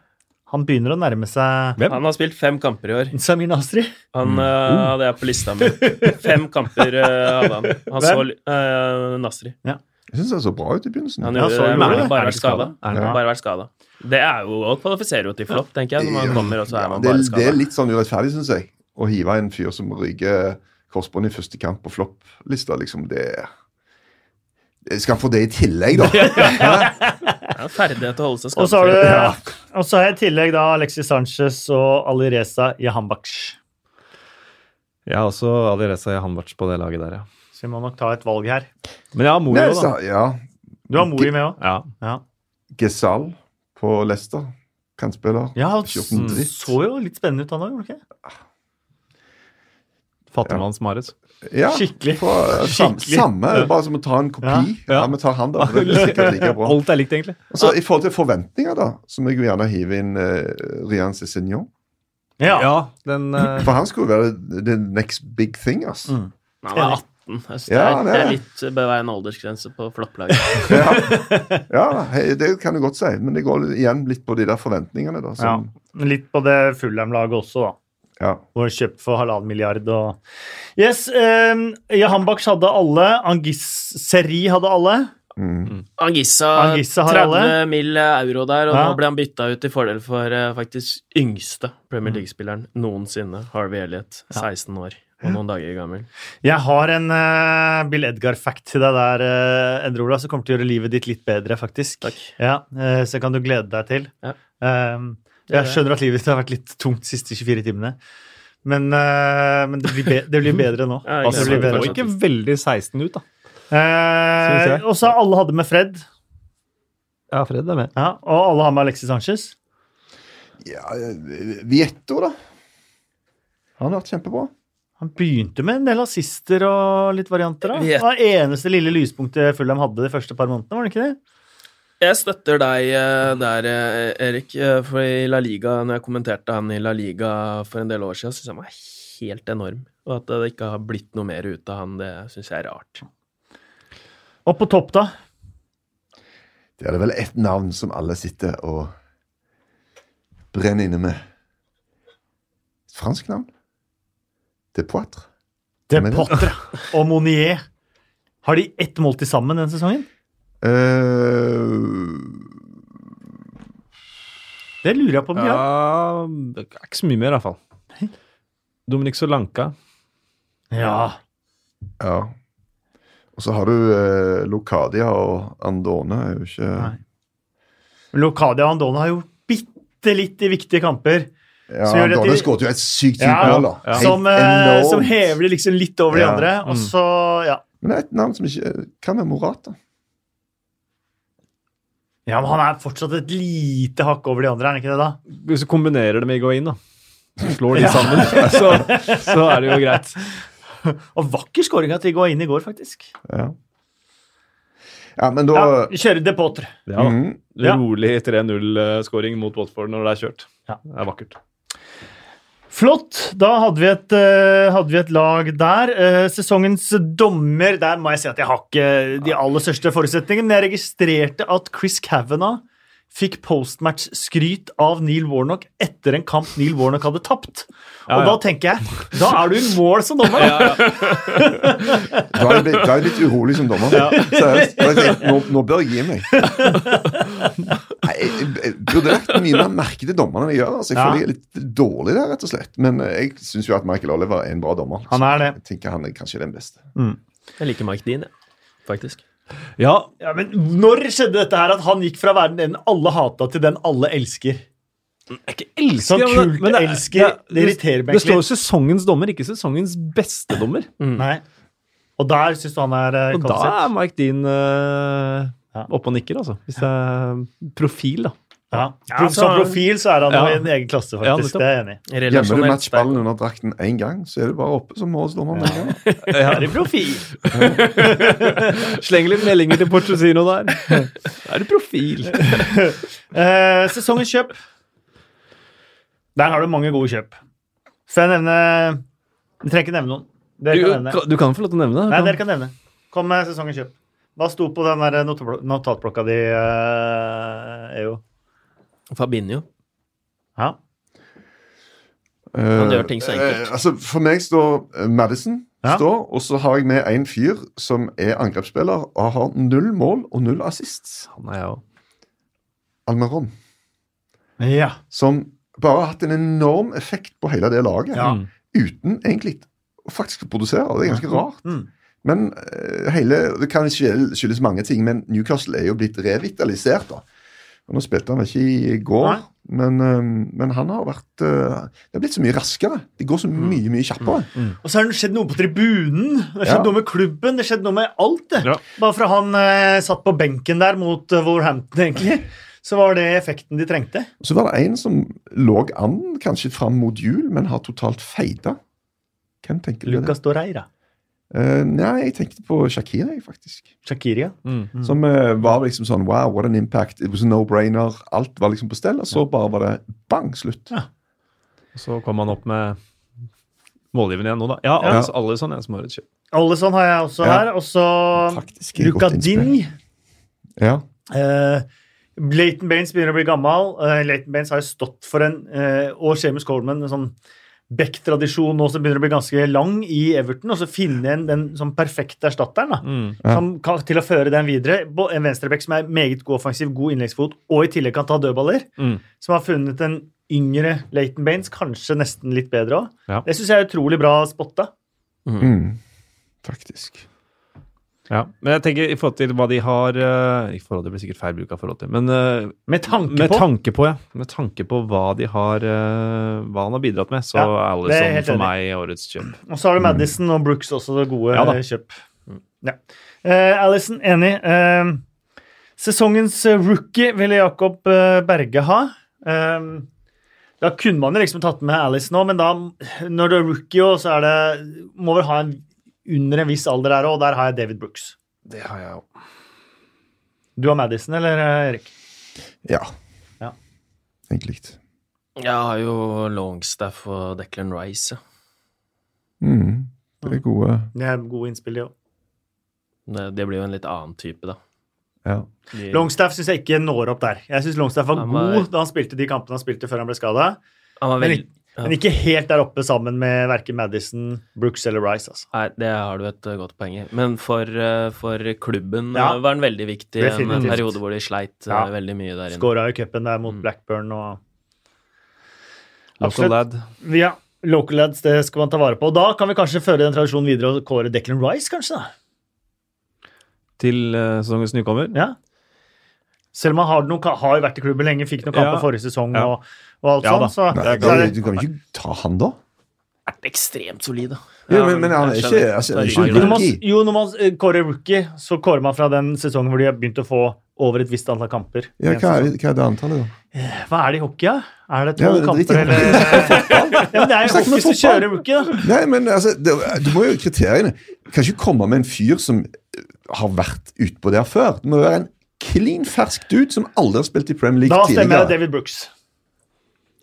A: Han begynner å nærme seg
D: Han har spilt fem kamper i år.
A: Samir Nasri.
D: Han
C: Mm.
D: eh,
C: Uh.
D: hadde jeg på lista mi. Fem kamper eh, hadde han. Han så eh, Nasri.
B: Jeg syns han så bra ut i begynnelsen.
D: Han
A: Ja,
D: gjorde
A: så
D: det,
A: gjorde
D: men
A: det.
D: han har
C: Er
D: bare
C: det
D: vært
C: skada?
D: skada.
C: Er det-
D: Bare vært skadet. Det er jo å kvalifisere jo til flopp, tenker jeg. Når man kommer, og så er man
B: det,
D: bare
B: det er
D: skada.
B: litt sånn urettferdig, syns jeg, å hive en fyr som ryker korsbånd i første kamp på flopplista. Liksom, det Skal han få det i tillegg, da?
D: Ferdighet til å holde seg
A: Og så har,
D: skadefri.
A: du, og så har jeg i tillegg da Alexis Sanchez og Alireza Jahambaksh.
C: Jeg har også Alireza Jahanbac på det laget der, ja.
A: Så vi må nok ta et valg her.
C: Men jeg har
B: Nei,
C: Moro, da.
B: sa- ja.
A: Du har Mori med òg.
C: Ja.
A: Ja.
B: Gesal på Leicester. Kantspiller.
A: ja, han
B: 14 dritt.
A: så jo litt spennende ut, han òg. gjorde han ikke?
C: Fattigmanns Marit.
B: Ja,
A: Skikkelig.
B: fra- sam,
A: Skikkelig.
B: samme, det er bare som å ta en kopi.
C: Ja,
B: Ja,
C: ja.
B: vi tar han, da. for Det blir sikkert like bra.
C: Alt er likt, egentlig.
B: Altså, I forhold til forventninger, da, så må jeg jo gjerne hive inn uh, Rian Cézinho.
A: Ja.
C: Ja, den eh,
B: For han skulle jo være the next big thing, ass.
A: Mm.
D: Men Han er 18. Jeg synes det,
B: Ja,
D: er,
B: det
D: det
B: er
D: er litt eh, bør være en aldersgrense på flopplaget.
B: Ja, ja hei, det kan du godt si, men det går igjen litt på de der forventningene, da.
A: Ja.
B: Som,
A: Litt på det Fulham-laget også, da.
B: ja.
A: Og kjøpt for halvannen milliard og Yes, eh, Jahambaksh hadde alle. Angis Seri hadde alle.
B: Mm.
D: Angissa,
A: Angissa har
D: 30
A: alle.
D: mill. eh, euro der, og
A: Ja.
D: nå ble han bytta ut til fordel for eh, faktisk yngste Premier League-spilleren noensinne, Harvey Elliot, 16 år og noen dager gammel.
A: Jeg har en eh, Bill Edgar-fact til deg der, eh, Endre Ola, som kommer til å gjøre livet ditt litt bedre, faktisk.
D: Takk.
A: Ja, eh, så kan du glede deg til.
D: Ja.
A: Eh,
D: gjør
A: jeg skjønner at livet ditt har vært litt tungt de siste 24 timene, men, eh, men det, blir be det blir bedre nå. Altså, Det
D: Ja, jeg gleder
A: blir
D: meg
C: så
A: bedre.
D: til
C: ikke veldig 16 ut, da.
A: Eh,
C: Synes jeg.
A: og så alle hadde med Fred,
C: Ja, Fred er med.
A: ja, og alle har med Alexis Sanchez.
B: ja eh, Vietto, da. Han har vært kjempebra.
A: Han begynte med en del assister og litt varianter. Da. Det
D: Vet-
A: var eneste lille lyspunktet Fulham hadde de første par månedene, var det ikke det?
D: Jeg støtter deg eh, der, eh, Erik. eh, For i La Liga, når jeg kommenterte han i La Liga for en del år siden, syntes jeg han var helt enorm. Og at det ikke har blitt noe mer ut av han, det syns jeg er rart.
A: Og på topp, da?
B: Det er det vel ett navn som alle sitter og brenner inne med. Et fransk navn. Det er Poitre.
A: De
B: Men-
A: Potre og Monier. Har de ett mål til sammen denne sesongen?
B: Eh,
A: Det lurer jeg på om de har.
C: Ja, det er ikke så mye mer, i hvert fall. Dominic Solanka.
A: Ja.
B: ja. Og så har du eh, Locadia og Andorne. Er jo ikke
A: Nei. Locadia og Andone har gjort bitte litt i viktige kamper,
B: Ja,
A: Så gjør det
B: Andorne
A: til-
B: skåret jo et sykt sykt
A: Ja,
B: mål, da.
C: ja.
B: Helt
A: som, eh,
B: enormt.
A: som hever de liksom litt over de
B: Ja.
A: andre.
C: Mm.
A: Og så, ja.
B: Men det er et navn som ikke Kan være Morata.
A: ja, men han er fortsatt et lite hakk over de andre, er han ikke det, da?
C: Hvis du kombinerer det med Higuain, da. Slår de sammen, så, så er det jo greit.
A: Og vakker skåring at de går inn i går, faktisk.
B: Ja. ja, men da
A: Ja, vi kjører De Potre.
C: Ja, da.
B: Mhm.
A: Ja.
C: Rolig 3-0-skåring mot Watford når det er kjørt.
A: Ja.
C: Det er vakkert.
A: Flott. Da hadde vi et, eh, hadde vi et lag der. Eh, sesongens dommer Der må jeg si at jeg har ikke de aller største forutsetningene, men jeg registrerte at Chris Kavanagh fikk postmatch-skryt av Neil Warnock etter en kamp Neil Warnock hadde tapt. Og
C: Ja, ja.
A: da tenker jeg Da er du i mål som dommer! da.
B: Da er jeg blitt- da er jeg litt urolig som dommer. Seriøst. Og jeg tenkte, nå, nå bør jeg gi meg. Nei, jeg, jeg burde lagt mye mer merke til dommerne enn jeg gjør. Altså, jeg
A: Ja.
B: føler jeg er litt dårlig der, rett og slett. Men eh, jeg syns jo at Michael Oliver er en bra dommer.
A: Han er det.
B: Jeg tenker han er kanskje den beste.
D: Jeg liker Mike Dean, jeg. Faktisk.
C: Ja,
A: Ja, men når skjedde dette her at han gikk fra å være den alle hata, til den alle elsker?
C: jeg ikke elsker
A: Sånn
C: ja, men det-
A: kult
C: men det-
A: elsker, det irriterer meg
C: Det står
A: egentlig. Mm.
C: jo sesongens dommer, ikke sesongens beste dommer.
A: Nei. Og der syns du han er eh,
C: Mm. Og da
A: kvalitet?
C: er Mike Dean eh,
A: Ja.
C: oppe og nikker, altså. Hvis det er profil, da.
A: Ja.
D: Ja,
A: Som
D: så-
A: profil så er han jo
C: Ja.
A: i en egen klasse,
C: Ja,
A: faktisk.
C: nettopp.
A: det er jeg enig i.
B: Gjemmer du
D: Relasjonelt
B: matchballen under drakten én gang, så er det bare oppe som målsdommer. med en gang.
A: Ja. Er i profil.
C: Sleng litt meldinger til Porcesino der. Da er du profil.
A: Eh, sesongens kjøp. Der har du mange gode kjøp. Skal jeg nevne Jeg trenger ikke nevne noen. Dere
C: Du,
A: kan nevne.
C: du kan få lov til å nevne
A: Nei,
C: det.
A: dere kan nevne. Kom med sesongens kjøp. Hva sto på den der notablo- notatblokka di, eh, EO?
D: Fabinho.
A: Ja.
B: Eh,
D: gjør ting så enkelt.
B: eh, altså, for meg står eh, Madison,
A: Ja.
B: står, og så har jeg med en fyr som er angrepsspiller og har null mål og null assists.
C: Han er jeg òg.
B: Almeron.
A: ja.
B: Som bare har hatt en enorm effekt på hele det laget.
A: Ja.
C: Mm,
B: Uten egentlig å faktisk produsere. Det er ganske rart.
A: Mm.
B: Men eh, hele, det kan skjel- skyldes mange ting, men Newcastle er jo blitt revitalisert. da. Og Nå spilte han ikke i går,
A: Nei.
B: men, eh, men han har vært eh, Det har blitt så mye raskere. Det går så
A: Mm.
B: mye, mye kjappere.
A: Og så har det skjedd noe på tribunen. Det har skjedd
B: Ja.
A: noe med klubben. Det har skjedd noe med alt. det.
C: Ja.
A: Bare fra han eh, satt på benken der mot eh, Wolverhampton, egentlig, så var det effekten de trengte.
B: Og Så var det en som lå an kanskje fram mot jul, men har totalt feida. Hvem tenker du det?
A: Lucas Doreira.
B: Eh, nei, jeg tenkte på Shakira, jeg, faktisk.
A: Shakiria. Mm.
B: Som eh, var liksom sånn wow, what an impact. It was a no-brainer. Alt var liksom på stell, og så bare var det bang, slutt.
C: Så kom han opp med målgivende igjen nå, da. Ja,
B: Ja.
C: altså, alle sånn er som har et kjøp.
A: Allison har jeg også
B: Ja.
A: her. Og så
B: Faktisk, et
A: Luca
B: godt innspill.
A: Ding.
B: Ja.
A: Eh, Leighton Baines begynner å bli gammel. Eh, Leighton Baines har jo stått for en, eh, og Seamus Coleman, en sånn Beck-tradisjon nå som begynner å bli ganske lang i Everton, og så finne en den sånn perfekte erstatteren. da.
C: Mm,
B: Ja.
A: Som kan, til å føre den videre. Bo- En venstreback som er meget god offensiv, god innleggsfot, og i tillegg kan ta dødballer.
C: Mm.
A: Som har funnet en yngre Leighton Baines, kanskje nesten litt bedre òg.
C: Ja.
A: Det syns jeg er utrolig bra spotta.
B: Mm. Faktisk.
C: Ja. Men jeg tenker i forhold til hva de har eh, I forhold til det blir sikkert feil bruk av forhold til, men eh,
A: Med tanke
C: med
A: på
C: tanke på, ja. Med tanke på hva de har eh, Hva han har bidratt med, så
A: Ja,
C: er
A: det er jeg
C: Alison
A: helt
C: for
A: enig
C: meg årets kjøp.
A: Og så har du Madison og Brooks også, det gode
C: Mm. Ja da. Mm.
A: eh, kjøp. Ja. Eh, Alison, enig. Eh, sesongens eh, rookie ville Jakob eh, Berge ha. Eh, da kunne man jo liksom tatt med Alison nå, men da, når du er rookie, også, så er det, må vel ha en under en viss alder her òg, og der har jeg David Brooks.
C: Det har jeg òg.
A: Du har Madison, eller eh, Erik?
B: Ja.
A: Ja.
B: Egentlig.
D: Jeg har jo Longstaff og Declan Rice. ja.
B: Mm. Det er gode
A: Det er gode innspill, de òg.
D: Det, det blir jo en litt annen type, da.
B: Ja.
D: De,
A: Longstaff syns jeg ikke når opp der. Jeg syns Longstaff var
D: Han var-
A: god da han spilte de kampene han spilte før han ble skada.
D: han var
A: Men
D: veld-
A: ikke- Men ikke helt der oppe sammen med verken Madison, Brooks eller Rice. Altså.
D: Nei, det har du et eh, godt poeng i. Men for, eh, for klubben
A: Ja.
D: eh, var den veldig viktig i en
A: Definitivt.
D: periode hvor de sleit eh,
A: Ja.
D: veldig mye der inne.
A: Skåra i cupen der mot Blackburn og
C: Local
A: Absolutt.
C: lad.
A: Ja, local lads, det skal man ta vare på. Og da kan vi kanskje føre den tradisjonen videre og kåre Declan Rice, kanskje? da?
C: Til eh, sesongens nykommer.
A: Ja. Selv om han har, noen, ka- har jo vært i klubben lenge, fikk noen kamper
C: Ja.
A: forrige sesong
C: Ja.
A: og, og alt
C: Ja da.
A: sånn, så,
B: Nei,
A: så er
B: da,
A: det,
B: du kan jo ikke ta han, da?
D: Vært ekstremt solid, da.
B: Ja, men- men han er
D: jeg
B: ikke-
D: skjønner.
B: altså, han er
D: Det
B: ikke
D: riktig.
A: jo, når man,
B: Rookie.
A: jo, når man eh, kårer rookie, så kårer man fra den sesongen hvor de har begynt å få over et visst antall kamper.
B: Ja,
A: En
B: hva, er,
A: sesong.
B: hva er det antallet, da?
A: Hva er det i hockey, da? Er det
B: Ja,
A: tolv
B: det er
A: kamper,
B: riktig.
A: eller ja, men Det er jo
B: snakker om
A: hockey som
B: fotball.
A: kjører rookie, da.
B: Nei, men altså, det, du må jo kriteriene. Du kan ikke komme med en fyr som eh, har vært utpå der før. Det må være en klin fersk dude som aldri har spilt i Premier League
A: Da stemmer
B: tidligere.
A: jeg David Brooks.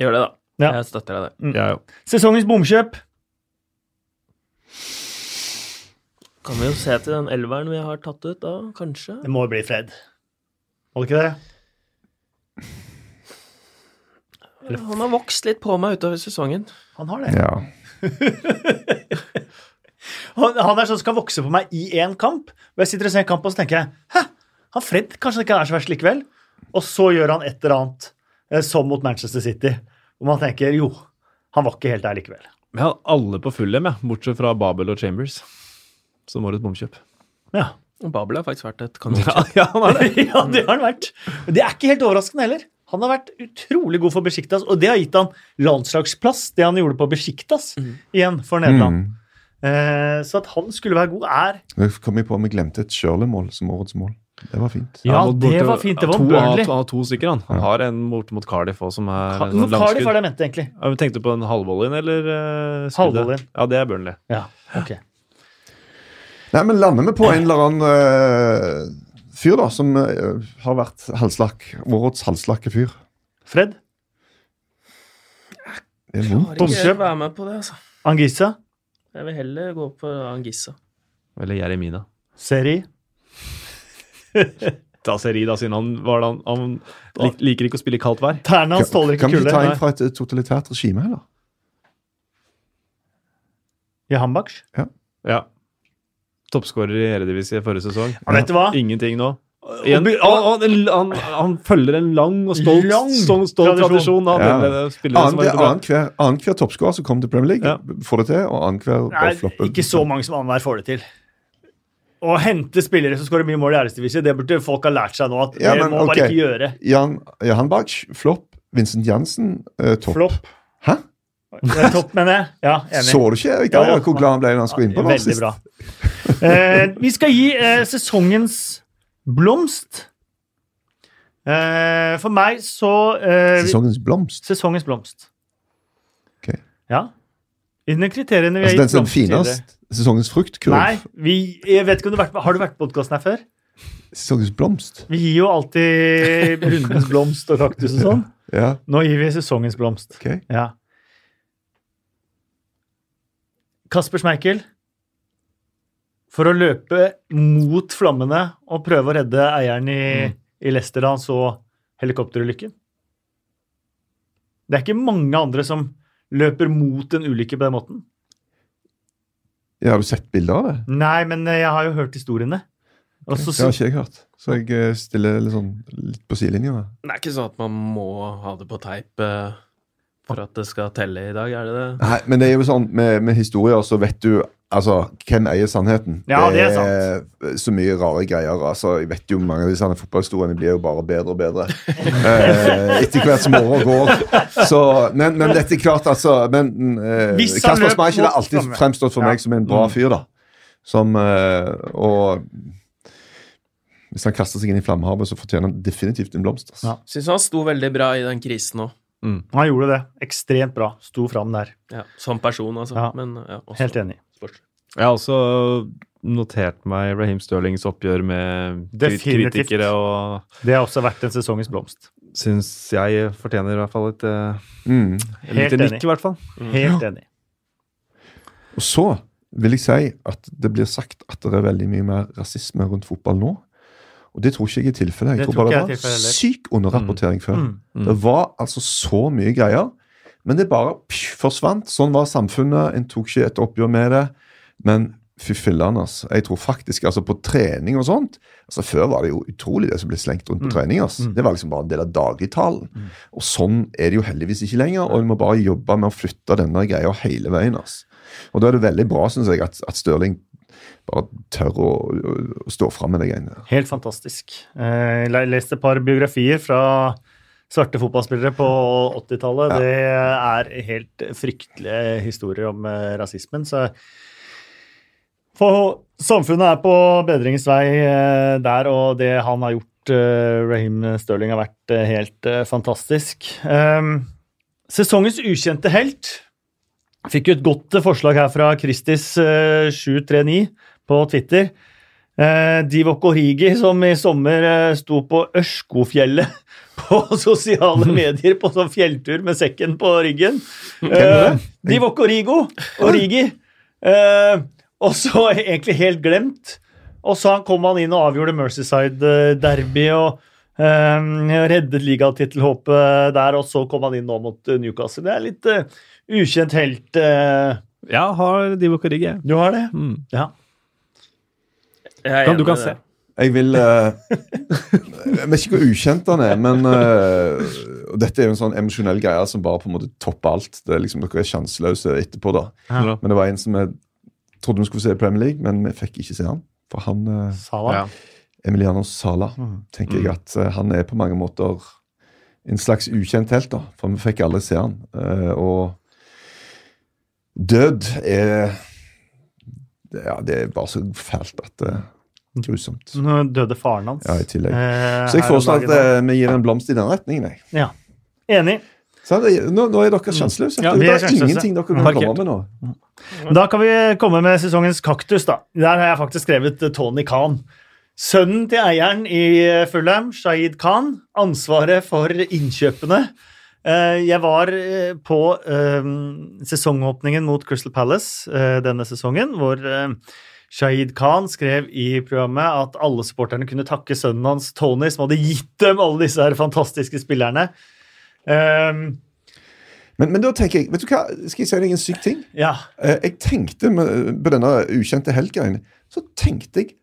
D: Gjør det, da.
A: Ja.
D: Jeg støtter deg der.
C: Jeg òg.
A: Sesongens bomkjøp.
D: Kan vi jo se til den elveren vi har tatt ut, da, kanskje?
A: Det må bli Fred. Må det ikke det?
D: Han har vokst litt på meg utover sesongen.
A: Han har det.
B: Ja.
A: Han, han er sånn som kan vokse på meg i én kamp. Og jeg sitter og ser en kamp, og så tenker jeg Hæ, han Fred kanskje ikke er så verst likevel? Og så gjør han et eller annet, eh, som mot Manchester City, hvor man tenker jo, han var ikke helt der likevel.
C: Men jeg hadde alle på full hjem, jeg. Bortsett fra Babel og Chambers. Som årets bomkjøp.
A: Ja,
D: Babel har faktisk vært et kanon.
C: Ja, ja, han er det.
A: ja det har han vært. Men det er ikke helt overraskende heller. Han har vært utrolig god for Besiktas, og det har gitt han landslagsplass, det han gjorde på Besiktas,
C: Mm.
A: igjen for Nederland.
B: Mm.
A: Eh, så at han skulle være god, er
B: Nå kom jeg på om jeg glemte et Shirley-mål som årets mål. Det var fint.
A: Ja,
C: Han mot
A: det
C: borte-
A: var fint. Det var
C: to, han, har-
A: Burnley.
C: han har to stykker, han. Han har en borte mot Cardiff òg, som er
A: Ka-
C: en
A: Cardiff
C: sånn
A: var
C: langskudd.
A: det jeg mente, egentlig.
C: Ja, men tenkte du på den halvvolleyen, eller eh, skuddet?
A: Halvvolleyen.
C: Ja, det er Burnley.
A: Ja, ok.
B: Nei, men lander vi på en eller annen eh, fyr, da, som eh, har vært halslakk, årets halslakke fyr?
A: Fred?
B: Det er vondt.
D: Klarer
A: Bomkjøp.
D: ikke være med på det, altså.
A: Angissa?
D: Jeg vil heller gå på Angissa.
C: Eller Jeremina.
A: Seri?
C: Da ser i, da, siden han, var det han, han lik, liker ikke å spille i kaldt vær.
A: Tærne hans tåler ikke
B: Kan vi ikke
A: kulde.
B: ta
A: Nei.
B: inn fra et eh, totalitært regime, heller?
A: Jahanbakhsh?
C: Ja. Toppskårer i Eredivisie forrige sesong.
A: Ja, vet du hva?
C: Ingenting nå.
A: og
C: En,
A: by-
C: han, han, han, han følger en lang og stolt,
A: Lang
C: stolt, stolt
A: tradisjon.
C: tradisjon. av
B: Ja.
C: det- det- spillere som er
B: Annenhver
C: så bra.
B: annen hver- annen hver toppskårer som kommer til Premier League,
C: Ja.
B: får det til, og annenhver
A: Nei,
B: bare flopper.
A: ikke så mange som annenhver får det til. Å hente spillere som skårer mye mål i æresdivisjon, det burde folk ha lært seg nå. at
B: Ja,
A: Det
B: men,
A: må bare
B: ok.
A: ikke gjøre.
B: Jan Jahanbakhsh, flopp. Vincent Jansen, eh, topp.
A: Flopp.
B: Hæ?
A: Det er topp, mener jeg. Ja, enig.
B: Så du ikke Erik
A: Ja,
B: Dyer,
A: ja.
B: hvor glad han ble da han skulle innpå der
A: Veldig
B: sist?
A: bra. Eh, vi skal gi eh, sesongens blomst. Eh, for meg så eh,
B: Sesongens blomst.
A: Sesongens blomst.
B: Ok.
A: Ja. Innen kriteriene vi
B: Altså den
A: har
B: som
A: gitt blomst
B: finest. Sesongens fruktkurv.
A: Nei, vi, jeg vet ikke om du har vært, Har du vært på podkasten her før?
B: Sesongens blomst.
A: Vi gir jo alltid rundens blomst og kaktus og sånn.
B: Ja,
A: Nå gir vi sesongens blomst.
B: ok.
A: Ja. Kasper Schmeichel, for å løpe mot flammene og prøve å redde eieren i, i Leicester da han så helikopterulykken. Det er ikke mange andre som løper mot en ulykke på den måten.
B: Ja, har du sett bilder av det?
A: Nei, men eh, jeg har jo hørt historiene. Og så-
B: Det har ikke jeg hørt. Så jeg eh, stiller litt, sånn, litt på sidelinja. da.
D: Det er ikke sånn at man må ha det på teip eh, for at det skal telle i dag, er det det?
B: Nei, men det er jo sånn, med, med historier så vet du altså, hvem eier sannheten.
A: Ja, det er
B: er så mye rare greier. altså, Jeg vet jo mange av disse her fotballhistoriene blir jo bare bedre og bedre eh, etter hvert som året går. Så, men, men dette er klart, altså. Men eh,
A: Hvis han
B: Kasper
A: løp
B: Schmeichel har
A: mot
B: alltid
A: flamme.
B: fremstått for
A: Ja. Mm.
B: meg som en bra fyr, da. Som eh, Og hvis han kaster seg inn i flammehavet, så fortjener han definitivt en blomst. Altså.
A: Ja.
D: Syns han sto veldig bra i den krisen òg.
A: Han gjorde det ekstremt bra. Sto fram der.
D: Ja, som person, altså.
A: Ja.
D: Men ja, også
A: Helt enig.
D: sports.
C: Jeg har også notert meg Raheem Stirlings oppgjør med kri-
A: Definitivt.
C: kritikere, og
A: Det har også vært en sesongens blomst.
C: syns jeg fortjener i hvert fall et eh,
B: Mm.
A: Helt
C: lite
A: enig.
C: nikk, i hvert fall.
A: Helt enig.
B: Og så vil jeg si at det blir sagt at det er veldig mye mer rasisme rundt fotball nå. Og det tror ikke jeg er tilfellet.
A: Det
B: Jeg tror
A: tror
B: bare
A: ikke
B: det
A: jeg er
B: var
A: tilfellet
B: syk underrapportering før.
A: Mm.
B: Det var altså så mye greier, men det bare psh, forsvant. Sånn var samfunnet. En tok ikke et oppgjør med det. Men fy filler'n, altså. Jeg tror faktisk altså på trening og sånt altså Før var det jo utrolig det som ble slengt rundt på trening. Altså. Det var liksom bare en del av dagligtalen. Og sånn er det jo heldigvis ikke lenger. Og en må bare jobbe med å flytte denne greia hele veien. Altså. Og da er det veldig bra, syns jeg, at, at Stirling bare tør å, å, å stå fram med de greiene der.
A: Helt fantastisk. Eh, Jeg har lest et par biografier fra svarte fotballspillere på 80-tallet. Det er helt fryktelige historier om eh, rasismen. Så for samfunnet er på bedringens vei eh, der, og det han har gjort, eh, Raheem Sterling, har vært eh, helt eh, fantastisk. Eh, Sesongens ukjente helt fikk jo et godt eh, forslag her fra eh, Kristis739 på Twitter. Eh, Divok Origi, som i sommer eh, sto på Ørskofjellet på sosiale medier på sånn fjelltur med sekken på ryggen. Eh, Divok Origo, Origi. Eh, og så egentlig helt glemt. Og så kom han inn og avgjorde Mercyside-derby og eh, reddet ligatittelhåpet der, og så kom han inn nå mot eh, Newcastle. Det er litt eh, ukjent helt. eh,
C: Ja, har Divo Korrigge.
A: du har det?
C: Mm.
A: Ja.
D: Jeg er
C: Kan, du
D: enig
C: kan
D: i
C: se.
D: det.
B: Jeg vil eh, Jeg vet ikke hvor ukjent han er, men eh, og Dette er jo en sånn emosjonell greie som bare på en måte topper alt. Det er liksom Dere er sjanseløse etterpå, da.
C: Ja.
B: Men det var en som jeg trodde vi skulle se i Premier League, men vi fikk ikke se han. For han eh,
A: Salah.
C: Ja.
B: Emiliano Sala tenker jeg at eh, han er på mange måter en slags ukjent helt, da. For vi fikk aldri se han. Eh, og død er det- Ja, det er bare så fælt at eh, Grusomt.
A: Nå døde faren hans.
B: Ja, i tillegg.
A: eh,
B: Så jeg
A: her om
B: foreslår at
A: dagen.
B: eh, vi gir en blomst i den retningen. Jeg.
A: Ja. Enig.
B: Så det- nå, nå er dere sjanseløse.
A: Mm. Ja,
B: det
A: vi er
B: er,
A: sjanseløse. Mm.
B: ingenting dere kan
C: Markert.
B: komme med nå.
A: Da kan vi komme med sesongens kaktus, da. Der har jeg faktisk skrevet eh, Tony Khan. Sønnen til eieren i eh, Fulham, Shahid Khan, ansvaret for innkjøpene. Eh, Jeg var eh, på eh, sesongåpningen mot Crystal Palace eh, denne sesongen, hvor eh, Shahid Khan skrev i programmet at alle supporterne kunne takke sønnen hans, Tony, som hadde gitt dem alle disse her fantastiske spillerne. Eh,
B: Men, men da tenker jeg, vet du hva, skal jeg si deg en syk ting?
A: Ja.
B: Eh, Jeg tenkte med- på denne ukjente helgen, så tenkte jeg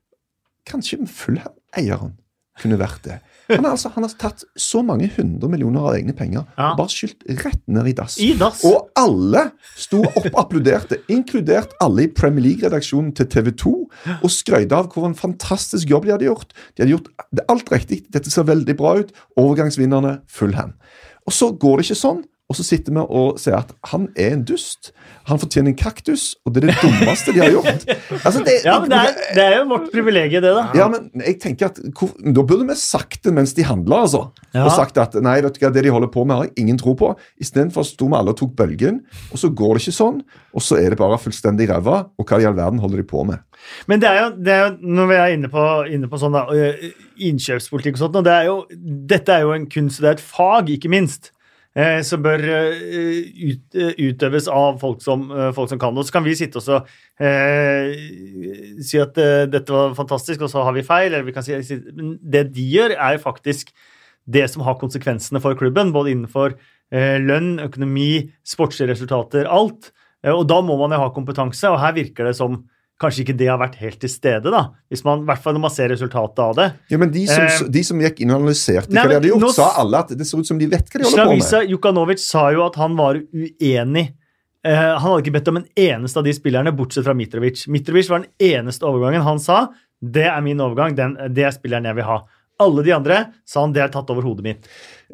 B: kanskje Fulham-eieren kunne vært det. Han har, altså, han har tatt så mange hundre millioner av egne penger
A: Ja.
B: og bare skylt rett ned i dass.
A: I dass.
B: Og alle sto opp og applauderte, inkludert alle i Premier League-redaksjonen til TV 2, og skrøyde av hvor en fantastisk jobb de hadde gjort. De hadde gjort det- alt riktig, dette ser veldig bra ut. Overgangsvinnerne Fulham. Og så går det ikke sånn, og så sitter vi og ser at han er en dust. Han fortjener en kaktus, og det er det dummeste de har gjort. Altså, det,
A: Ja, men det er, det er jo vårt privilegium, det, da.
B: ja, men jeg tenker at hvor, Da burde vi sagt det mens de handla, altså.
A: Ja.
B: Og sagt at nei, vet du hva, det de holder på med, har jeg ingen tro på. Istedenfor sto vi alle og tok bølgen, og så går det ikke sånn. Og så er det bare fullstendig ræva, og hva i all verden holder de på med?
A: Men det er jo, det er jo når vi er inne på, inne på sånn da, øh, innkjøpspolitikk og sånt, og det er jo, dette er jo en kunst, det er et fag, ikke minst, eh, som bør eh, ut, eh, utøves av folk som, eh, folk som kan det. Og så kan vi sitte og så, eh, si at eh, dette var fantastisk, og så har vi feil, eller vi kan si, si men det de gjør er jo faktisk det som har konsekvensene for klubben, både innenfor eh, lønn, økonomi, sportslige resultater, alt. Eh, Og da må man jo ha kompetanse, og her virker det som kanskje ikke det har vært helt til stede, da. Hvis man, I hvert fall når man ser resultatet av det.
B: Ja, men De som,
A: Eh,
B: de som gikk inn og analyserte
A: nei,
B: hva de
A: men
B: hadde gjort,
A: nå-
B: sa alle at det ser ut som de vet hva de holder på med.
A: Slavisa Jukanovic sa jo at han var uenig. Eh, han hadde ikke bedt om en eneste av de spillerne, bortsett fra Mitrovic. Mitrovic var den eneste overgangen han sa det er min overgang, den, det er spilleren jeg vil ha. Alle de andre sa han det er tatt over hodet mitt.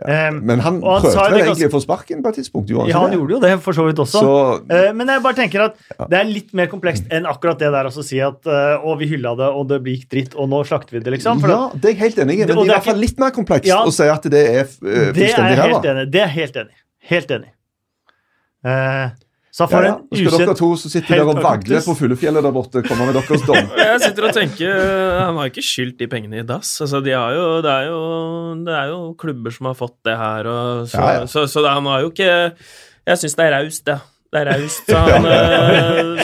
A: Eh,
B: Men han
A: Og han
B: prøvde
A: sa jo
B: vel
A: det ganske-
B: egentlig å få sparken på et tidspunkt? Gjorde han,
A: ja, han
B: ikke det?
A: gjorde jo det, for så vidt også.
B: Så-
A: Eh, men jeg bare tenker at det er litt mer komplekst enn akkurat det der å si at eh, å, vi hylla det, og det gikk dritt, og nå slakter vi det, liksom. For
B: ja, det er jeg helt enig i,
A: Det-
B: men det
A: og
B: er i
A: det er
B: hvert fall litt mer komplekst
A: Ja.
B: å si at det er eh,
A: Det er
B: fullstendig
A: jeg
B: ræva.
A: helt enig. Det er jeg helt enig. Helt enig. Eh, så for
B: Ja, ja. Nå
A: en
B: skal dere
A: ukjent
B: to som sitter
A: helt
B: der og vagler
A: kaktus.
B: på fuglefjellet der borte, komme med deres dom.
D: Jeg sitter og tenker øh, Han har ikke skyldt de pengene i dass. Altså, de har jo, det, er jo, det er jo klubber som har fått det her, og så,
B: Ja, ja.
D: så, så det, han har jo ikke Jeg syns det er raust, det. Det er raust. så Han, øh,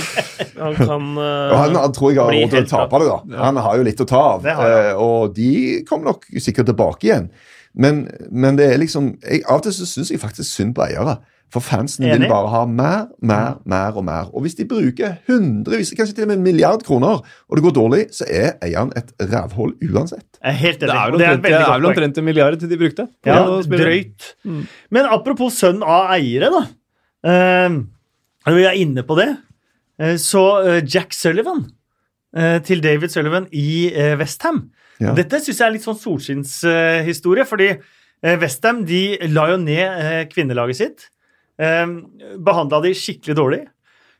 D: han kan øh,
B: Og han, han tror jeg har
D: bli
B: råd til å
D: helt
B: tape det, da. Han har jo litt å ta av.
A: Det har han.
B: Eh, Og de kommer nok sikkert tilbake igjen. Men, men det er liksom jeg, Av og til så syns jeg faktisk synd på eiere. For fansen vil
A: Enig.
B: bare ha mer, mer, mer og mer. Og hvis de bruker hundrevis, kanskje til og med en milliard kroner, og det går dårlig, så er eieren et rævhull uansett.
A: Jeg er helt
C: Det
A: enig.
C: er
A: og
C: vel
A: Det er, et veldig
C: omtrent, det er vel
A: godt poeng.
C: omtrent en milliard de brukte. på
A: Ja,
C: å spille.
A: drøyt. Men apropos sønn av eiere, da. Eh, vi er inne på det. Eh, så eh, Jack Sullivan eh, til David Sullivan i eh, Westham.
B: Ja.
A: Dette syns jeg er litt sånn solskinnshistorie, fordi eh, Westham de la jo ned eh, kvinnelaget sitt. Eh, Behandla de skikkelig dårlig.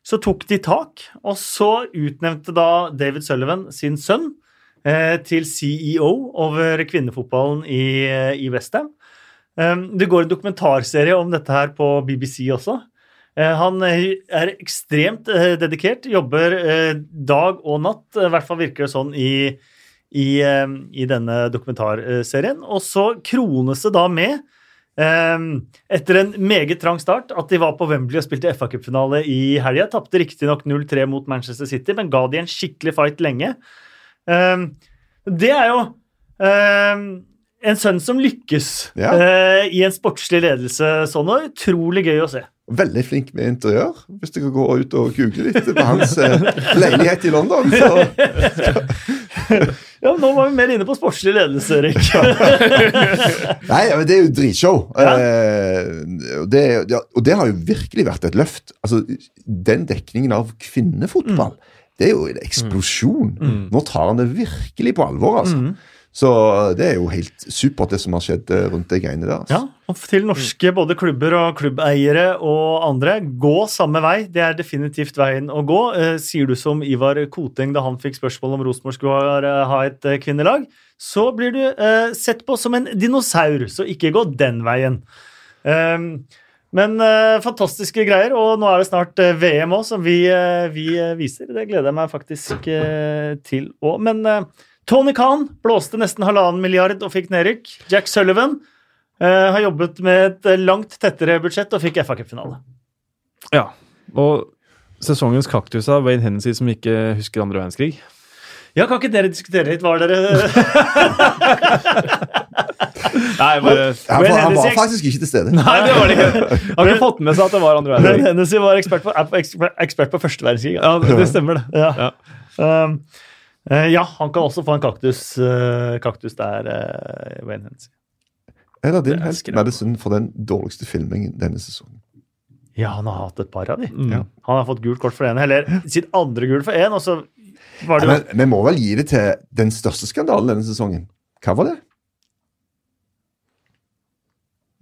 A: Så tok de tak, og så utnevnte da David Sullivan sin sønn eh, til CEO over kvinnefotballen i, eh, i Westham. Um, Det går en dokumentarserie om dette her på BBC også. Eh, Han eh, er ekstremt eh, dedikert, jobber eh, dag og natt, eh, i hvert fall virker det sånn i, i, eh, i denne dokumentarserien. Og så krones det da med, eh, etter en meget trang start, at de var på Wembley og spilte FA-cupfinale i helga. Tapte riktignok 0-3 mot Manchester City, men ga de en skikkelig fight lenge. Eh, Det er jo eh, en sønn som lykkes
B: Ja.
A: eh, i en sportslig ledelse sånn, og utrolig gøy å se.
B: Veldig flink med interiør, hvis dere går ut og googler litt på hans eh, leilighet i London. Så
A: Ja, men Nå var vi mer inne på sportslig ledelse, Erik.
B: Nei, men det er jo dritshow.
A: Ja.
B: Eh, og det, ja, og det har jo virkelig vært et løft. Altså, Den dekningen av kvinnefotball,
A: Mm.
B: det er jo en eksplosjon. Nå tar han det
A: Mm.
B: virkelig på alvor, altså. Så det er jo helt supert, det som har skjedd eh, rundt de greiene der. altså.
A: Ja. Og til norske både klubber og klubbeiere og andre, gå samme vei. Det er definitivt veien å gå. Eh, Sier du som Ivar Koteng da han fikk spørsmål om Rosenborg skulle ha- ha et eh, kvinnelag, så blir du eh, sett på som en dinosaur, så ikke gå den veien. Ehm, men eh, fantastiske greier, og nå er det snart eh, VM òg, som vi, eh, vi eh, viser. Det gleder jeg meg faktisk eh, til òg. Men eh, Tony Khan blåste nesten halvannen milliard og fikk nedrykk. Jack Sullivan eh, har jobbet med et eh, langt tettere budsjett og fikk FA Cup-finale.
C: Ja. Og sesongens kaktus av Wayne Hennessy som ikke husker andre verdenskrig.
A: Ja, kan ikke dere diskutere litt hva dere
C: Nei, bare
B: Altså. Han,
A: Men
B: var- han var
A: Hennes-
B: faktisk ikke til stede.
C: Nei, det var det ikke. Jeg har ikke fått med seg at det var andre
A: Men
C: verdenskrig.
A: Hennessy var ekspert på, er på eksper- ekspert på første verdenskrig.
C: Ja, det stemmer, det.
A: Ja.
C: Ja.
A: Um, eh, ja, han kan også få en kaktus, eh, kaktus der, eh, Wayne Hennessy.
B: Eller din
D: er
B: helst
D: skremmende.
B: Madison for den dårligste filmingen denne sesongen.
A: Ja, han har hatt et par av de.
C: Mm.
A: Han har fått gult kort for én, eller sitt andre gul for én, og så var det
B: Men vi må vel gi det til den største skandalen denne sesongen. Hva var det?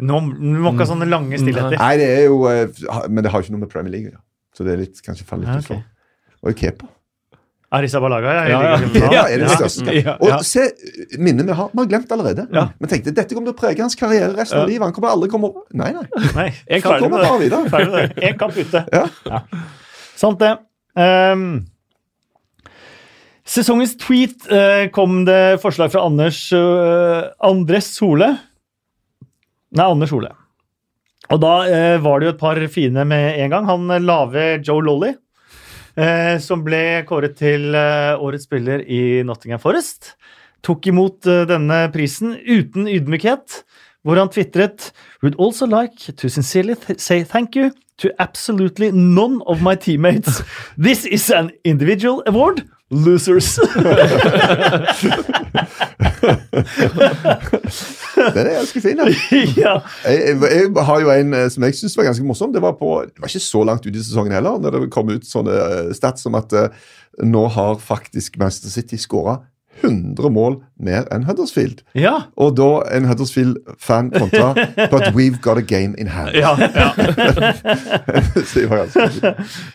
A: Nå nå må ikke ha sånne lange stillheter.
B: Nei, det er jo eh, ha- Men det har jo ikke noe med Premier League å gjøre. Så det er litt, kanskje faller litt
A: Ja,
B: utfor.
C: Ah,
A: ok.
B: Og keeper.
A: Arrizabalaga, ja.
C: Ja, ja.
A: Jeg liker filmen.
B: Ja, er det
A: Ja.
B: største.
C: Ja.
B: Og se minnet vi har. Vi har glemt allerede. Vi tenkte dette kommer til å prege hans karriere resten av
C: Ja.
B: livet. Han kommer aldri komme opp. Nei, nei.
A: Nei, ferdig
B: Han
C: En
B: kommer
A: med det.
B: bare videre.
A: Ferdig med det. Én kamp ute.
B: Ja.
A: Sant det. Ehm, sesongens tweet eh, kom det forslag fra Anders eh, Andres Sole. Nei, Anders Sole. Og da eh, var det jo et par fine med en gang. Han eh, la ved Joe Lolly, eh, som ble kåret til eh, årets spiller i Nottingham Forest. Tok imot eh, denne prisen uten ydmykhet, hvor han tvitret Would also like to sincerely th say thank you to absolutely none of my teammates. This is an individual award. Losers.
B: Den er ganske fin. Den.
A: ja.
B: Jeg, jeg, jeg har jo en eh, som jeg syns var ganske morsom. Det var, på, det var ikke så langt ut i sesongen heller, når det kom ut sånne eh, stats som at eh, nå har faktisk Manchester City skåra 100 mål mer enn Huddersfield.
A: ja.
B: Og da en Huddersfield-fan kontra But we've got a game in hand. Så det var ganske fint.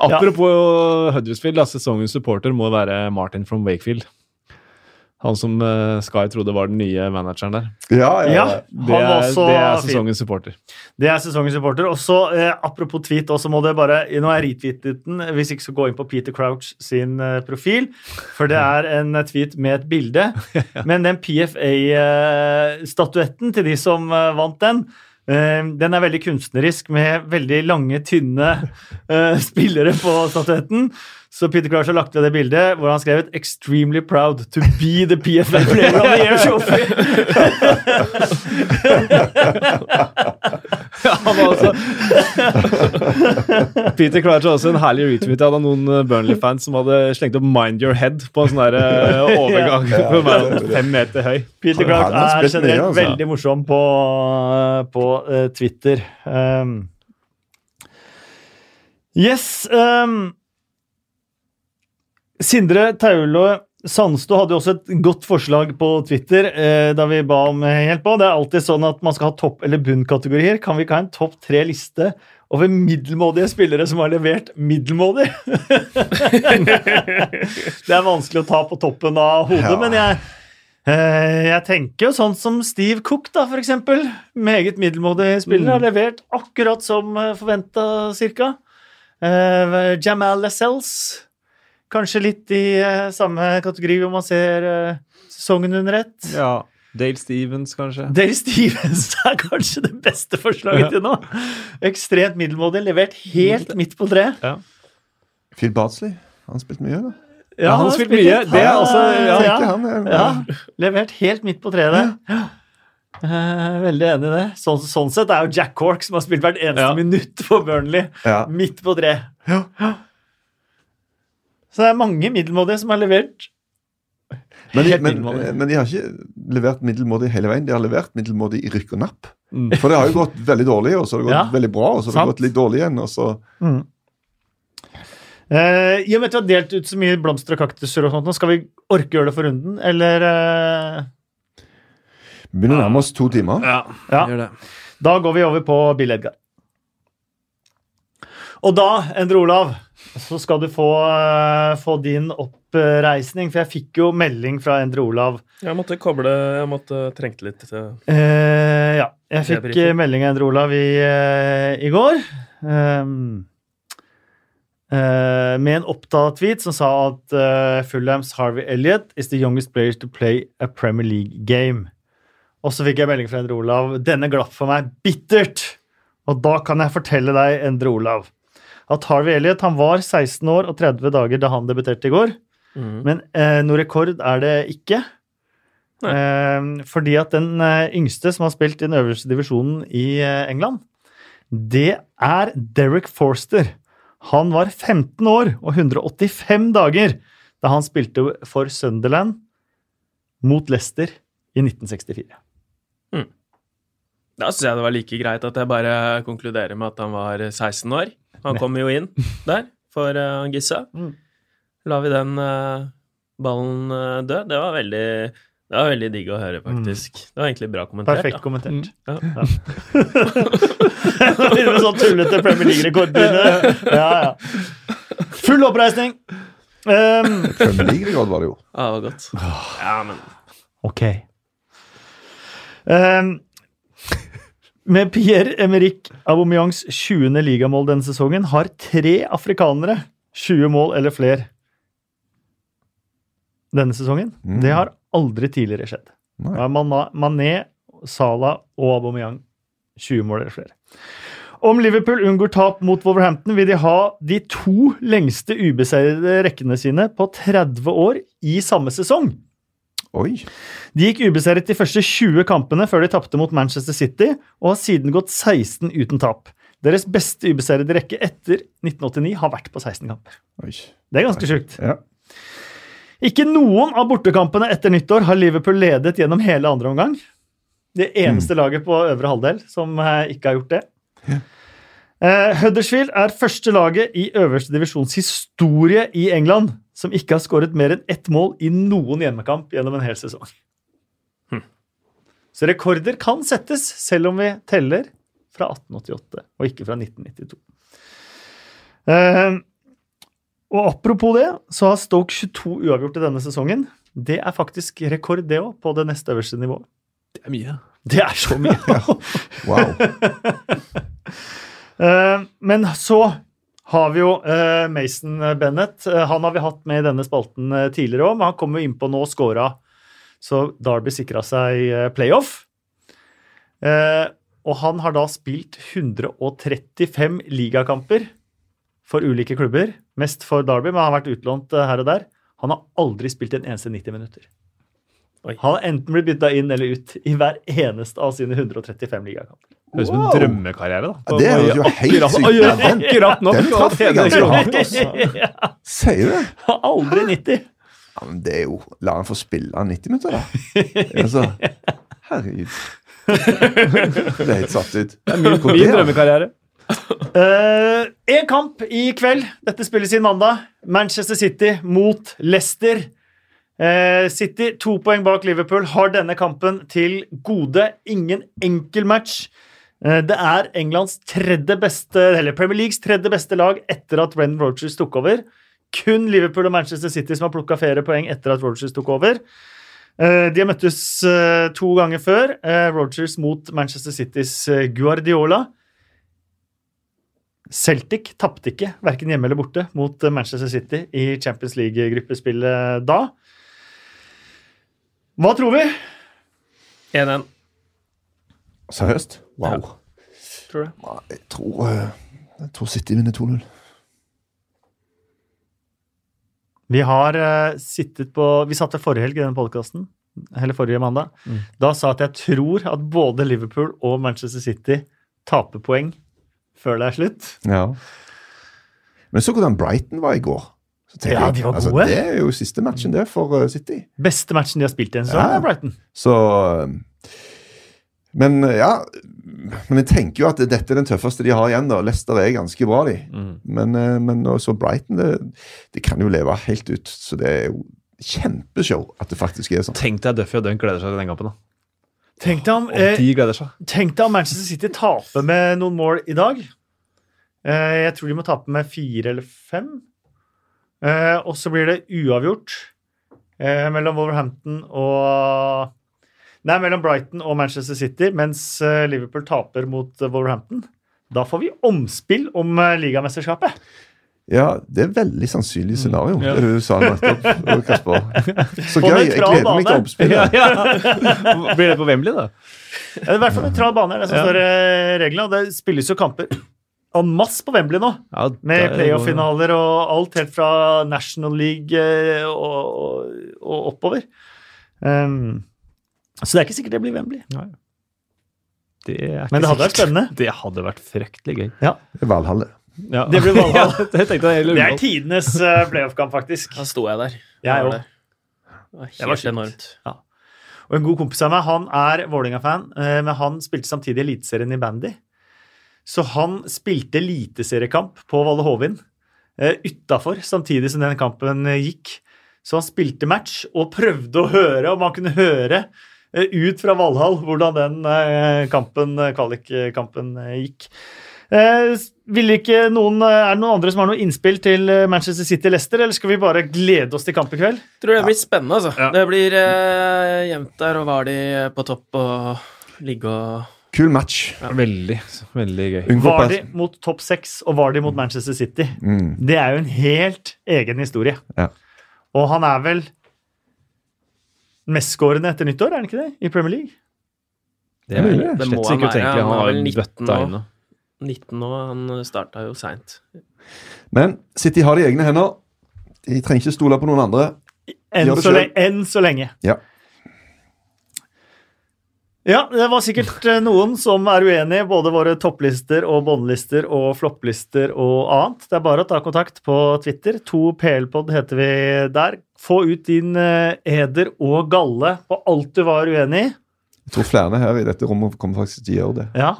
C: Apropos Huddersfield, da, sesongens supporter må være Martin from Wakefield. Han som eh, Sky trodde var den nye manageren der.
B: ja,
A: ja.
B: ja, ja.
A: Han
C: Det er,
A: var så
C: det er
A: fin.
C: sesongens supporter.
A: Det er sesongens supporter. Og så, eh, apropos tweet, og så må det bare Nå har jeg retweetet den, hvis ikke så gå inn på Peter Crouch sin eh, profil, for det er en eh, tweet med et bilde. Men den PFA-statuetten eh, til de som eh, vant den, eh, den er veldig kunstnerisk med veldig lange, tynne eh, spillere på statuetten. Så Peter Crouch har lagt ved det bildet hvor han skrev et 'Extremely proud to be the PFA player of the year trophy'.
C: Peter Crouch har også en herlig retweet av noen eh, Burnley-fans som hadde slengt opp 'Mind Your Head' på en sånn der, eh, overgang på verden, fem meter høy.
A: Peter
B: Han-
A: Clark
B: han
A: er
B: har spilt mye,
A: generelt
B: altså.
A: veldig morsom på, på eh, Twitter. Um, yes um, Sindre Taule Sandstø hadde jo også et godt forslag på Twitter eh, da vi ba om eh, hjelp. Og det er alltid sånn at man skal ha topp- eller bunnkategorier. Kan vi ikke ha en topp tre-liste over middelmådige spillere som har levert middelmådig? det er vanskelig å ta på toppen av hodet,
B: Ja.
A: men jeg, eh, jeg tenker jo sånn som Steve Cook, da, for eksempel. Meget middelmådig spiller. Har levert akkurat som forventa, cirka. Eh, Jamal Lascelles. Kanskje litt i eh, samme kategori hvor man ser eh, sesongen under ett.
C: Ja. Dale Stevens, kanskje.
A: Dale Stevens er kanskje det beste forslaget til nå. Ekstremt middelmådig, levert helt midt på treet.
B: Phil Barsley, han spilte mye, da.
C: Ja, han har spilt mye.
A: litt.
C: Det er også- ja.
B: Ikke han, eh,
A: Ja, levert helt midt på treet der. Eh, veldig enig i det. Sånn, sånn sett er jo Jack Cork, som har spilt hvert eneste
C: Ja.
A: minutt for Burnley,
B: Ja.
A: midt på treet. Så det er mange middelmådige som har levert.
B: Men, de,
A: Helt
B: men,
A: middelmådig.
B: men de har ikke levert middelmådig hele veien. De har levert middelmådig i rykk og napp.
C: Mm.
B: For det har jo gått veldig dårlig, og så har det gått
A: Ja.
B: veldig bra, og så har
A: Sant.
B: det gått litt dårlig igjen. Og så
A: Eh, I og med at vi har delt ut så mye blomster og kaktuser, og sånt, nå skal vi orke å gjøre det for runden, eller eh,
B: Vi begynner å nærme oss to timer.
C: Ja,
A: Ja.
C: gjør det.
A: Da går vi over på Bill Edgar. Og da, Endre Olav, så skal du få, eh, få din oppreisning, for jeg fikk jo melding fra Endre Olav.
D: Jeg måtte koble Jeg måtte trengte litt til
A: Eh, ja, jeg
D: Det er
A: fikk
D: briefing.
A: eh, melding av Endre Olav i, eh, i går. ehm, eh, med en oppdatert tweet som sa at eh, Fulhams Harvey Elliot is the youngest player to play a Premier League game. Og så fikk jeg melding fra Endre Olav. Denne glapp for meg bittert! Og da kan jeg fortelle deg, Endre Olav, at Harvey Elliot han var 16 år og 30 dager da han debuterte i går.
D: mm.
A: Men eh, noe rekord er det ikke.
D: Nei.
A: Eh, fordi at den eh, yngste som har spilt i den øverste divisjonen i eh, England, det er Derek Forster. Han var 15 år og 185 dager da han spilte for Sunderland mot Leicester i 1964.
D: Da syns jeg det var like greit at jeg bare konkluderer med at han var 16 år. Han kom jo inn der for eh, han Gisse.
A: Mm.
D: La vi den eh, ballen eh, dø. Det var veldig det var veldig digg å høre, faktisk. Det var egentlig bra kommentert.
A: Mm. Perfekt kommentert.
D: da. Ja.
A: Begynner med sånn tullete Premier League-rekordbegynne. Ja, ja. Full oppreisning! Um,
B: Premier League-rekord var det jo.
D: Ja, det var godt. Ja, men
A: Ok. Ehm, med Pierre-Emerick Aubameyangs 20. ligamål denne sesongen har tre afrikanere 20 mål eller flere denne sesongen.
B: Mm.
A: Det har aldri tidligere skjedd.
B: Nei.
A: Da er Mana- Mané, Salah og Aubameyang 20 mål eller flere. Om Liverpool unngår tap mot Wolverhampton, vil de ha de to lengste ubeseirede rekkene sine på 30 år i samme sesong.
B: Oi.
A: De gikk ubeseiret de første 20 kampene før de tapte mot Manchester City, og har siden gått 16 uten tap. Deres beste ubeseirede rekke etter 1989 har vært på 16 kamper.
B: Oi.
A: Det er ganske sjukt.
B: Ja.
A: Ikke noen av bortekampene etter nyttår har Liverpool ledet gjennom hele andre omgang. Det eneste laget på øvre halvdel som eh, ikke har gjort det. Eh, Huddersfield er første laget i øverste divisjons historie i England som ikke har skåret mer enn ett mål i noen hjemmekamp gjennom en hel sesong. Så rekorder kan settes, selv om vi teller fra 1888 og ikke fra 1992. Eh, og apropos det, så har Stoke 22 uavgjorte denne sesongen. Det er faktisk rekord, det òg, på det neste øverste nivået.
C: Det er mye.
A: Det er så mye!
B: Wow.
A: Eh, Men så har vi jo eh, Mason Bennett. Eh, Han har vi hatt med i denne spalten eh, tidligere òg, men han kom jo innpå nå og scora, så Derby sikra seg eh, playoff. Eh, Og han har da spilt 135 ligakamper for ulike klubber, mest for Derby, men han har vært utlånt eh, her og der. Han har aldri spilt en eneste 90 minutter.
D: Oi.
A: Han har enten blitt bytta inn eller ut i hver eneste av sine 135 ligakamper.
C: Høres ut som en
B: Wow.
C: drømmekarriere, da.
B: Ja, det høres jo helt
C: Akkurat-
B: sykt
C: Å,
B: ut.
C: gjøre
B: Ja, den-
C: Akkurat nok.
B: den traff jeg ganske hardt,
A: Ja.
B: Sier du det?
A: Aldri 90.
B: Ja, men det er jo La han få spille 90 minutter, da. Altså, herregud. Det er helt satt ut. Det er mye
C: Min drømmekarriere.
A: Én Eh, kamp i kveld. Dette spilles inn mandag. Manchester City mot Leicester. Eh, City to poeng bak Liverpool har denne kampen til gode. Ingen enkel match. Eh, det er Englands tredje beste, eller Premier Leagues tredje beste lag etter at Brendan Rogers tok over. Kun Liverpool og Manchester City som har plukka flere poeng etter at Rogers tok over. Eh, De har møttes eh, to ganger før. Eh, Rogers mot Manchester Citys eh, Guardiola. Celtic tapte ikke, verken hjemme eller borte, mot eh, Manchester City i Champions League-gruppespillet da. Hva tror vi?
D: 1-1,
B: Seriøst? Wow.
D: tror du?
B: Nei, Jeg tror, eh, jeg tror City vinner 2-0.
A: Vi har eh, sittet på Vi satt ved forrige helg i denne podkasten, eller forrige mandag. Da sa jeg at jeg tror at både Liverpool og Manchester City taper poeng før det er slutt.
B: Ja. Men så hvordan Brighton var i går. Så tenker
A: Ja,
B: jeg,
A: de var
B: altså,
A: gode.
B: det er jo siste matchen det for eh, City.
A: Beste matchen de har spilt i en sesong,
B: Ja.
A: er Brighton.
B: Så eh, Men eh, ja Men jeg tenker jo at dette er den tøffeste de har igjen. da. Leicester er ganske bra, de.
A: Mm.
B: Men, eh, men også Brighton det, de kan jo leve helt ut. Så det er jo kjempeshow at det faktisk er sånn.
C: Tenk deg Duffy og Dunk gleder seg til den kampen. da.
A: Tenk deg om,
C: Og
A: eh,
C: de gleder seg.
A: tenk deg om Manchester City taper med noen mål i dag. Eh, jeg tror de må tape med fire eller fem. Eh, og så blir det uavgjort eh, mellom Wolverhampton og Nei, mellom Brighton og Manchester City, mens eh, Liverpool taper mot eh, Wolverhampton. Da får vi omspill om eh, ligamesterskapet.
B: Ja, det er veldig sannsynlig
A: Mm.
B: scenario,
C: Ja.
B: det du sa nettopp, eh, Kasper. Så
A: På
B: gøy. Jeg
A: nøytral
B: gleder meg til
A: bane.
B: oppspillet.
C: Blir det på Wembley, da?
A: Ja, Det er i hvert fall nøytral bane, er det som
C: Ja.
A: står i reglene. Og det spilles jo kamper en masse på Wembley nå,
C: Ja,
A: med
C: det-
A: playoff-finaler og alt, helt fra National League eh, og, og, og oppover. Ehm, så det er ikke sikkert det blir Wembley.
C: Det er ikke
A: Men det hadde vært
C: sikkert.
A: spennende.
C: Det hadde vært fryktelig gøy.
B: Det er Valhalle.
C: Ja.
A: Det blir Valhall.
C: Ja, det tenkte jeg hele
A: Det er
C: Ullevål.
A: tidenes eh, playoff-kamp, faktisk.
D: Da sto jeg der.
A: Jeg
D: var
A: òg.
D: der. Det var
A: var
D: helt
A: sjukt.
D: enormt.
A: Og en god kompis av meg, han er Vålerenga-fan, eh, men han spilte samtidig Eliteserien i bandy. Så han spilte eliteseriekamp på Valle Hovin utafor, samtidig som den kampen eh, gikk. Så han spilte match og prøvde å høre om han kunne høre eh, ut fra Valhall hvordan den eh, kampen, eh, kvalikkampen, eh, gikk. Eh, s- vil ikke noen, eh, er det noen andre som har noe innspill til eh, Manchester City-Lester, eller skal vi bare glede oss til kamp i kveld?
D: Tror det blir spennende, altså. Det blir eh, jevnt der, og var de på topp og ligge og
B: Kul match.
C: Veldig, veldig gøy.
B: Unngå
A: Var de
B: press.
A: mot topp seks og var de mot Manchester City?
B: Mm.
A: Det er jo en helt egen historie.
B: Ja.
A: Og han er vel mestskårende etter nyttår, er han ikke det? I Premier League?
C: Det er
B: Det
D: må
C: slett ikke
D: han være.
C: utenkelig. Han
D: Han er
C: har
D: vel
C: jo
D: 19
C: bøtta
D: nå.
C: inne.
D: 19 nå. Han starta jo seint.
B: Men City har det i egne hender. De trenger ikke stole på noen andre.
A: Enn,
B: Gjør det
A: så, le
B: selv.
A: enn så lenge.
B: Ja.
A: Ja, det var sikkert eh, noen som er uenig i både våre topplister og båndlister og flopplister og annet. Det er bare å ta kontakt på Twitter. 2plpod heter vi der. Få ut din eh, eder og galle på alt du var uenig i.
B: Jeg tror flere her i dette rommet kommer faktisk til å gjøre det.
A: Ja.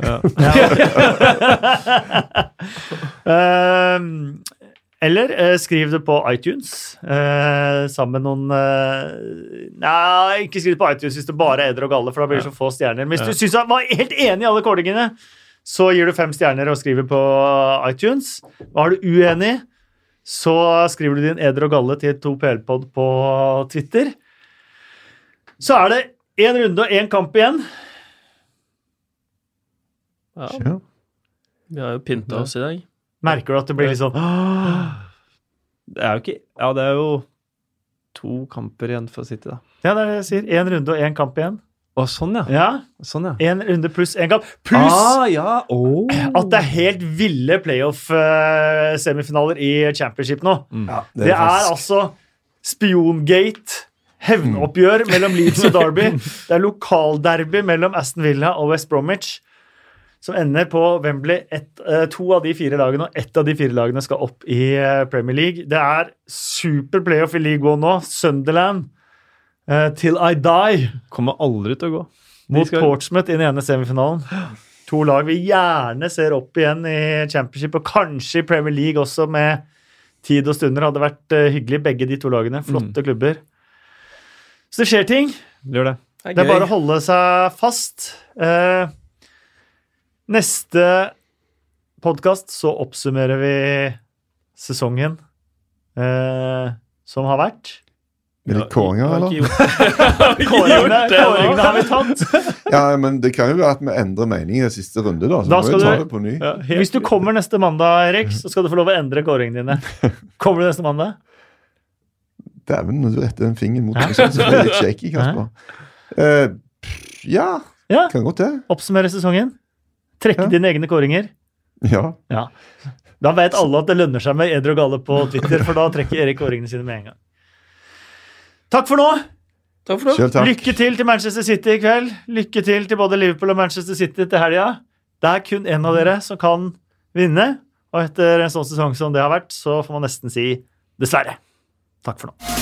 A: Ja. um, eller eh, skriv det på iTunes eh, sammen med noen eh, Nei, ikke skriv det på iTunes hvis det bare er edder og galle, for da blir det så få stjerner. Men hvis du syns han var helt enig i alle kålingene, så gir du fem stjerner og skriver på iTunes. Var du uenig, så skriver du din eder og galle til 2plpod på Twitter. Så er det én runde og én kamp igjen.
D: Ja,
B: Ja.
D: vi har jo
A: Mhm.
D: pynta oss i dag.
A: Merker du at det blir litt sånn
C: Det er jo ikke Ja, det er jo to kamper igjen for City, da.
A: Ja, det er det jeg sier. Én runde og én kamp igjen.
C: Å, sånn, ja.
A: Ja,
C: Sånn, ja.
A: Én runde pluss én kamp. Pluss
C: Ah, ja. Oh.
A: at det er helt ville playoff-semifinaler i championship nå.
B: Ja,
A: Det er
B: faktisk-
A: altså spiongate, hevnoppgjør mellom Leeds og Derby. Det er lokalderby mellom Aston Villa og West Bromwich, som ender på Wembley. Ett, eh, to av de fire lagene, og ett av de fire lagene skal opp i eh, Premier League. Det er super playoff i League One nå. Sunderland eh, til I die
C: Kommer aldri til å gå. De
A: mot
C: skal-
A: Portsmouth i den ene semifinalen. To lag vi gjerne ser opp igjen i championship, og kanskje i Premier League også, med tid og stunder. Hadde vært eh, hyggelig, begge de to lagene. Flotte klubber. Så det skjer ting.
C: Gjør det.
A: Det er bare å holde seg fast. Eh, neste podkast så oppsummerer vi sesongen eh, som har vært.
B: Blir det kåringer, eller?
A: Kåringene, kåringene har vi tatt.
B: Ja, men det kan jo være at vi endrer mening i den siste runde, da. Så
A: Da
B: må vi
A: skal
B: ta
A: du-
B: det på ny.
C: Ja, helt-
A: Hvis du kommer neste mandag, Erik, så skal du få lov å endre kåringene dine. Kommer du neste mandag?
B: Dæven, når du retter den fingeren mot meg, så blir jeg litt shaky, Kasper. Eh, pff, ja,
A: Ja.
B: kan godt det.
A: Oppsummere sesongen. Trekke
B: Ja.
A: dine egne kåringer.
B: Ja.
A: Ja. Da vet alle at det lønner seg med Edre og Gale på Twitter, for da trekker Erik kåringene sine med en gang. Takk for nå!
D: Takk for nå.
B: Sjøl takk.
A: Lykke til til Manchester City i kveld. Lykke til til både Liverpool og Manchester City til helga. Det er kun én av dere som kan vinne, og etter en sånn sesong som det har vært, så får man nesten si dessverre. Takk for nå.